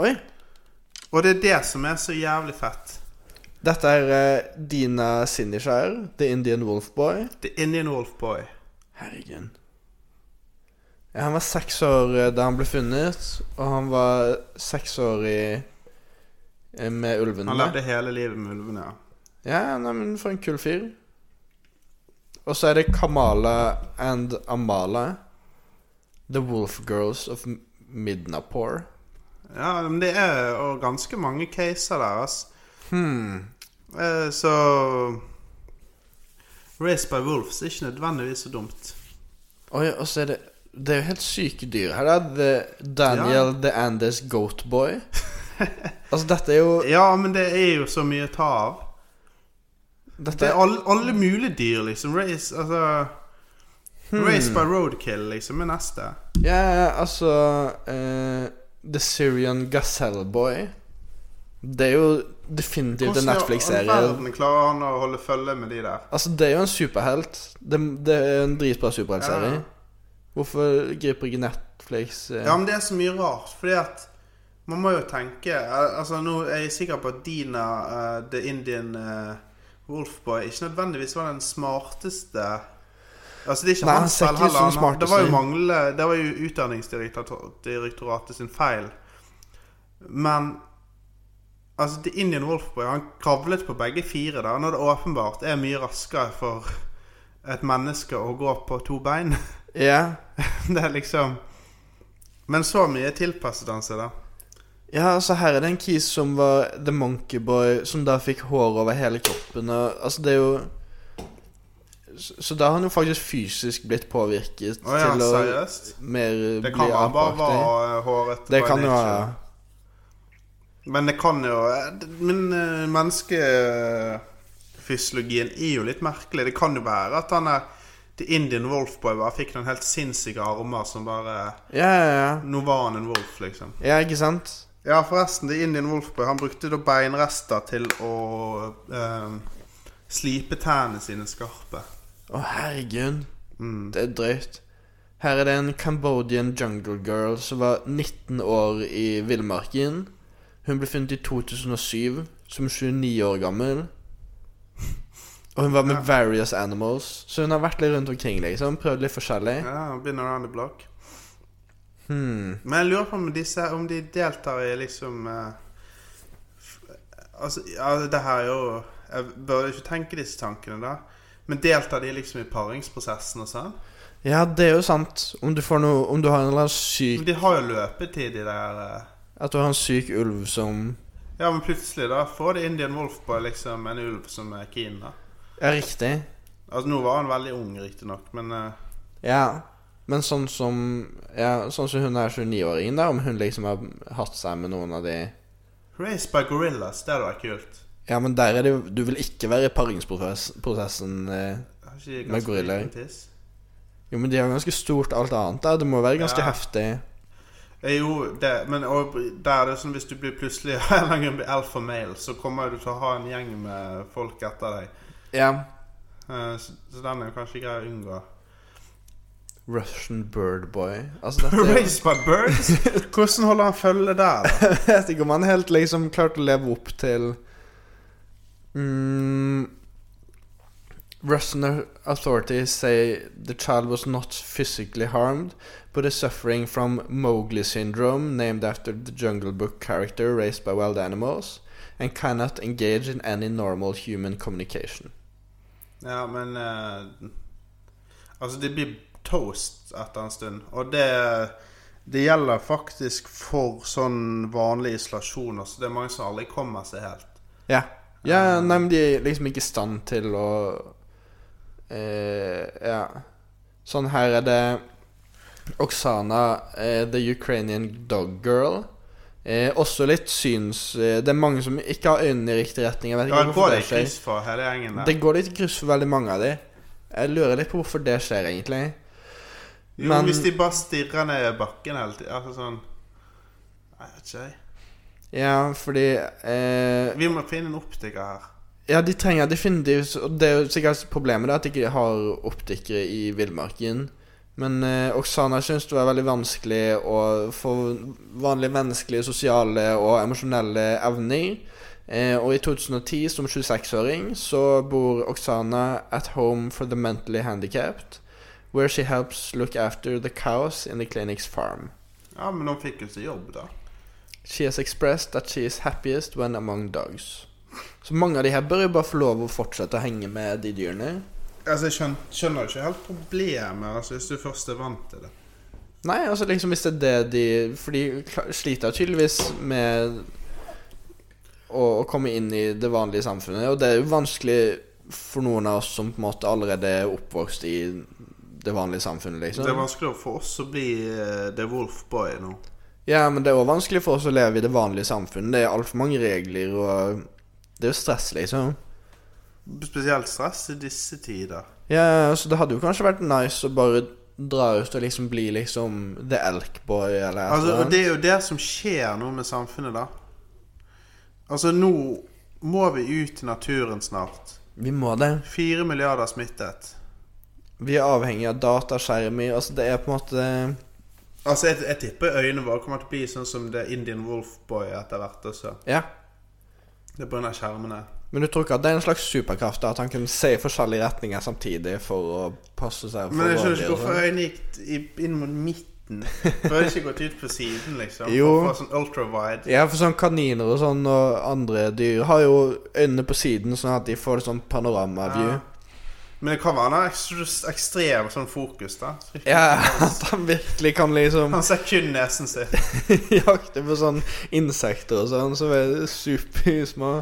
Speaker 1: Oi.
Speaker 3: Og det er det som er så jævlig fett.
Speaker 1: Dette er eh, Dina Sindishire, The Indian Wolf Boy.
Speaker 3: The Indian Wolf Boy.
Speaker 1: Herregud. Ja, han var seks år eh, da han ble funnet, og han var seks år i eh, med ulvene.
Speaker 3: Han levde hele livet med ulvene. ja.
Speaker 1: Ja, nei, men for en kul fyr. Og så er det Kamala and Amala. The Wolf Girls of M- Midnapore.
Speaker 3: Ja, men det er og ganske mange caser der, ass.
Speaker 1: Hmm.
Speaker 3: Eh, så Race by Wolves er ikke nødvendigvis så dumt.
Speaker 1: Oi, og så er det Det er jo helt syke dyr her. da. The Daniel The Andes Goat
Speaker 3: [laughs]
Speaker 1: Boy. altså, dette er jo
Speaker 3: Ja, men det er jo så mye å ta av. Det
Speaker 1: Dette
Speaker 3: er
Speaker 1: er
Speaker 3: alle, alle mulige dyr, liksom. Race, altså
Speaker 1: Hmm.
Speaker 3: Race by roadkill, liksom, er neste.
Speaker 1: Ja, altså eh, The Syrian Gazelle Boy. Det er jo definitivt en Netflix-serie.
Speaker 3: verden klarer han å holde følge med de der?
Speaker 1: Altså, det er jo en superhelt. Det, det er en dritbra superheltserie.
Speaker 3: Ja.
Speaker 1: Hvorfor griper ikke Netflix eh?
Speaker 3: Ja, men det er så mye rart, fordi at man må jo tenke eh, Altså, nå er jeg sikker på at Dina, eh, the Indian eh, Wolfboy, ikke nødvendigvis var den smarteste Altså, det er ikke
Speaker 1: Nei, han
Speaker 3: hans
Speaker 1: ser
Speaker 3: feil
Speaker 1: ikke ut
Speaker 3: heller.
Speaker 1: som den
Speaker 3: Han- Det var jo
Speaker 1: smarteste.
Speaker 3: mangle Det var jo Utdanningsdirektoratet sin feil. Men Altså, The Indian Wolfboy han kravlet på begge fire da, når det åpenbart er mye raskere for et menneske å gå på to bein. [laughs]
Speaker 1: Ja.
Speaker 3: Det er liksom Men så mye tilpasset han seg, da.
Speaker 1: ja, altså, her er det en kis som var The Monkey Boy, som da fikk hår over hele kroppen og Altså, det er jo Så, så da har han jo faktisk fysisk blitt påvirket
Speaker 3: Å ja,
Speaker 1: til å
Speaker 3: seriøst?
Speaker 1: mer eh,
Speaker 3: Det
Speaker 1: bli
Speaker 3: kan han bare
Speaker 1: apeaktig.
Speaker 3: være eh, hårete.
Speaker 1: Det
Speaker 3: på
Speaker 1: kan
Speaker 3: en
Speaker 1: jo
Speaker 3: ikke.
Speaker 1: være
Speaker 3: Men det kan jo eh, d- Men eh, menneskefysiologien er jo litt merkelig. Det kan jo være at han er The Indian Wolfboy bare fikk noen helt sinnssyke armer som bare
Speaker 1: Ja, ja, ja.
Speaker 3: Nå var han en wolf, liksom.
Speaker 1: Ja, ikke sant?
Speaker 3: Ja, forresten, The Indian Wolfboy han brukte da beinrester til å eh, slipe tennene sine skarpe.
Speaker 1: Å, herregud.
Speaker 3: Mm.
Speaker 1: Det er drøyt. Her er det en Cambodian jungle girl som var 19 år i villmarken. Hun ble funnet i 2007 som 29 år gammel. Og hun var med various animals, så hun har vært litt rundt omkring, liksom. Prøvd litt forskjellig.
Speaker 3: Ja, been around the block.
Speaker 1: Hmm.
Speaker 3: Men jeg lurer på om, disse, om de deltar i liksom eh, f- Altså, ja, det her er jo Jeg bør jo ikke tenke disse tankene, da. Men deltar de liksom i paringsprosessen og sånn?
Speaker 1: Ja, det er jo sant. Om du, får noe, om du har en eller annen
Speaker 3: Men
Speaker 1: syk
Speaker 3: de har jo løpetid, de der eh.
Speaker 1: At du har en syk ulv som
Speaker 3: Ja, men plutselig, da, får det Indian Wolfboy liksom en ulv som er keen, da.
Speaker 1: Ja, riktig.
Speaker 3: Altså, nå var han veldig ung, riktignok, men eh,
Speaker 1: Ja. Men sånn som Ja, sånn som hun er 29-åringen, da, om hun liksom har hatt seg med noen av de
Speaker 3: Race by Gorillas, det hadde vært kult.
Speaker 1: Ja, men der er det jo Du vil ikke være i paringsprosessen eh.
Speaker 3: Har ikke de
Speaker 1: Med
Speaker 3: ganske
Speaker 1: gorillaer.
Speaker 3: liten tiss?
Speaker 1: Jo, men de har ganske stort alt annet der. Det må være ganske
Speaker 3: Ja.
Speaker 1: heftig.
Speaker 3: Eh, Jo, det, men og, der er det sånn hvis du blir plutselig [laughs] av en eller annen grunn blir alfa male, så kommer du til å ha en gjeng med folk etter deg.
Speaker 1: Ja.
Speaker 3: Eh, Så, så den er jo kanskje grei å unngå. [laughs]
Speaker 1: Russian bird boy. [laughs] Altså, dette er
Speaker 3: Raised by
Speaker 1: [laughs]
Speaker 3: birds? Hvordan holder han følge der? da?
Speaker 1: Jeg vet ikke om han helt liksom klarte å leve opp til mm, Russian authorities say the child was not physically harmed, but is suffering from Mowgli syndrome, named after the Jungle Book character raised by wild animals, and cannot engage in any normal human communication.
Speaker 3: Ja, men eh, Altså, de blir toast etter en stund, og det det gjelder faktisk for sånn vanlig isolasjon. Altså. Det er mange som aldri kommer seg helt. Eh,
Speaker 1: Ja. ja nei, men de er liksom ikke i stand til å eh, Ja. Sånn her er det Oksana, eh, the Ukrainian dog girl. Eh, også litt syns... Eh, det er mange som ikke har øynene i riktig retning. Jeg vet ikke
Speaker 3: Ja, det
Speaker 1: hvorfor
Speaker 3: går
Speaker 1: det
Speaker 3: i
Speaker 1: skjer.
Speaker 3: kryss for hele gjengen der.
Speaker 1: Det går litt i kryss for veldig mange av de. Jeg lurer litt på hvorfor det skjer, egentlig.
Speaker 3: Jo,
Speaker 1: Men-
Speaker 3: hvis de bare stirrer ned i bakken hele tiden. Altså sånn Nei, Jeg vet ikke, jeg.
Speaker 1: Ja, fordi eh,
Speaker 3: Vi må finne en optiker her.
Speaker 1: Ja, de trenger definitivt Og det er jo sikkert problemet det er at de ikke har optikere i villmarken. Men eh, Oksana syns det var veldig vanskelig å få vanlige menneskelige, sosiale og emosjonelle evner. Eh, og i 2010, som 26-åring, så bor Oksana at home for the mentally handicapped. Where she helps look after the cows in the clinic's farm.
Speaker 3: Ja, men hun fikk jo seg jobb, da.
Speaker 1: She has expressed that she is happiest when among dogs. Så mange av de her bør jo bare få lov å fortsette å henge med de dyrene.
Speaker 3: Altså, Jeg skjøn- skjønner jo ikke helt problemet altså, hvis du først er vant til det.
Speaker 1: Nei, altså liksom hvis det er det de For de kla- sliter tydeligvis med å, å komme inn i det vanlige samfunnet. Og det er jo vanskelig for noen av oss som på en måte allerede er oppvokst i det vanlige samfunnet,
Speaker 3: Det er
Speaker 1: liksom.
Speaker 3: vanskeligere for oss å bli eh, The Wolfboy nå.
Speaker 1: Ja, men det er òg vanskelig for oss å leve i det vanlige samfunnet. Det er altfor mange regler, og det er jo stress, liksom.
Speaker 3: Spesielt stress i disse tider.
Speaker 1: Ja, så det hadde jo kanskje vært nice å bare dra ut og liksom bli liksom The Elkboy eller et
Speaker 3: Altså,
Speaker 1: eller
Speaker 3: og
Speaker 1: annet.
Speaker 3: Det er jo det som skjer nå med samfunnet, da. Altså, nå må vi ut i naturen snart.
Speaker 1: Vi må det.
Speaker 3: Fire milliarder smittet.
Speaker 1: Vi er avhengig av dataskjermer. Altså, det er på en måte
Speaker 3: Altså, jeg, jeg tipper øynene våre kommer til å bli sånn som The Indian Wolfboy etter hvert også.
Speaker 1: Ja.
Speaker 3: Det er på grunn av skjermene.
Speaker 1: Men du tror ikke at det er en slags superkraft da, at han kunne se i forskjellige retninger samtidig for å passe seg for
Speaker 3: Men jeg skjønner
Speaker 1: rovdyr
Speaker 3: ikke
Speaker 1: og
Speaker 3: hvorfor
Speaker 1: sånn?
Speaker 3: øynene gikk i- inn mot midten. Bør ikke gått ut på siden, liksom?
Speaker 1: Jo.
Speaker 3: For å få sånn ultrawide.
Speaker 1: Ja, for sånn kaniner og sånn og andre dyr har jo øynene på siden, sånn at de får sånn panoramaview.
Speaker 3: Ja. Men det kan være han har ekstra- ekstrem sånn fokus, da.
Speaker 1: Ja, [laughs] at han virkelig kan liksom [laughs]
Speaker 3: Han ser kun nesen sin.
Speaker 1: jakte på sånn insekter og sånn som er supersmå.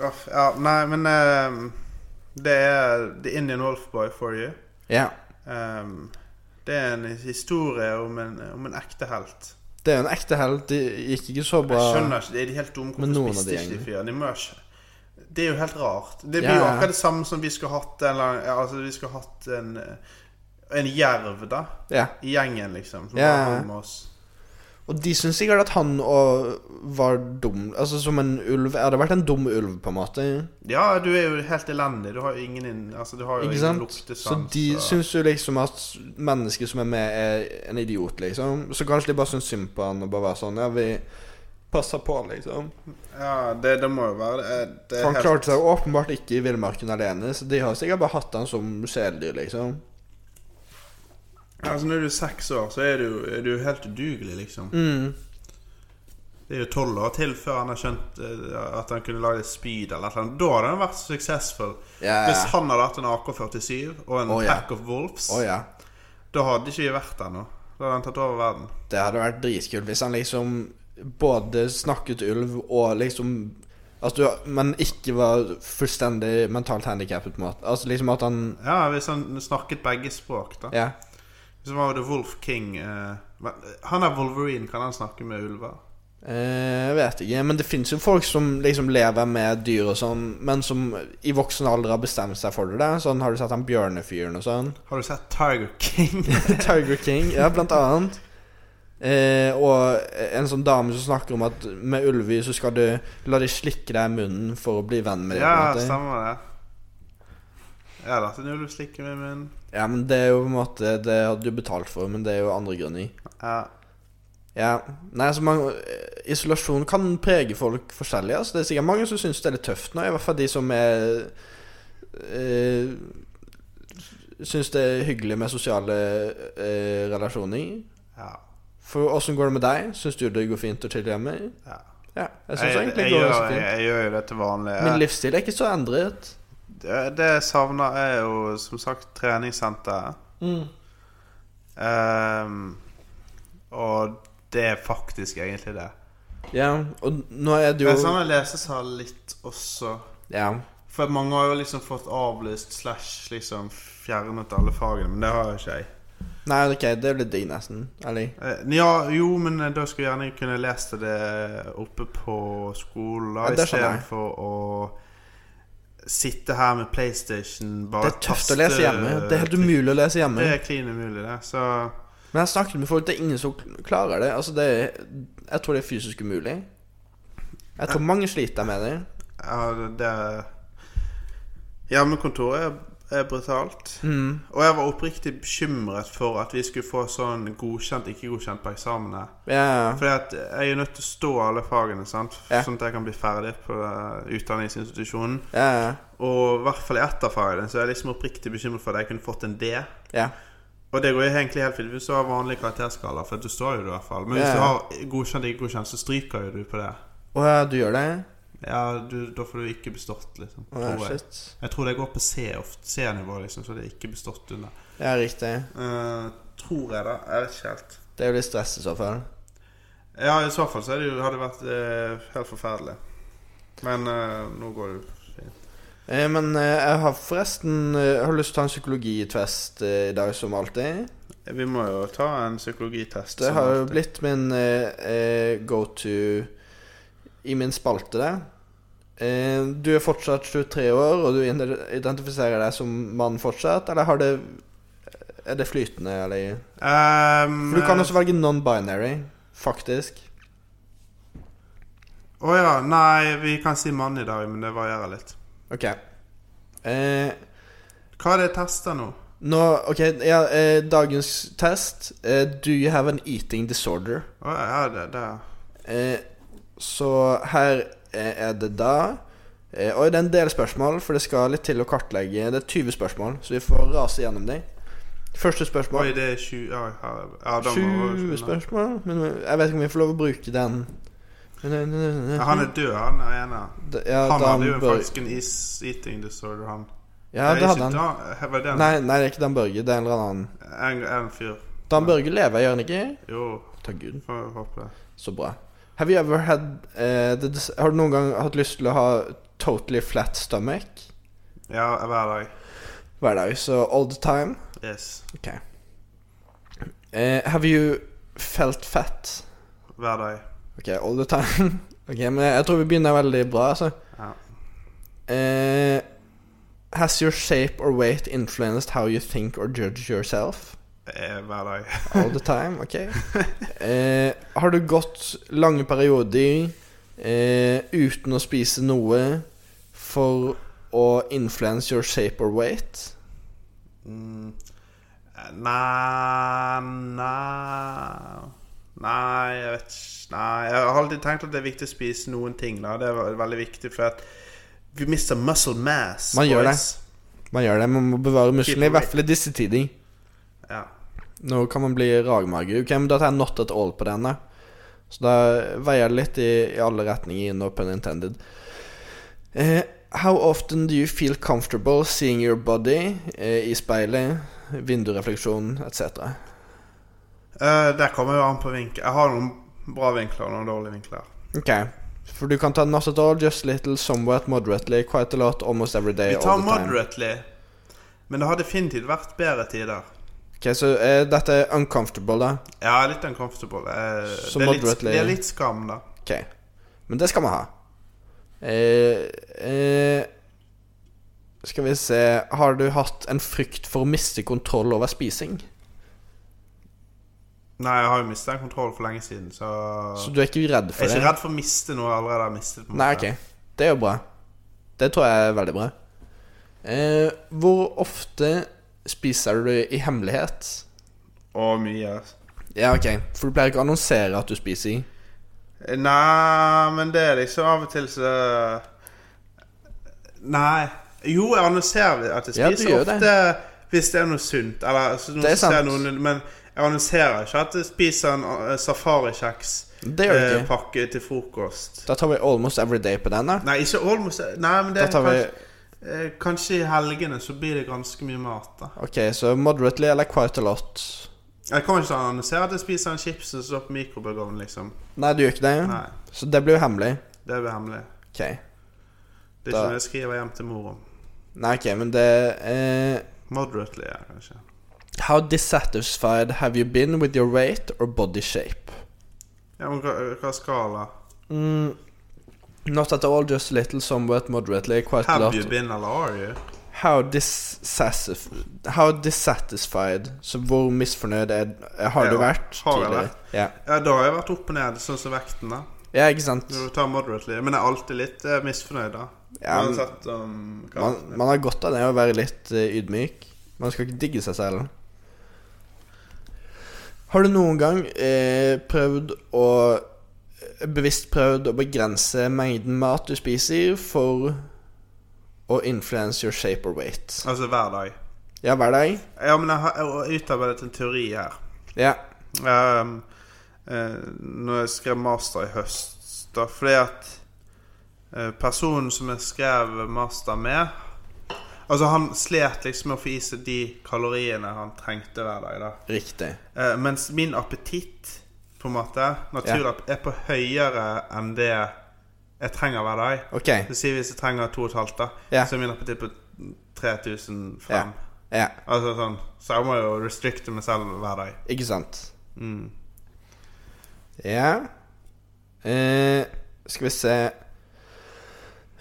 Speaker 3: Uff, Ja, nei, men ehm, Det er The Indian Wolfboy for you.
Speaker 1: Ja.
Speaker 3: Ehm, det er en historie om en, om en ekte helt.
Speaker 1: Det er jo en ekte helt. Det gikk ikke så
Speaker 3: Jeg
Speaker 1: bra.
Speaker 3: skjønner ikke, det er de helt dumme
Speaker 1: Men noen
Speaker 3: Hvorfor
Speaker 1: av
Speaker 3: spiste
Speaker 1: de
Speaker 3: ikke de
Speaker 1: gjengene.
Speaker 3: fyren? De må ikke Det er jo helt rart. Det blir
Speaker 1: Ja,
Speaker 3: jo
Speaker 1: ja.
Speaker 3: akkurat det samme som vi skulle hatt en, eller annen- ja, altså, vi skulle hatt en, eh, en jerv, da.
Speaker 1: Ja.
Speaker 3: I gjengen, liksom. Som
Speaker 1: Ja,
Speaker 3: bare
Speaker 1: ja.
Speaker 3: hang med oss.
Speaker 1: Og de syns sikkert at han og var dum. Altså som en ulv. Jeg hadde vært en dum ulv, på en måte.
Speaker 3: Ja, du er jo helt elendig. Du har jo ingen inn, altså, du har jo
Speaker 1: Ikke
Speaker 3: ingen sånn,
Speaker 1: sant? Så
Speaker 3: luktesans.
Speaker 1: de
Speaker 3: og-
Speaker 1: syns jo liksom at mennesket som er med, er en idiot, liksom. Så kanskje de bare syns synd på han og bare var sånn Ja, vi passer på, liksom.
Speaker 3: Ja, det, det må jo være det. er- det er
Speaker 1: For han
Speaker 3: Eh, helt-
Speaker 1: klarte seg åpenbart ikke i villmarken alene, så de har sikkert bare hatt han som kjæledyr, liksom.
Speaker 3: Altså, når du er seks år, så er du, er du helt udugelig, liksom.
Speaker 1: Mm.
Speaker 3: Det er jo tolv år til før han har skjønt eh, at han kunne lage et spyd eller noe. Da hadde han vært suksessfull.
Speaker 1: Ja.
Speaker 3: Hvis han hadde hatt en AK-47 og en
Speaker 1: Å, ja.
Speaker 3: pack of wolves,
Speaker 1: Å ja.
Speaker 3: da hadde ikke vi vært der nå. Da hadde han tatt over verden.
Speaker 1: Det hadde vært dritkult hvis han liksom både snakket ulv og liksom Altså, du- men ikke var fullstendig mentalt handikappet, på en måte. Altså liksom at han
Speaker 3: Ja, Hvis han snakket begge språk, da.
Speaker 1: Ja.
Speaker 3: Hvis han var The Wolf King eh, men, eh, Han er Wolverine, kan han snakke med ulver?
Speaker 1: Eh, Jeg vet ikke, men det fins jo folk som liksom lever med dyr og sånn, men som i voksen alder har bestemt seg for det. da. Sånn har du sett han bjørnefyren og sånn.
Speaker 3: Har du sett Tiger King?
Speaker 1: Tiger King, ja, blant annet. Eh, og en sånn dame som snakker om at med ulver så skal du la de slikke deg i munnen for å bli venn med dem. på en
Speaker 3: ja,
Speaker 1: måte.
Speaker 3: stemmer det. Jeg hadde hatt en ulv slikke med munnen.
Speaker 1: Ja, men det er jo på en måte Det hadde du betalt for, men det er jo andre grunner.
Speaker 3: Ja.
Speaker 1: Ja, nei, så mange, eh, Isolasjon kan prege folk forskjellig. Altså. Det er sikkert mange som syns det er litt tøft nå, i hvert fall de som er øh, Syns det er hyggelig med sosiale øh, relasjoner.
Speaker 3: ja.
Speaker 1: For åssen går det med deg? Syns du det går fint å chille hjemme?
Speaker 3: Ja.
Speaker 1: Ja, jeg
Speaker 3: Jeg,
Speaker 1: syns
Speaker 3: jeg,
Speaker 1: egentlig det går
Speaker 3: gjør,
Speaker 1: ganske
Speaker 3: jeg,
Speaker 1: fint.
Speaker 3: gjør jo det til vanlig.
Speaker 1: Min livsstil er ikke så endret.
Speaker 3: Det, det jeg savner, er jo som sagt treningssenteret. Ehm, og det er faktisk egentlig det.
Speaker 1: Ja, og nå er det jo
Speaker 3: Jeg savner lesesal litt også.
Speaker 1: Ja.
Speaker 3: For mange har jo liksom fått avlyst slash liksom fjernet alle fagene, men det har jo ikke jeg.
Speaker 1: Nei, ok, det blir digg, nesten. Eller?
Speaker 3: Eh, Ja, jo, men eh, da skulle jeg gjerne kunne lest det oppe på skolen
Speaker 1: Ja, det skjønner jeg.
Speaker 3: istedenfor å sitte her med PlayStation bare
Speaker 1: Det er tøft å
Speaker 3: taste-
Speaker 1: lese hjemme. Det er helt umulig å lese hjemme.
Speaker 3: Det er klin umulig, det. Så
Speaker 1: Men jeg har snakket med folk, det er ingen som klarer det. Altså, det er, jeg tror det er fysisk umulig. Jeg tror mange sliter med det.
Speaker 3: ja, det- det Hjemmekontoret er, er brutalt.
Speaker 1: Mm.
Speaker 3: Og jeg var oppriktig bekymret for at vi skulle få sånn godkjent, ikke godkjent på eksamene.
Speaker 1: Ja,
Speaker 3: Fordi at jeg er nødt til å stå alle fagene, sant?
Speaker 1: Ja.
Speaker 3: sånn at jeg kan bli ferdig på eh, utdanningsinstitusjonen.
Speaker 1: ja,
Speaker 3: Og i hvert fall i ett av fagene så er jeg liksom oppriktig bekymret for at jeg kunne fått en D.
Speaker 1: ja.
Speaker 3: Og det går jo egentlig helt fint hvis du har vanlig karakterskala, for du står jo det i hvert fall. Men hvis
Speaker 1: Ja.
Speaker 3: du har godkjent ikke godkjent, så stryker jo du på det.
Speaker 1: Å ja, du gjør det?
Speaker 3: Ja, du, Da får du ikke bestått, liksom.
Speaker 1: Å ja,
Speaker 3: tror jeg.
Speaker 1: shit.
Speaker 3: jeg tror det går på C ofte, C-nivå, liksom, så det er ikke bestått under.
Speaker 1: Ja, riktig.
Speaker 3: Eh, tror jeg, da. Jeg vet ikke helt.
Speaker 1: Det er jo litt stress i så fall.
Speaker 3: Ja, i så fall så er det jo, hadde det vært eh, helt forferdelig. Men eh, nå går det jo fint.
Speaker 1: Eh, men eh, jeg har forresten eh, jeg har lyst til å ta en psykologitest eh, i dag, som alltid.
Speaker 3: Vi må jo ta en psykologitest. sånn
Speaker 1: Det
Speaker 3: som
Speaker 1: har jo
Speaker 3: alltid.
Speaker 1: blitt min eh, eh, go to i min spalte der. Eh, du er fortsatt 23 år, og du ide- identifiserer deg som mann fortsatt, eller har det er det flytende, eller
Speaker 3: Ehm,
Speaker 1: For du kan også velge non-binary, faktisk.
Speaker 3: eh, Å ja. Nei, vi kan si mann i dag, men det varierer litt.
Speaker 1: OK. Eh,
Speaker 3: Hva er det jeg tester nå?
Speaker 1: nå OK, ja, eh, dagens test eh, Do you have an eating disorder?
Speaker 3: Å ja, det, det.
Speaker 1: Eh, så her eh, er det da eh, Og det er en del spørsmål, for det skal litt til å kartlegge. Det er 20 spørsmål, så vi får rase gjennom dem. Første
Speaker 3: Oi,
Speaker 1: spørsmål.
Speaker 3: det er 20 Ja, ja, ja da må
Speaker 1: 20 spørsmål? Men eh, jeg vet ikke om vi får lov å bruke den. eh,
Speaker 3: ja, Han er død, han er ene.
Speaker 1: D- ja,
Speaker 3: Han
Speaker 1: Dan
Speaker 3: hadde jo
Speaker 1: Bør-
Speaker 3: faktisk en is eating disorder, han.
Speaker 1: Ja,
Speaker 3: Nei,
Speaker 1: det
Speaker 3: ikke
Speaker 1: hadde han.
Speaker 3: Dan- var det han?
Speaker 1: Nei, nei, det er ikke Dan Børge. Det er en eller annen.
Speaker 3: En, en fyr.
Speaker 1: Dan Børge lever, gjør han ikke?
Speaker 3: Jo,
Speaker 1: Takk Gud.
Speaker 3: får jeg håpe det.
Speaker 1: Så bra. Have you ever had eh, the, dis- Har du noen gang hatt lyst til å ha totally flat stomach?
Speaker 3: Ja, hver dag.
Speaker 1: Hver dag. Så all the time.
Speaker 3: Yes.
Speaker 1: Okay. Eh, have you felt fat?
Speaker 3: Hver dag.
Speaker 1: Ok, all the time. [laughs] ok, men jeg tror vi begynner veldig bra, altså.
Speaker 3: Ja.
Speaker 1: Eh, has your shape or weight influenced how you think or judge yourself?
Speaker 3: Eh, Hver dag.
Speaker 1: All the time,
Speaker 3: [laughs]
Speaker 1: ok. Eh, har du gått lange perioder eh, uten å spise noe for å influence your shape or weight?
Speaker 3: Mm. Nei Nei Nei, jeg vet ikke Nei, jeg har alltid tenkt at det er viktig å spise noen ting. da Det er veldig viktig, for at vi mister muscle mass.
Speaker 1: Man gjør
Speaker 3: boys.
Speaker 1: Man gjør det, man må bevare musklene, i
Speaker 3: Keep
Speaker 1: hvert fall i disse tider.
Speaker 3: Ja.
Speaker 1: Nå kan man bli ragmage. Ok, men da tar jeg not at all på den, da. Så da veier det litt i, i alle retninger inn, no pun intended. Eh, how often do you feel comfortable seeing your body eh, i speilet, vindurefleksjon etc.?
Speaker 3: Eh, der kommer jo an på vinkel. Jeg har noen bra vinkler og noen dårlige vinkler.
Speaker 1: Ok, for du kan ta not at all, just little, somewhat, moderately, quite a lot, almost every day,
Speaker 3: Vi
Speaker 1: all
Speaker 3: tar
Speaker 1: the time.
Speaker 3: moderately, men det har definitivt vært bedre tider.
Speaker 1: Ok, så eh, dette er uncomfortable, da.
Speaker 3: Ja, litt uncomfortable. Eh,
Speaker 1: Så
Speaker 3: det, er litt,
Speaker 1: moderately.
Speaker 3: det er litt skam, da.
Speaker 1: Ok, men det skal man ha eh, eh, Skal vi se Har du hatt en frykt for å miste kontroll over spising?
Speaker 3: Nei, jeg har jo mistet den kontrollen for lenge siden, så,
Speaker 1: Så du er ikke redd
Speaker 3: Jeg
Speaker 1: for
Speaker 3: er
Speaker 1: det?
Speaker 3: ikke redd for å miste noe jeg allerede har mistet. på en
Speaker 1: Nei,
Speaker 3: måte.
Speaker 1: ok Det er jo bra Det tror jeg er veldig bra eh, Hvor ofte spiser du i hemmelighet?
Speaker 3: Og mye. ass.
Speaker 1: Ja, ok For du pleier ikke å annonsere at du spiser
Speaker 3: Nei, men det er liksom av og til så Nei. Jo, jeg annonserer at jeg
Speaker 1: Ja, du
Speaker 3: spiser
Speaker 1: gjør
Speaker 3: ofte hvis det er noe sunt. Eller altså, noen
Speaker 1: Det er
Speaker 3: som ser
Speaker 1: sant.
Speaker 3: Noen, men jeg annonserer ikke at jeg spiser en eh, safarikjeks
Speaker 1: Det gjør du
Speaker 3: eh,
Speaker 1: ikke.
Speaker 3: pakke til frokost.
Speaker 1: Da tar vi almost every day på den da
Speaker 3: Nei, ikke almost Nei, men det
Speaker 1: Da
Speaker 3: er
Speaker 1: tar vi
Speaker 3: kanskje, eh, kanskje i helgene så blir det ganske mye mat, da.
Speaker 1: Ok, så moderately eller quite a lot
Speaker 3: Jeg kommer ikke til å annonsere at jeg spiser en chips som står på mikrobølgeovnen, liksom.
Speaker 1: Nei, du gjør ikke det
Speaker 3: Nei.
Speaker 1: Så det blir jo hemmelig
Speaker 3: Det blir hemmelig.
Speaker 1: Ok
Speaker 3: Det er
Speaker 1: Da-
Speaker 3: ikke noe jeg skriver hjem til mor om.
Speaker 1: Nei, ok, men det eh,
Speaker 3: Moderately, ja, kanskje.
Speaker 1: How dissatisfied have you been with your weight or body shape?
Speaker 3: Ja, men hva, hva skala?
Speaker 1: Mm, Not at all, just a little, somewhat, moderately, quite a
Speaker 3: Have
Speaker 1: lot.
Speaker 3: you been eller are you?
Speaker 1: How, dissatisf- how dissatisfied Så hvor misfornøyd er, har
Speaker 3: Ja,
Speaker 1: du vært
Speaker 3: har jeg
Speaker 1: tidligere?
Speaker 3: vært?
Speaker 1: Ja.
Speaker 3: Ja, da har jeg vært opp og ned, sånn som vekten, da.
Speaker 1: ja, ikke sant?
Speaker 3: Når du tar moderately. Men jeg er alltid litt eh, misfornøyd, da.
Speaker 1: Ja, men-
Speaker 3: Uansett om hva-
Speaker 1: man, man har godt av det å være litt eh, ydmyk. Man skal ikke digge seg selv. Har du noen gang eh, prøvd å eh, Bevisst prøvd å begrense mengden mat du spiser, for å influence your shape or weight?
Speaker 3: Altså hver dag.
Speaker 1: Ja, hver dag?
Speaker 3: Ja, men jeg har jeg har utarbeidet en teori her.
Speaker 1: Ja.
Speaker 3: Um, eh, når jeg skrev master i høst, da fordi at eh, personen som jeg skrev master med Altså, han slet liksom med å få i seg de kaloriene han trengte hver dag, da.
Speaker 1: Riktig.
Speaker 3: Eh, mens min appetitt på en måte naturlig er på høyere enn det jeg trenger hver dag.
Speaker 1: OK.
Speaker 3: Så sier vi hvis jeg trenger 2,5, da,
Speaker 1: Ja.
Speaker 3: så er min appetitt på 3005.
Speaker 1: Ja. Ja,
Speaker 3: Altså sånn Så jeg må jo restrikte meg selv hver dag.
Speaker 1: ikke sant?
Speaker 3: Mm.
Speaker 1: Ja eh, Skal vi se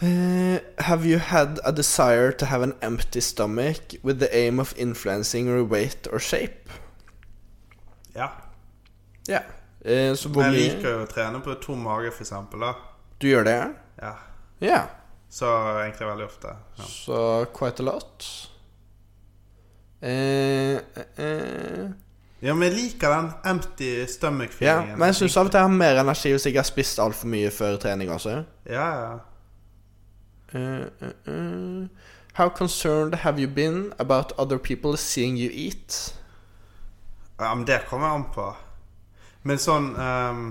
Speaker 1: eh, Have you had a desire to have an empty stomach With the aim of influencing your weight or shape?
Speaker 3: Ja.
Speaker 1: Ja eh, Så hvor
Speaker 3: Men jeg
Speaker 1: mye
Speaker 3: liker jo å trene på tom mage, for eksempel, da.
Speaker 1: Du gjør det?
Speaker 3: Ja.
Speaker 1: Ja
Speaker 3: Så egentlig veldig ofte. Ja.
Speaker 1: Så quite a lot eh, eh, eh.
Speaker 3: ja, men jeg liker den empty
Speaker 1: Ja,
Speaker 3: stomach-feelingen.
Speaker 1: men jeg synes av og til jeg har mer energi Hvis jeg ikke har spist alt for mye før trening også
Speaker 3: Ja, ja.
Speaker 1: Uh, uh, uh. How concerned have you been about other people seeing you eat?
Speaker 3: ja, men det kommer an på. Men sånn ehm,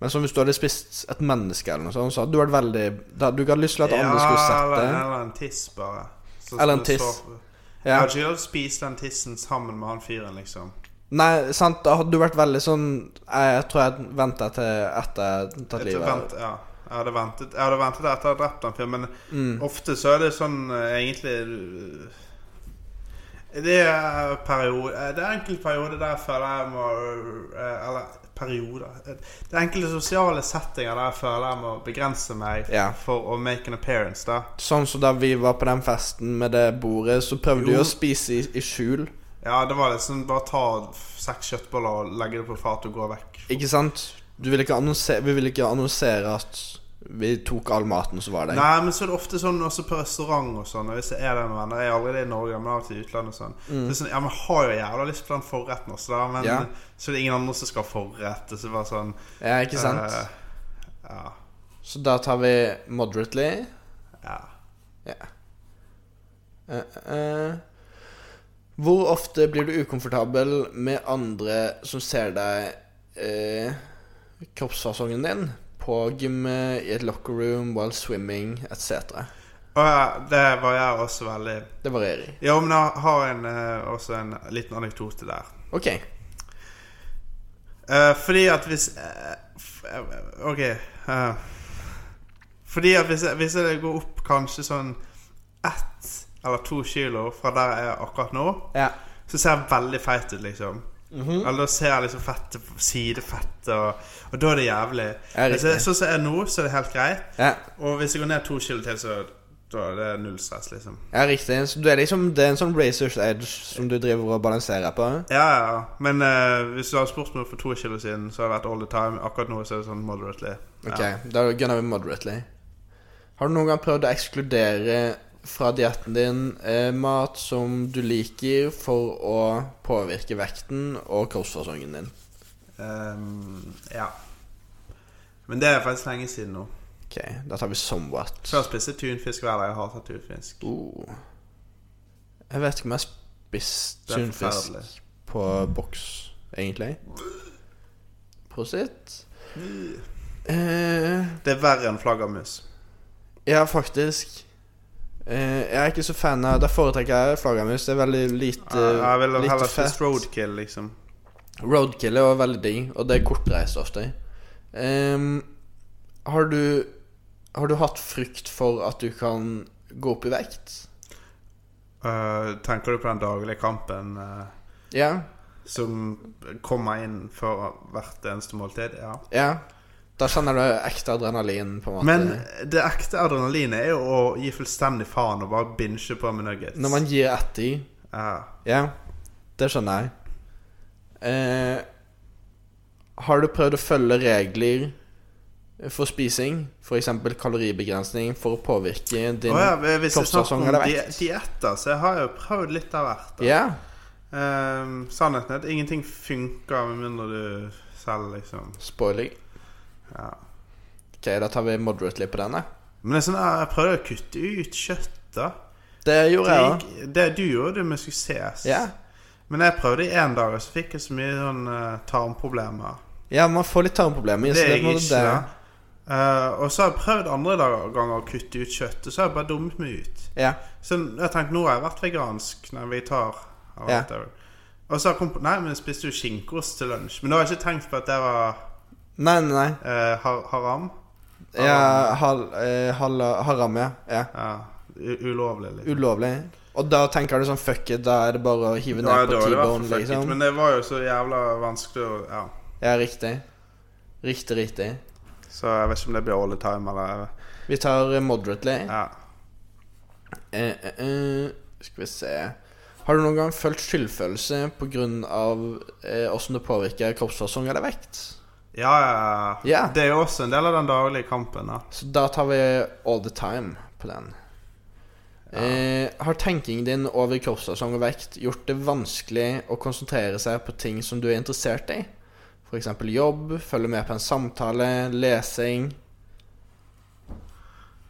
Speaker 1: Men som hvis du hadde spist et menneske eller noe sånt, så hadde du vært veldig da, Du hadde lyst til at andre skulle
Speaker 3: eller,
Speaker 1: sett det.
Speaker 3: eller en tiss, bare. Så
Speaker 1: Eller en
Speaker 3: skulle
Speaker 1: tiss.
Speaker 3: så- Jeg
Speaker 1: Ja.
Speaker 3: hadde ikke lyst til å spise den tissen sammen med han fyren, liksom.
Speaker 1: Nei, sant, da hadde du vært veldig sånn Jeg, jeg tror jeg venter til etter jeg har tatt
Speaker 3: Jeg, tror-
Speaker 1: livet av
Speaker 3: vent, ja. jeg, hadde ventet, jeg hadde ventet etter jeg hadde drept han fyren, men
Speaker 1: Mm.
Speaker 3: ofte så er det sånn eh, egentlig eh, Det er periode eh, Det er enkelte perioder der jeg føler jeg må eh, Eller perioder Eh, Det er enkelte sosiale settinger der jeg føler jeg må begrense meg
Speaker 1: Ja.
Speaker 3: for å make an appearance, da.
Speaker 1: Sånn som da vi var på den festen med det bordet, så prøvde vi
Speaker 3: Jo.
Speaker 1: å spise i, i skjul.
Speaker 3: Ja, det var liksom bare ta seks kjøttboller og legge det på fatet og gå vekk.
Speaker 1: Ikke sant? Du ville ikke annonsere, vi ville ikke annonsere at vi tok all maten som var der.
Speaker 3: Nei, men så er det ofte sånn også på restaurant og sånn. Og hvis jeg er der med venner Jeg er aldri det i Norge, men av og til i utlandet og sånn. Så det er sånn, ja, men jeg har jo jævla lyst på den forretten også, da, men
Speaker 1: Mm. Ja.
Speaker 3: så er det ingen andre som skal ha forrett. Og så bare sånn
Speaker 1: Ja, ikke sant?
Speaker 3: eh, ja.
Speaker 1: Så da tar vi moderately.
Speaker 3: Ja.
Speaker 1: Eh, eh. Hvor ofte blir du ukomfortabel med andre som ser deg eh, kroppsfasongen din? På gymmet, i et locker room, while swimming etc.
Speaker 3: Og ja, det var jeg også veldig
Speaker 1: Det varierer.
Speaker 3: Ja, men jeg har en, eh, også en liten anekdote der.
Speaker 1: OK.
Speaker 3: Eh, fordi at hvis eh, f- eh, Ok. eh, fordi at hvis jeg, hvis jeg går opp kanskje sånn ett eller to kilo fra der jeg er akkurat nå,
Speaker 1: Ja.
Speaker 3: så ser jeg veldig feit ut, liksom.
Speaker 1: Mhm. Mm.
Speaker 3: Eller da ser jeg liksom fett, sidefett, og, og da er det jævlig.
Speaker 1: Ja,
Speaker 3: Hvis jeg-
Speaker 1: riktig.
Speaker 3: Sånn som jeg er nå, så er det helt greit.
Speaker 1: Ja.
Speaker 3: Og hvis jeg går ned to kilo til, så da er det null stress, liksom.
Speaker 1: ja, riktig. Så du er liksom, det er en sånn razor's edge som du driver og balanserer på?
Speaker 3: Ja, ja, ja. Men eh, hvis du hadde spurt meg for to kilo siden, så hadde det vært all the time. Akkurat nå så er det sånn moderately.
Speaker 1: Ok,
Speaker 3: Ja.
Speaker 1: da gunner vi moderately. Har du noen gang prøvd å ekskludere fra dietten din eh, mat som du liker, for å påvirke vekten og kroppsfasongen din?
Speaker 3: Ehm, ja. Men det er faktisk lenge siden nå.
Speaker 1: Ok, da tar vi somewhat.
Speaker 3: Før spiste jeg tunfisk hver dag. Jeg hater tunfisk.
Speaker 1: Oh. Jeg vet ikke om jeg har spist
Speaker 3: Det er
Speaker 1: tunfisk
Speaker 3: forferdelig.
Speaker 1: på boks, egentlig. Prosit. Eh,
Speaker 3: Det er verre enn flaggermus.
Speaker 1: ja, faktisk. Eh, jeg er ikke så fan av Da foretrekker jeg flaggermus. Det er veldig lite,
Speaker 3: Jeg jeg ville
Speaker 1: lite
Speaker 3: heller
Speaker 1: fett.
Speaker 3: spist roadkill, liksom.
Speaker 1: Roadkiller var veldig digg, og det er kortreist ofte. Ehm, har du Har du hatt frykt for at du kan gå opp i vekt?
Speaker 3: Eh, tenker du på den daglige kampen eh,
Speaker 1: Ja.
Speaker 3: som kommer inn for hvert eneste måltid? Ja.
Speaker 1: ja Da kjenner du ekte adrenalin, på en måte.
Speaker 3: Men det ekte adrenalinet er jo å gi fullstendig faen og bare binge på med nuggets.
Speaker 1: Når man gir etter i
Speaker 3: ja.
Speaker 1: Ja, det skjønner jeg. Eh, har du prøvd å følge regler for spising, f.eks. kaloribegrensning, for å påvirke din
Speaker 3: Å ja, hvis jeg
Speaker 1: Toppstasong
Speaker 3: snakker om
Speaker 1: eller
Speaker 3: di
Speaker 1: vekt?
Speaker 3: dietter, så jeg har jo prøvd litt av hvert. da.
Speaker 1: Ja.
Speaker 3: Ehm, sannheten er at ingenting funker med mindre du selv, liksom.
Speaker 1: Spoiling.
Speaker 3: Ja.
Speaker 1: Ok, da tar vi moderately på denne.
Speaker 3: Men det er sånn, jeg prøvde å kutte ut kjøtt, da.
Speaker 1: Det
Speaker 3: Det,
Speaker 1: gjorde jeg òg.
Speaker 3: gikk, det du gjorde, det med suksess.
Speaker 1: Ja.
Speaker 3: Men jeg prøvde i én dag, og så fikk jeg så mye sånn eh, tarmproblemer.
Speaker 1: ja, man får litt tarmproblemer.
Speaker 3: Det
Speaker 1: så
Speaker 3: er
Speaker 1: må
Speaker 3: jeg
Speaker 1: du-
Speaker 3: ikke. da. Eh, og så har jeg prøvd andre dager- ganger å kutte ut kjøtt, og så har jeg bare dummet meg ut.
Speaker 1: Ja.
Speaker 3: Så jeg tenkte, nå har jeg vært vegansk Nei, vegetar eller
Speaker 1: Ja.
Speaker 3: whatever. Og så har jeg kommet på Nei, men jeg spiste jo skinkeost til lunsj. Men da har jeg ikke tenkt på at det var
Speaker 1: Nei, nei, nei.
Speaker 3: eh, har, haram.
Speaker 1: Ja, hal, eh, hal, haram, ja. ja.
Speaker 3: Ja, u ulovlig. Liksom.
Speaker 1: Ulovlig. Og da tenker du sånn fuck it, da er det bare å hive ned på
Speaker 3: Ja, da har det vært for
Speaker 1: T-bone,
Speaker 3: fucket,
Speaker 1: liksom.
Speaker 3: Men det var jo så jævla vanskelig å Ja.
Speaker 1: Ja, riktig. Riktig, riktig.
Speaker 3: Så jeg vet ikke om det blir all the time, eller
Speaker 1: Vi tar eh, moderately.
Speaker 3: Ja.
Speaker 1: Eh, eh, eh. Skal vi se Har du noen gang følt skyldfølelse pga. Eh, åssen det påvirker kroppsfasong eller vekt?
Speaker 3: Ja, ja, ja.
Speaker 1: Ja.
Speaker 3: Det er jo også en del av den daglige kampen. da
Speaker 1: Så da tar vi all the time på den. Eh, har tenkingen din over kroppsfasong og vekt gjort det vanskelig å konsentrere seg på ting som du er interessert i? F.eks. jobb, følge med på en samtale, lesing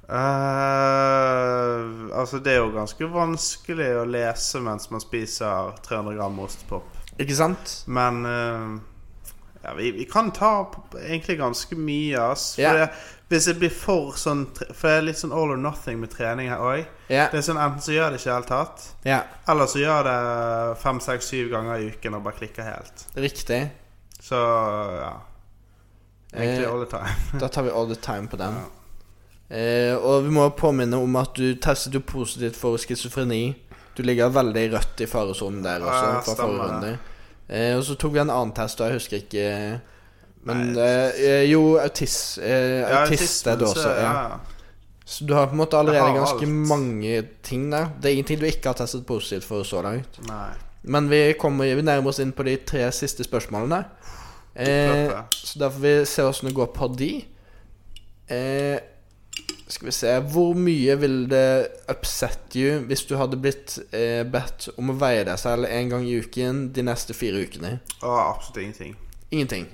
Speaker 3: Eh, altså, det er jo ganske vanskelig å lese mens man spiser 300 gram ostepop.
Speaker 1: Ikke sant?
Speaker 3: Men eh, ja, vi, vi kan ta p- egentlig ganske mye, ass. For
Speaker 1: Ja.
Speaker 3: det, hvis jeg blir for sånn tre- For jeg er litt sånn all or nothing med trening her òg.
Speaker 1: Ja.
Speaker 3: Det er sånn, enten så gjør jeg det ikke i det hele tatt,
Speaker 1: ja.
Speaker 3: eller så gjør jeg det fem, seks, syv ganger i uken og bare klikker helt.
Speaker 1: Riktig.
Speaker 3: Så ja. Egentlig
Speaker 1: Eh,
Speaker 3: all the time.
Speaker 1: Da tar vi all the time på den. Eh, og vi må påminne om at du testet jo positivt for schizofreni. Du ligger veldig rødt i faresonen der også.
Speaker 3: Ja,
Speaker 1: fra forrige
Speaker 3: stemmer det.
Speaker 1: runde. Eh, og så tok vi en annen test, og jeg husker ikke Men
Speaker 3: Nei.
Speaker 1: eh, jo, autis, eh,
Speaker 3: Ja,
Speaker 1: autist er du
Speaker 3: autismen,
Speaker 1: også.
Speaker 3: så-
Speaker 1: Ja.
Speaker 3: ja.
Speaker 1: Så du har på en måte allerede
Speaker 3: Jeg har
Speaker 1: ganske
Speaker 3: alt.
Speaker 1: mange ting der. Det er ingenting du ikke har testet positivt for så langt.
Speaker 3: Nei.
Speaker 1: Men vi, kommer, vi nærmer oss inn på de tre siste spørsmålene. Eh,
Speaker 3: klart
Speaker 1: så da får vi se åssen det går på de. Eh, skal vi se Hvor mye ville det upset you hvis du hadde blitt eh, bedt om å veie deg selv en gang i uken de neste fire ukene?
Speaker 3: Å, absolutt ingenting.
Speaker 1: Ingenting.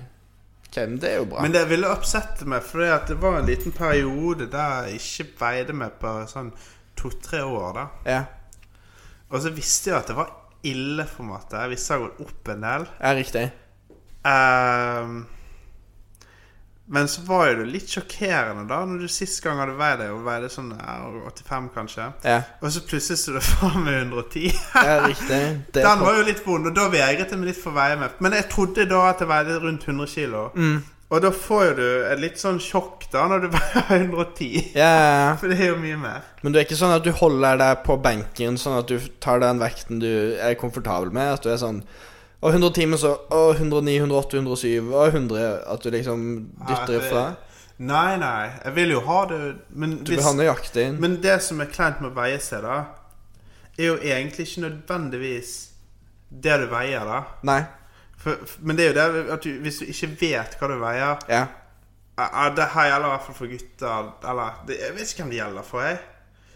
Speaker 1: Ok, men det er jo bra.
Speaker 3: Men det ville oppsette meg, for det var en liten periode der jeg ikke veide meg på sånn to-tre år. da
Speaker 1: ja,
Speaker 3: Og så visste jeg at det var ille, på en måte. Jeg visste jeg hadde gått opp en del.
Speaker 1: ja, riktig.
Speaker 3: Ehm, men så var jo det litt sjokkerende, da, når du sist gang hadde veid deg, og veide sånn ja, 85, kanskje.
Speaker 1: Ja,
Speaker 3: Og så plutselig sto det faen meg 110. [laughs]
Speaker 1: ja riktig. Det er
Speaker 3: Den var jo litt vond, og da vegret jeg meg litt for å veie meg. Men jeg trodde da at jeg veide rundt 100 kg.
Speaker 1: Mm.
Speaker 3: Og da får jo du et litt sånn sjokk da når du [laughs] veier 110.
Speaker 1: Ja, ja, ja.
Speaker 3: For det er jo mye mer.
Speaker 1: Men det er ikke sånn at du holder deg på benken, sånn at du tar den vekten du er komfortabel med? At du er sånn Å, 110, men så Å, 109, 108, 107, Å, 100 At du liksom dytter
Speaker 3: Ja, det-
Speaker 1: ifra?
Speaker 3: eh, Nei, nei. Jeg vil jo ha det Men,
Speaker 1: Du
Speaker 3: hvis-
Speaker 1: vil ha nøyaktig inn?
Speaker 3: men det som er kleint med å veie seg, da, er jo egentlig ikke nødvendigvis det du veier, da.
Speaker 1: Nei.
Speaker 3: For, f- men det er jo det at du, hvis du ikke vet hva du veier
Speaker 1: Ja.
Speaker 3: ja, ja, Det her gjelder i hvert fall for gutter. Eller det, Jeg vet ikke hvem det gjelder for, jeg.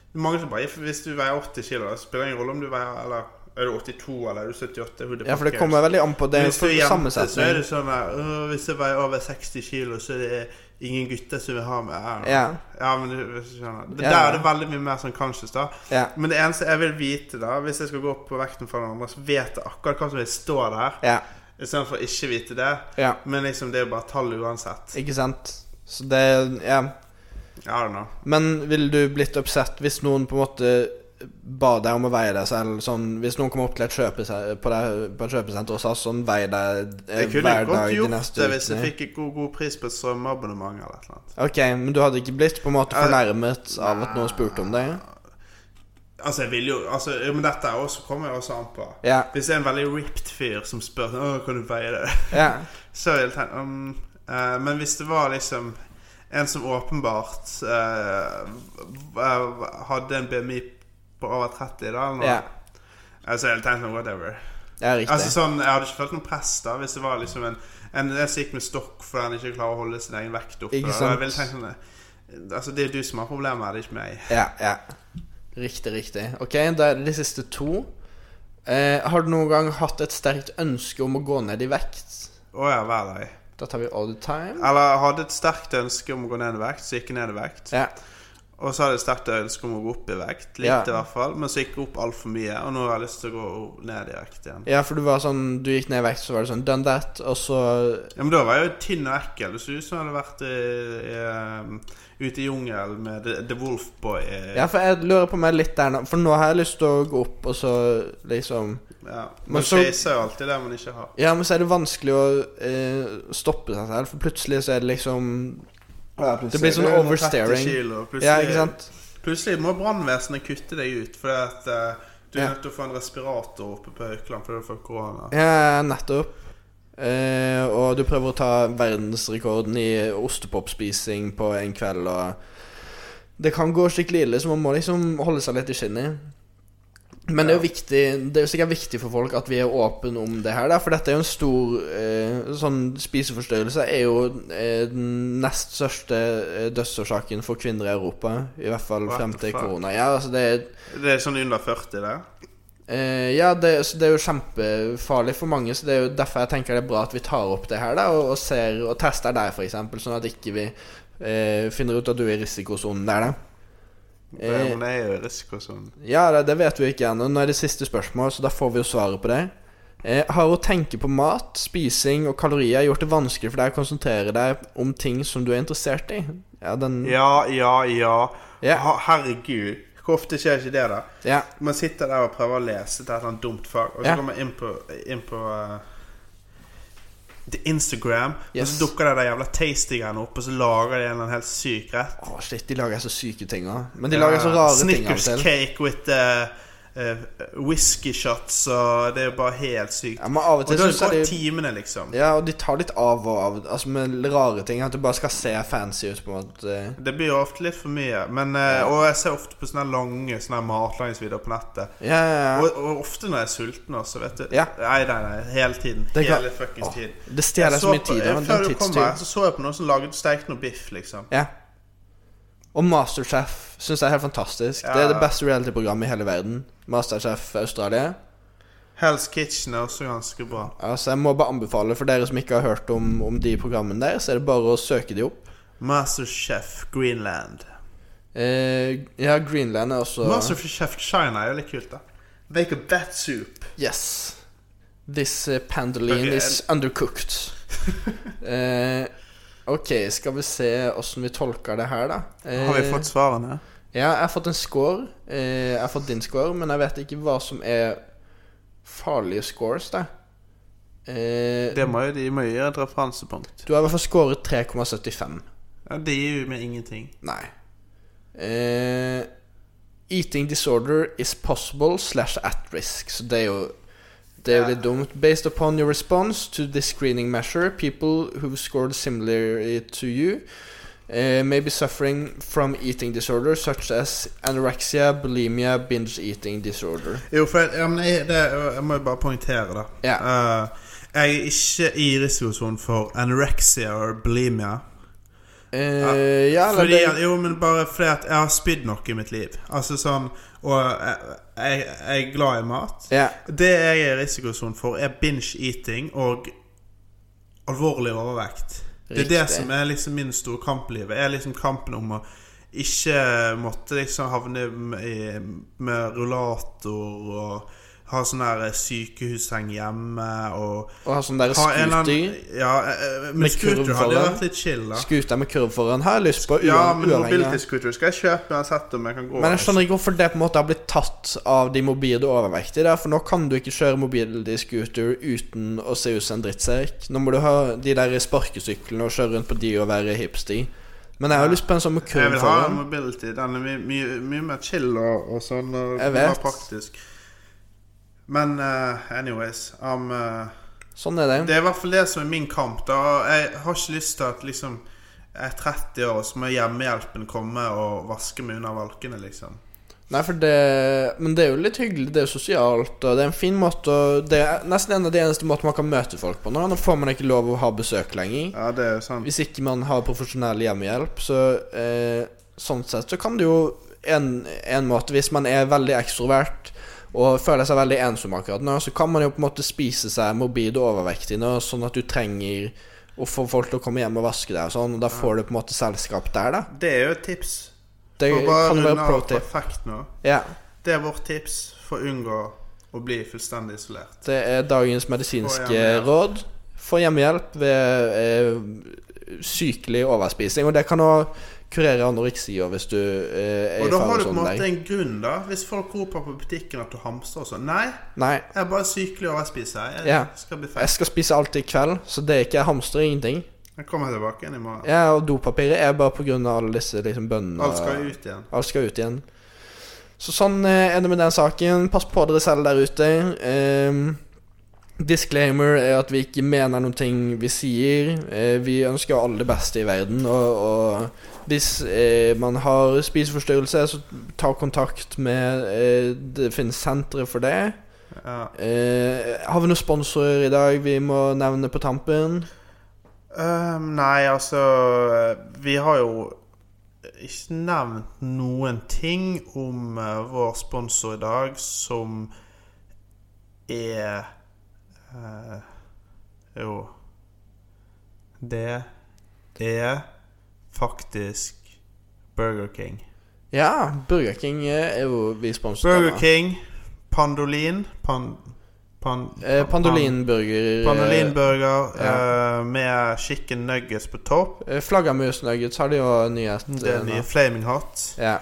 Speaker 3: Det er mange som bare for Hvis du veier 80 kg, spiller det ingen rolle om du veier Eller er du 82, eller er du 78? who the
Speaker 1: ja,
Speaker 3: fuck
Speaker 1: for det
Speaker 3: cares?
Speaker 1: kommer veldig an på det.
Speaker 3: Hvis du er
Speaker 1: for
Speaker 3: jente, så er
Speaker 1: sammensetning.
Speaker 3: det sånn at «Åh, Hvis jeg veier over 60 kilo, så er det ingen gutter som vil ha meg. her».
Speaker 1: Ja.
Speaker 3: ja men du, hvis du skjønner det,
Speaker 1: Ja.
Speaker 3: Der er det veldig mye mer sånn conscious, da.
Speaker 1: Ja.
Speaker 3: Men det eneste jeg vil vite, da hvis jeg skal gå opp på vekten for noen andre, så vet jeg akkurat hva som vil stå der,
Speaker 1: Ja.
Speaker 3: istedenfor ikke vite det.
Speaker 1: ja.
Speaker 3: Men liksom, det er jo bare tall uansett.
Speaker 1: Ikke sant? Så det Ja.
Speaker 3: I don't know.
Speaker 1: Men ville du blitt upset hvis noen på en måte ba deg om å veie deg selv? Sånn, hvis noen kom opp til et kjøpesenter, på, deg, på et kjøpesenter og sa sånn Vei deg eh,
Speaker 3: Jeg kunne
Speaker 1: hver dag
Speaker 3: godt
Speaker 1: de
Speaker 3: gjort
Speaker 1: neste
Speaker 3: det hvis jeg
Speaker 1: ukene.
Speaker 3: fikk en god, god pris på et strømabonnement eller et eller annet.
Speaker 1: Ok, men du hadde ikke blitt på en måte
Speaker 3: Ja, det-
Speaker 1: fornærmet av at noen spurte om det?
Speaker 3: Altså, jeg vil jo altså, jo, Men dette er også, kommer jeg også an på.
Speaker 1: Ja.
Speaker 3: Hvis det [laughs] er en veldig ripped fyr som spør Åh, kan du veie det,
Speaker 1: ja.
Speaker 3: så vil jeg tenke um, Eh, men hvis det var liksom en som åpenbart eh, v- eh, hadde en BMI på over 30, da, eller noe,
Speaker 1: Ja,
Speaker 3: eh, så hadde jeg tenkt noe whatever.
Speaker 1: ja riktig.
Speaker 3: Altså sånn, Jeg hadde ikke følt noe press da hvis det var liksom en, en jeg som gikk med stokk fordi han ikke klarer å holde sin egen vekt oppe.
Speaker 1: Ikke
Speaker 3: da.
Speaker 1: sant.
Speaker 3: Jeg ville tenkt sånn Altså, Det er jo du som har problemet, her, det er ikke meg.
Speaker 1: Ja, ja. Riktig, riktig. Ok, da er det de siste to. Eh, har du noen gang hatt et sterkt ønske om å gå ned i vekt?
Speaker 3: Å ja, hver dag.
Speaker 1: Da tar vi all the time.
Speaker 3: Eller jeg hadde et sterkt ønske om å gå ned i vekt, så gikk jeg ned i vekt.
Speaker 1: Ja,
Speaker 3: Og så hadde jeg et sterkt ønske om å gå opp i vekt, litt
Speaker 1: Ja.
Speaker 3: i hvert fall, men så gikk jeg opp altfor mye, og nå har jeg lyst til å gå ned i vekt igjen.
Speaker 1: ja for du var sånn Du gikk ned i vekt, så var det sånn done that, og så
Speaker 3: Ja, Men da var jeg jo tynn og ekkel. Det så ut som jeg hadde vært i, i, um, ute i jungelen med The, The Wolf Boy.
Speaker 1: Ja, for jeg lurer på meg litt der nå, for nå har jeg lyst til å gå opp, og så liksom
Speaker 3: Ja.
Speaker 1: Men
Speaker 3: Man
Speaker 1: så-
Speaker 3: chaser jo alltid det man ikke har.
Speaker 1: Ja, men så er det vanskelig å eh, stoppe seg selv, for plutselig så er det liksom Det blir sånn
Speaker 3: Det er jo noen 30
Speaker 1: overstaring.
Speaker 3: kilo, og
Speaker 1: Ja, ikke
Speaker 3: Plutselig,
Speaker 1: sant?
Speaker 3: plutselig må brannvesenet kutte deg ut fordi at eh, du er
Speaker 1: Ja.
Speaker 3: nødt til å få en respirator oppe på Haukeland fordi du har fått korona.
Speaker 1: Ja, nettopp. Eh, og du prøver å ta verdensrekorden i ostepopspising på en kveld, og Det kan gå skikkelig ille, så man må liksom holde seg litt i skinnet. Men det er jo viktig Det er jo sikkert viktig for folk at vi er åpne om det her, da, for dette er jo en stor eh, Sånn spiseforstyrrelse er jo eh, den nest største eh, dødsårsaken for kvinner i Europa. I hvert fall
Speaker 3: What
Speaker 1: frem
Speaker 3: the
Speaker 1: til
Speaker 3: fuck?
Speaker 1: korona. Ja, altså det er
Speaker 3: Det er sånn under 40, det.
Speaker 1: Eh, ja, det, så det er jo kjempefarlig for mange, så det er jo derfor jeg tenker det er bra at vi tar opp det her, da, og, og ser og tester der, f.eks., sånn at ikke vi eh, finner ut at du er i risikosonen der, da.
Speaker 3: det
Speaker 1: Eh.
Speaker 3: men det er jo i risikosonen.
Speaker 1: Ja, det, det vet vi ikke ennå. Nå er det siste spørsmål, så da får vi jo svaret på det. Eh, har å tenke på mat, spising og kalorier gjort det vanskelig for deg å konsentrere deg om ting som du er interessert i? Ja, den Ja.
Speaker 3: Ja, ja, ja.
Speaker 1: Mm. Ja.
Speaker 3: Ha- Herregud. Hvor ofte skjer ikke det, da?
Speaker 1: ja.
Speaker 3: Man sitter der og prøver å lese til et eller annet dumt fag, og så
Speaker 1: Ja.
Speaker 3: kommer man inn på, inn på eh, The Instagram, og
Speaker 1: Yes.
Speaker 3: så dukker det der jævla tasty-greiene opp, og så lager de en eller annen helt syk rett.
Speaker 1: Å, shit, de lager så syke ting òg. Men de lager så rare ting av og
Speaker 3: Snickers
Speaker 1: til.
Speaker 3: cake with eh, eh, whisky shots, og det er jo bare helt sykt.
Speaker 1: Ja, men av og
Speaker 3: og
Speaker 1: til
Speaker 3: da
Speaker 1: synes jeg
Speaker 3: går
Speaker 1: de
Speaker 3: timene, liksom.
Speaker 1: Ja, og de tar litt av og av, altså med rare ting. At det bare skal se fancy ut, på en måte.
Speaker 3: Det blir jo ofte litt for mye. Men, eh, og jeg ser ofte på sånne her lange sånne her matlagingsvideoer på nettet.
Speaker 1: Ja, ja, ja.
Speaker 3: Og, og ofte når jeg er sulten også, vet du.
Speaker 1: Ja.
Speaker 3: Nei, nei, nei. Hele tiden.
Speaker 1: Det er klart-
Speaker 3: Hele fuckings
Speaker 1: Åh,
Speaker 3: tid.
Speaker 1: Det stjeler
Speaker 3: Jeg
Speaker 1: så mye
Speaker 3: på-
Speaker 1: tid.
Speaker 3: jeg-
Speaker 1: Ja, men det
Speaker 3: Før
Speaker 1: er
Speaker 3: du
Speaker 1: en
Speaker 3: kom her,
Speaker 1: tidstyv.
Speaker 3: så så jeg på noen som laget steikt noe biff, liksom.
Speaker 1: Ja. Og Masterchef syns jeg er helt fantastisk. Det
Speaker 3: Ja.
Speaker 1: er det beste reality-programmet i hele verden. Masterchef Australia.
Speaker 3: Hell's Kitchen er også ganske bra.
Speaker 1: Altså, jeg må bare anbefale for dere som ikke har hørt om, om de programmene der, så er det bare å søke de opp.
Speaker 3: Masterchef Greenland.
Speaker 1: Eh, ja, Greenland er også
Speaker 3: Masterchef China er jo litt kult, da. Make a bat soup.
Speaker 1: Yes. This eh, pandoline
Speaker 3: Ok,
Speaker 1: is
Speaker 3: [laughs]
Speaker 1: undercooked. Eh, ok, skal vi se åssen vi tolker det her, da. Eh,
Speaker 3: Har vi fått svarene?
Speaker 1: Ja, jeg har fått en score. Eh, jeg har fått din score, men jeg vet ikke hva som er farlige scores, da. Eh,
Speaker 3: Det må jo, de må jo gjøre et referansepunkt.
Speaker 1: Du har i hvert fall scoret 3,75.
Speaker 3: Ja, det gir jo meg ingenting.
Speaker 1: Nei. Eh, eating disorder is possible slash at risk. Så det er jo det er jo litt dumt. Based upon your response to this screening measure, people who've scored similarly to you eh, may be suffering from eating disorder such as anorexia, bulimia, binge eating disorder.
Speaker 3: Jo, for jeg, ja, men jeg, det, jeg må jo bare poengtere, da.
Speaker 1: Ja.
Speaker 3: Eh, jeg er ikke i risikosonen for anorexia og bulimia.
Speaker 1: Eh, ja, eller
Speaker 3: Fordi,
Speaker 1: det,
Speaker 3: at- jo, men bare fordi at jeg har spydd nok i mitt liv. Altså sånn Og jeg, jeg, jeg er glad i mat.
Speaker 1: ja,
Speaker 3: Det jeg er i risikosonen for, er binge-eating og alvorlig overvekt. Det er det
Speaker 1: Riktig.
Speaker 3: som er liksom min store kamp i livet. Er liksom kampen om å ikke måtte liksom havne i, med rullator og ha sånn her sykehusseng hjemme og
Speaker 1: Å ha sånn der
Speaker 3: ha en eller
Speaker 1: scooter.
Speaker 3: annen Ja, eh,
Speaker 1: Med
Speaker 3: med scooter
Speaker 1: kurv
Speaker 3: hadde
Speaker 1: foran.
Speaker 3: vært litt chill, da.
Speaker 1: Scooter med kurv foran har jeg lyst på.
Speaker 3: Ja,
Speaker 1: uan-
Speaker 3: men
Speaker 1: uavhengig av-
Speaker 3: mobility-scooter skal jeg kjøpe uansett om jeg kan gå.
Speaker 1: Men jeg skjønner ikke hvorfor det på en måte har blitt tatt av de mobile overvektige. Der, for nå kan du ikke kjøre mobility-scooter uten å se ut som en drittsekk. Nå må du ha de der sparkesyklene og kjøre rundt på de og være hipster. Men jeg har lyst på en sånn med
Speaker 3: Jeg
Speaker 1: kurv
Speaker 3: vil ha en
Speaker 1: foran.
Speaker 3: mobility. Den er mye, mye, mye mer chill og, og sånn. Og
Speaker 1: Jeg
Speaker 3: mer
Speaker 1: vet.
Speaker 3: praktisk. Men eh, anyways I'm, eh,
Speaker 1: Sånn er det.
Speaker 3: Det er i hvert fall det som er min kamp. da Jeg har ikke lyst til at liksom jeg er 30 år, og så må hjemmehjelpen komme og vaske meg under valkene, liksom.
Speaker 1: Nei, for det Men det er jo litt hyggelig. Det er jo sosialt, og det er en fin måte å Det er nesten en av de eneste måtene man kan møte folk på nå. Nå får man ikke lov å ha besøk lenger.
Speaker 3: Ja, det er jo sant.
Speaker 1: Hvis ikke man har profesjonell hjemmehjelp, så eh, sånn sett så kan det jo en, en måte Hvis man er veldig ekstrovert og føler seg veldig ensom akkurat nå, så kan man jo på en måte spise seg morbid og overvektig nå, sånn at du trenger å få folk til å komme hjem og vaske deg og sånn, og da får du på en måte selskap der, da.
Speaker 3: Det er jo et tips.
Speaker 1: Det
Speaker 3: For å bare
Speaker 1: kan jo være
Speaker 3: runde
Speaker 1: pro
Speaker 3: av
Speaker 1: tip.
Speaker 3: perfekt nå.
Speaker 1: Ja.
Speaker 3: Det er vårt tips for å unngå å bli fullstendig isolert.
Speaker 1: Det er dagens medisinske
Speaker 3: hjemmehjelp.
Speaker 1: råd. Få hjemmehjelp ved eh, sykelig overspising, og det kan òg kurere anoreksier hvis du eh, er
Speaker 3: Og
Speaker 1: i
Speaker 3: da har du på en
Speaker 1: faresonen
Speaker 3: måte
Speaker 1: der.
Speaker 3: en grunn, da. Hvis folk roper på butikken at du hamstrer og sånn. Nei,
Speaker 1: Nei,
Speaker 3: jeg er bare sykelig overspiser. Jeg
Speaker 1: Ja.
Speaker 3: skal bli
Speaker 1: jeg
Speaker 3: feit.
Speaker 1: skal spise alt i kveld, så det er ikke jeg hamstrer ingenting.
Speaker 3: Jeg kommer tilbake igjen i morgen.
Speaker 1: Jeg og dopapiret er bare på grunn av alle disse liksom, bønnene.
Speaker 3: Alt skal ut igjen.
Speaker 1: Alt skal ut igjen. Så sånn eh, er det med den saken. Pass på dere selv der ute. Ehm, disclaimer er at vi ikke mener noen ting vi sier. Eh, vi ønsker alle det beste i verden, og, og hvis eh, man har spiseforstyrrelse, så ta kontakt med eh, Det finnes sentre for det.
Speaker 3: Ja.
Speaker 1: Eh, har vi noen sponsorer i dag vi må nevne på tampen?
Speaker 3: Ehm, nei, altså Vi har jo ikke nevnt noen ting om eh, vår sponsor i dag som er eh, Jo Det er faktisk Burger King.
Speaker 1: Ja, Burger King eh, er jo vi sponsorer.
Speaker 3: Burger King, Pandolin pan, pan,
Speaker 1: Eh,
Speaker 3: pan-
Speaker 1: Pandolinburger.
Speaker 3: Pandolinburger
Speaker 1: Eh, Ja.
Speaker 3: eh, med chicken nuggets på topp.
Speaker 1: Eh, Flaggermus nuggets har de jo nyhet.
Speaker 3: Det
Speaker 1: eh,
Speaker 3: er
Speaker 1: nå.
Speaker 3: nye Flaming Hot.
Speaker 1: Ja.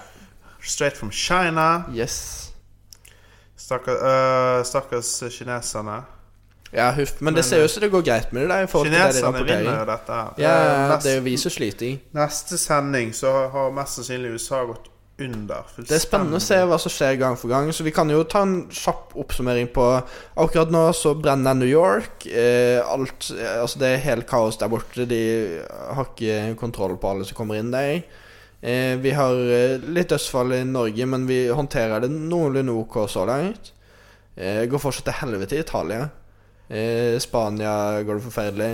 Speaker 3: Straight from China.
Speaker 1: Yes.
Speaker 3: Stakkars, øh, stakkars kineserne.
Speaker 1: Ja, huff. Men
Speaker 3: Men, eh,
Speaker 1: det ser jo ut som det går greit med det der. i forhold til det de
Speaker 3: Kineserne
Speaker 1: rapporterer.
Speaker 3: vinner jo dette. her. Eh,
Speaker 1: Ja,
Speaker 3: nest-
Speaker 1: det er jo vi som sliter. i.
Speaker 3: Neste sending så har mest sannsynlig USA gått under.
Speaker 1: Det er spennende å se hva som skjer gang for gang. Så vi kan jo ta en kjapp oppsummering på Akkurat nå så brenner New York. Eh, alt eh, Altså, det er helt kaos der borte. De har ikke kontroll på alle som kommer inn der. Eh, vi har eh, litt dødsfall i Norge, men vi håndterer det noenlunde ok så langt. Eh, går fortsatt til helvete i Italia. Eh, Spania går det forferdelig.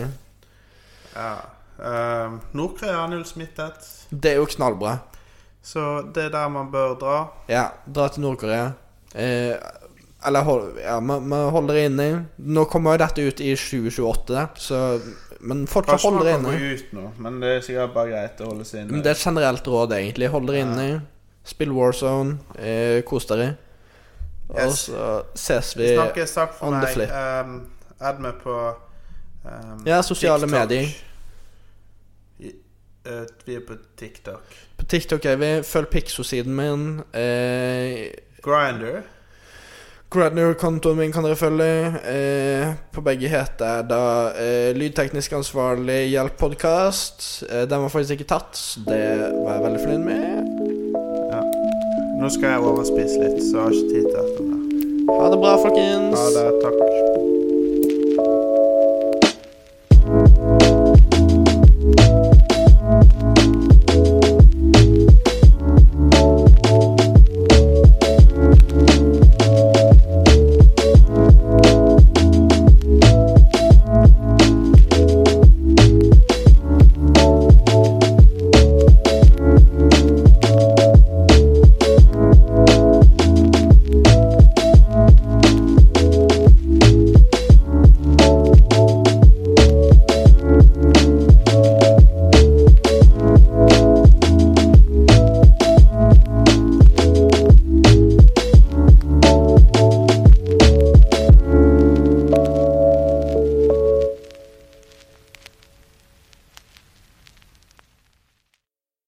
Speaker 3: Ja. Eh, Nord-Korea er null smittet.
Speaker 1: Det er jo knallbra.
Speaker 3: Så det er der man bør dra.
Speaker 1: Ja, dra til Nord-Korea. Eh, eller hold, ja, man, man holder det inne. Nå kommer jo dette ut i 2028, så Men fortsatt
Speaker 3: Kanskje
Speaker 1: hold
Speaker 3: man
Speaker 1: dere
Speaker 3: kan
Speaker 1: inne.
Speaker 3: gå ut nå, men det er sikkert bare greit å holde seg inne.
Speaker 1: Men det er et generelt råd, egentlig. Hold dere
Speaker 3: Ja.
Speaker 1: inne. Spill Warzone. Eh, kos dere. Og
Speaker 3: Yes.
Speaker 1: så ses vi
Speaker 3: Vi snakkes. Takk for
Speaker 1: on the
Speaker 3: meg.
Speaker 1: flip.
Speaker 3: Um, add meg på um,
Speaker 1: Ja, sosiale medier.
Speaker 3: I- eh, vi er på TikTok.
Speaker 1: på TikTok. Er vi. Følg Pixo-siden min. Eh,
Speaker 3: Grinder.
Speaker 1: Gradner-kontoen min kan dere følge. Eh, på begge heter jeg da eh, Lydteknisk ansvarlig hjelp podkast. Eh, den var faktisk ikke tatt, så det var jeg veldig fornøyd med.
Speaker 3: Nå skal jeg overspise litt, så jeg har ikke tid til dette mer.
Speaker 1: Ha det bra, folkens.
Speaker 3: Ha det. Takk.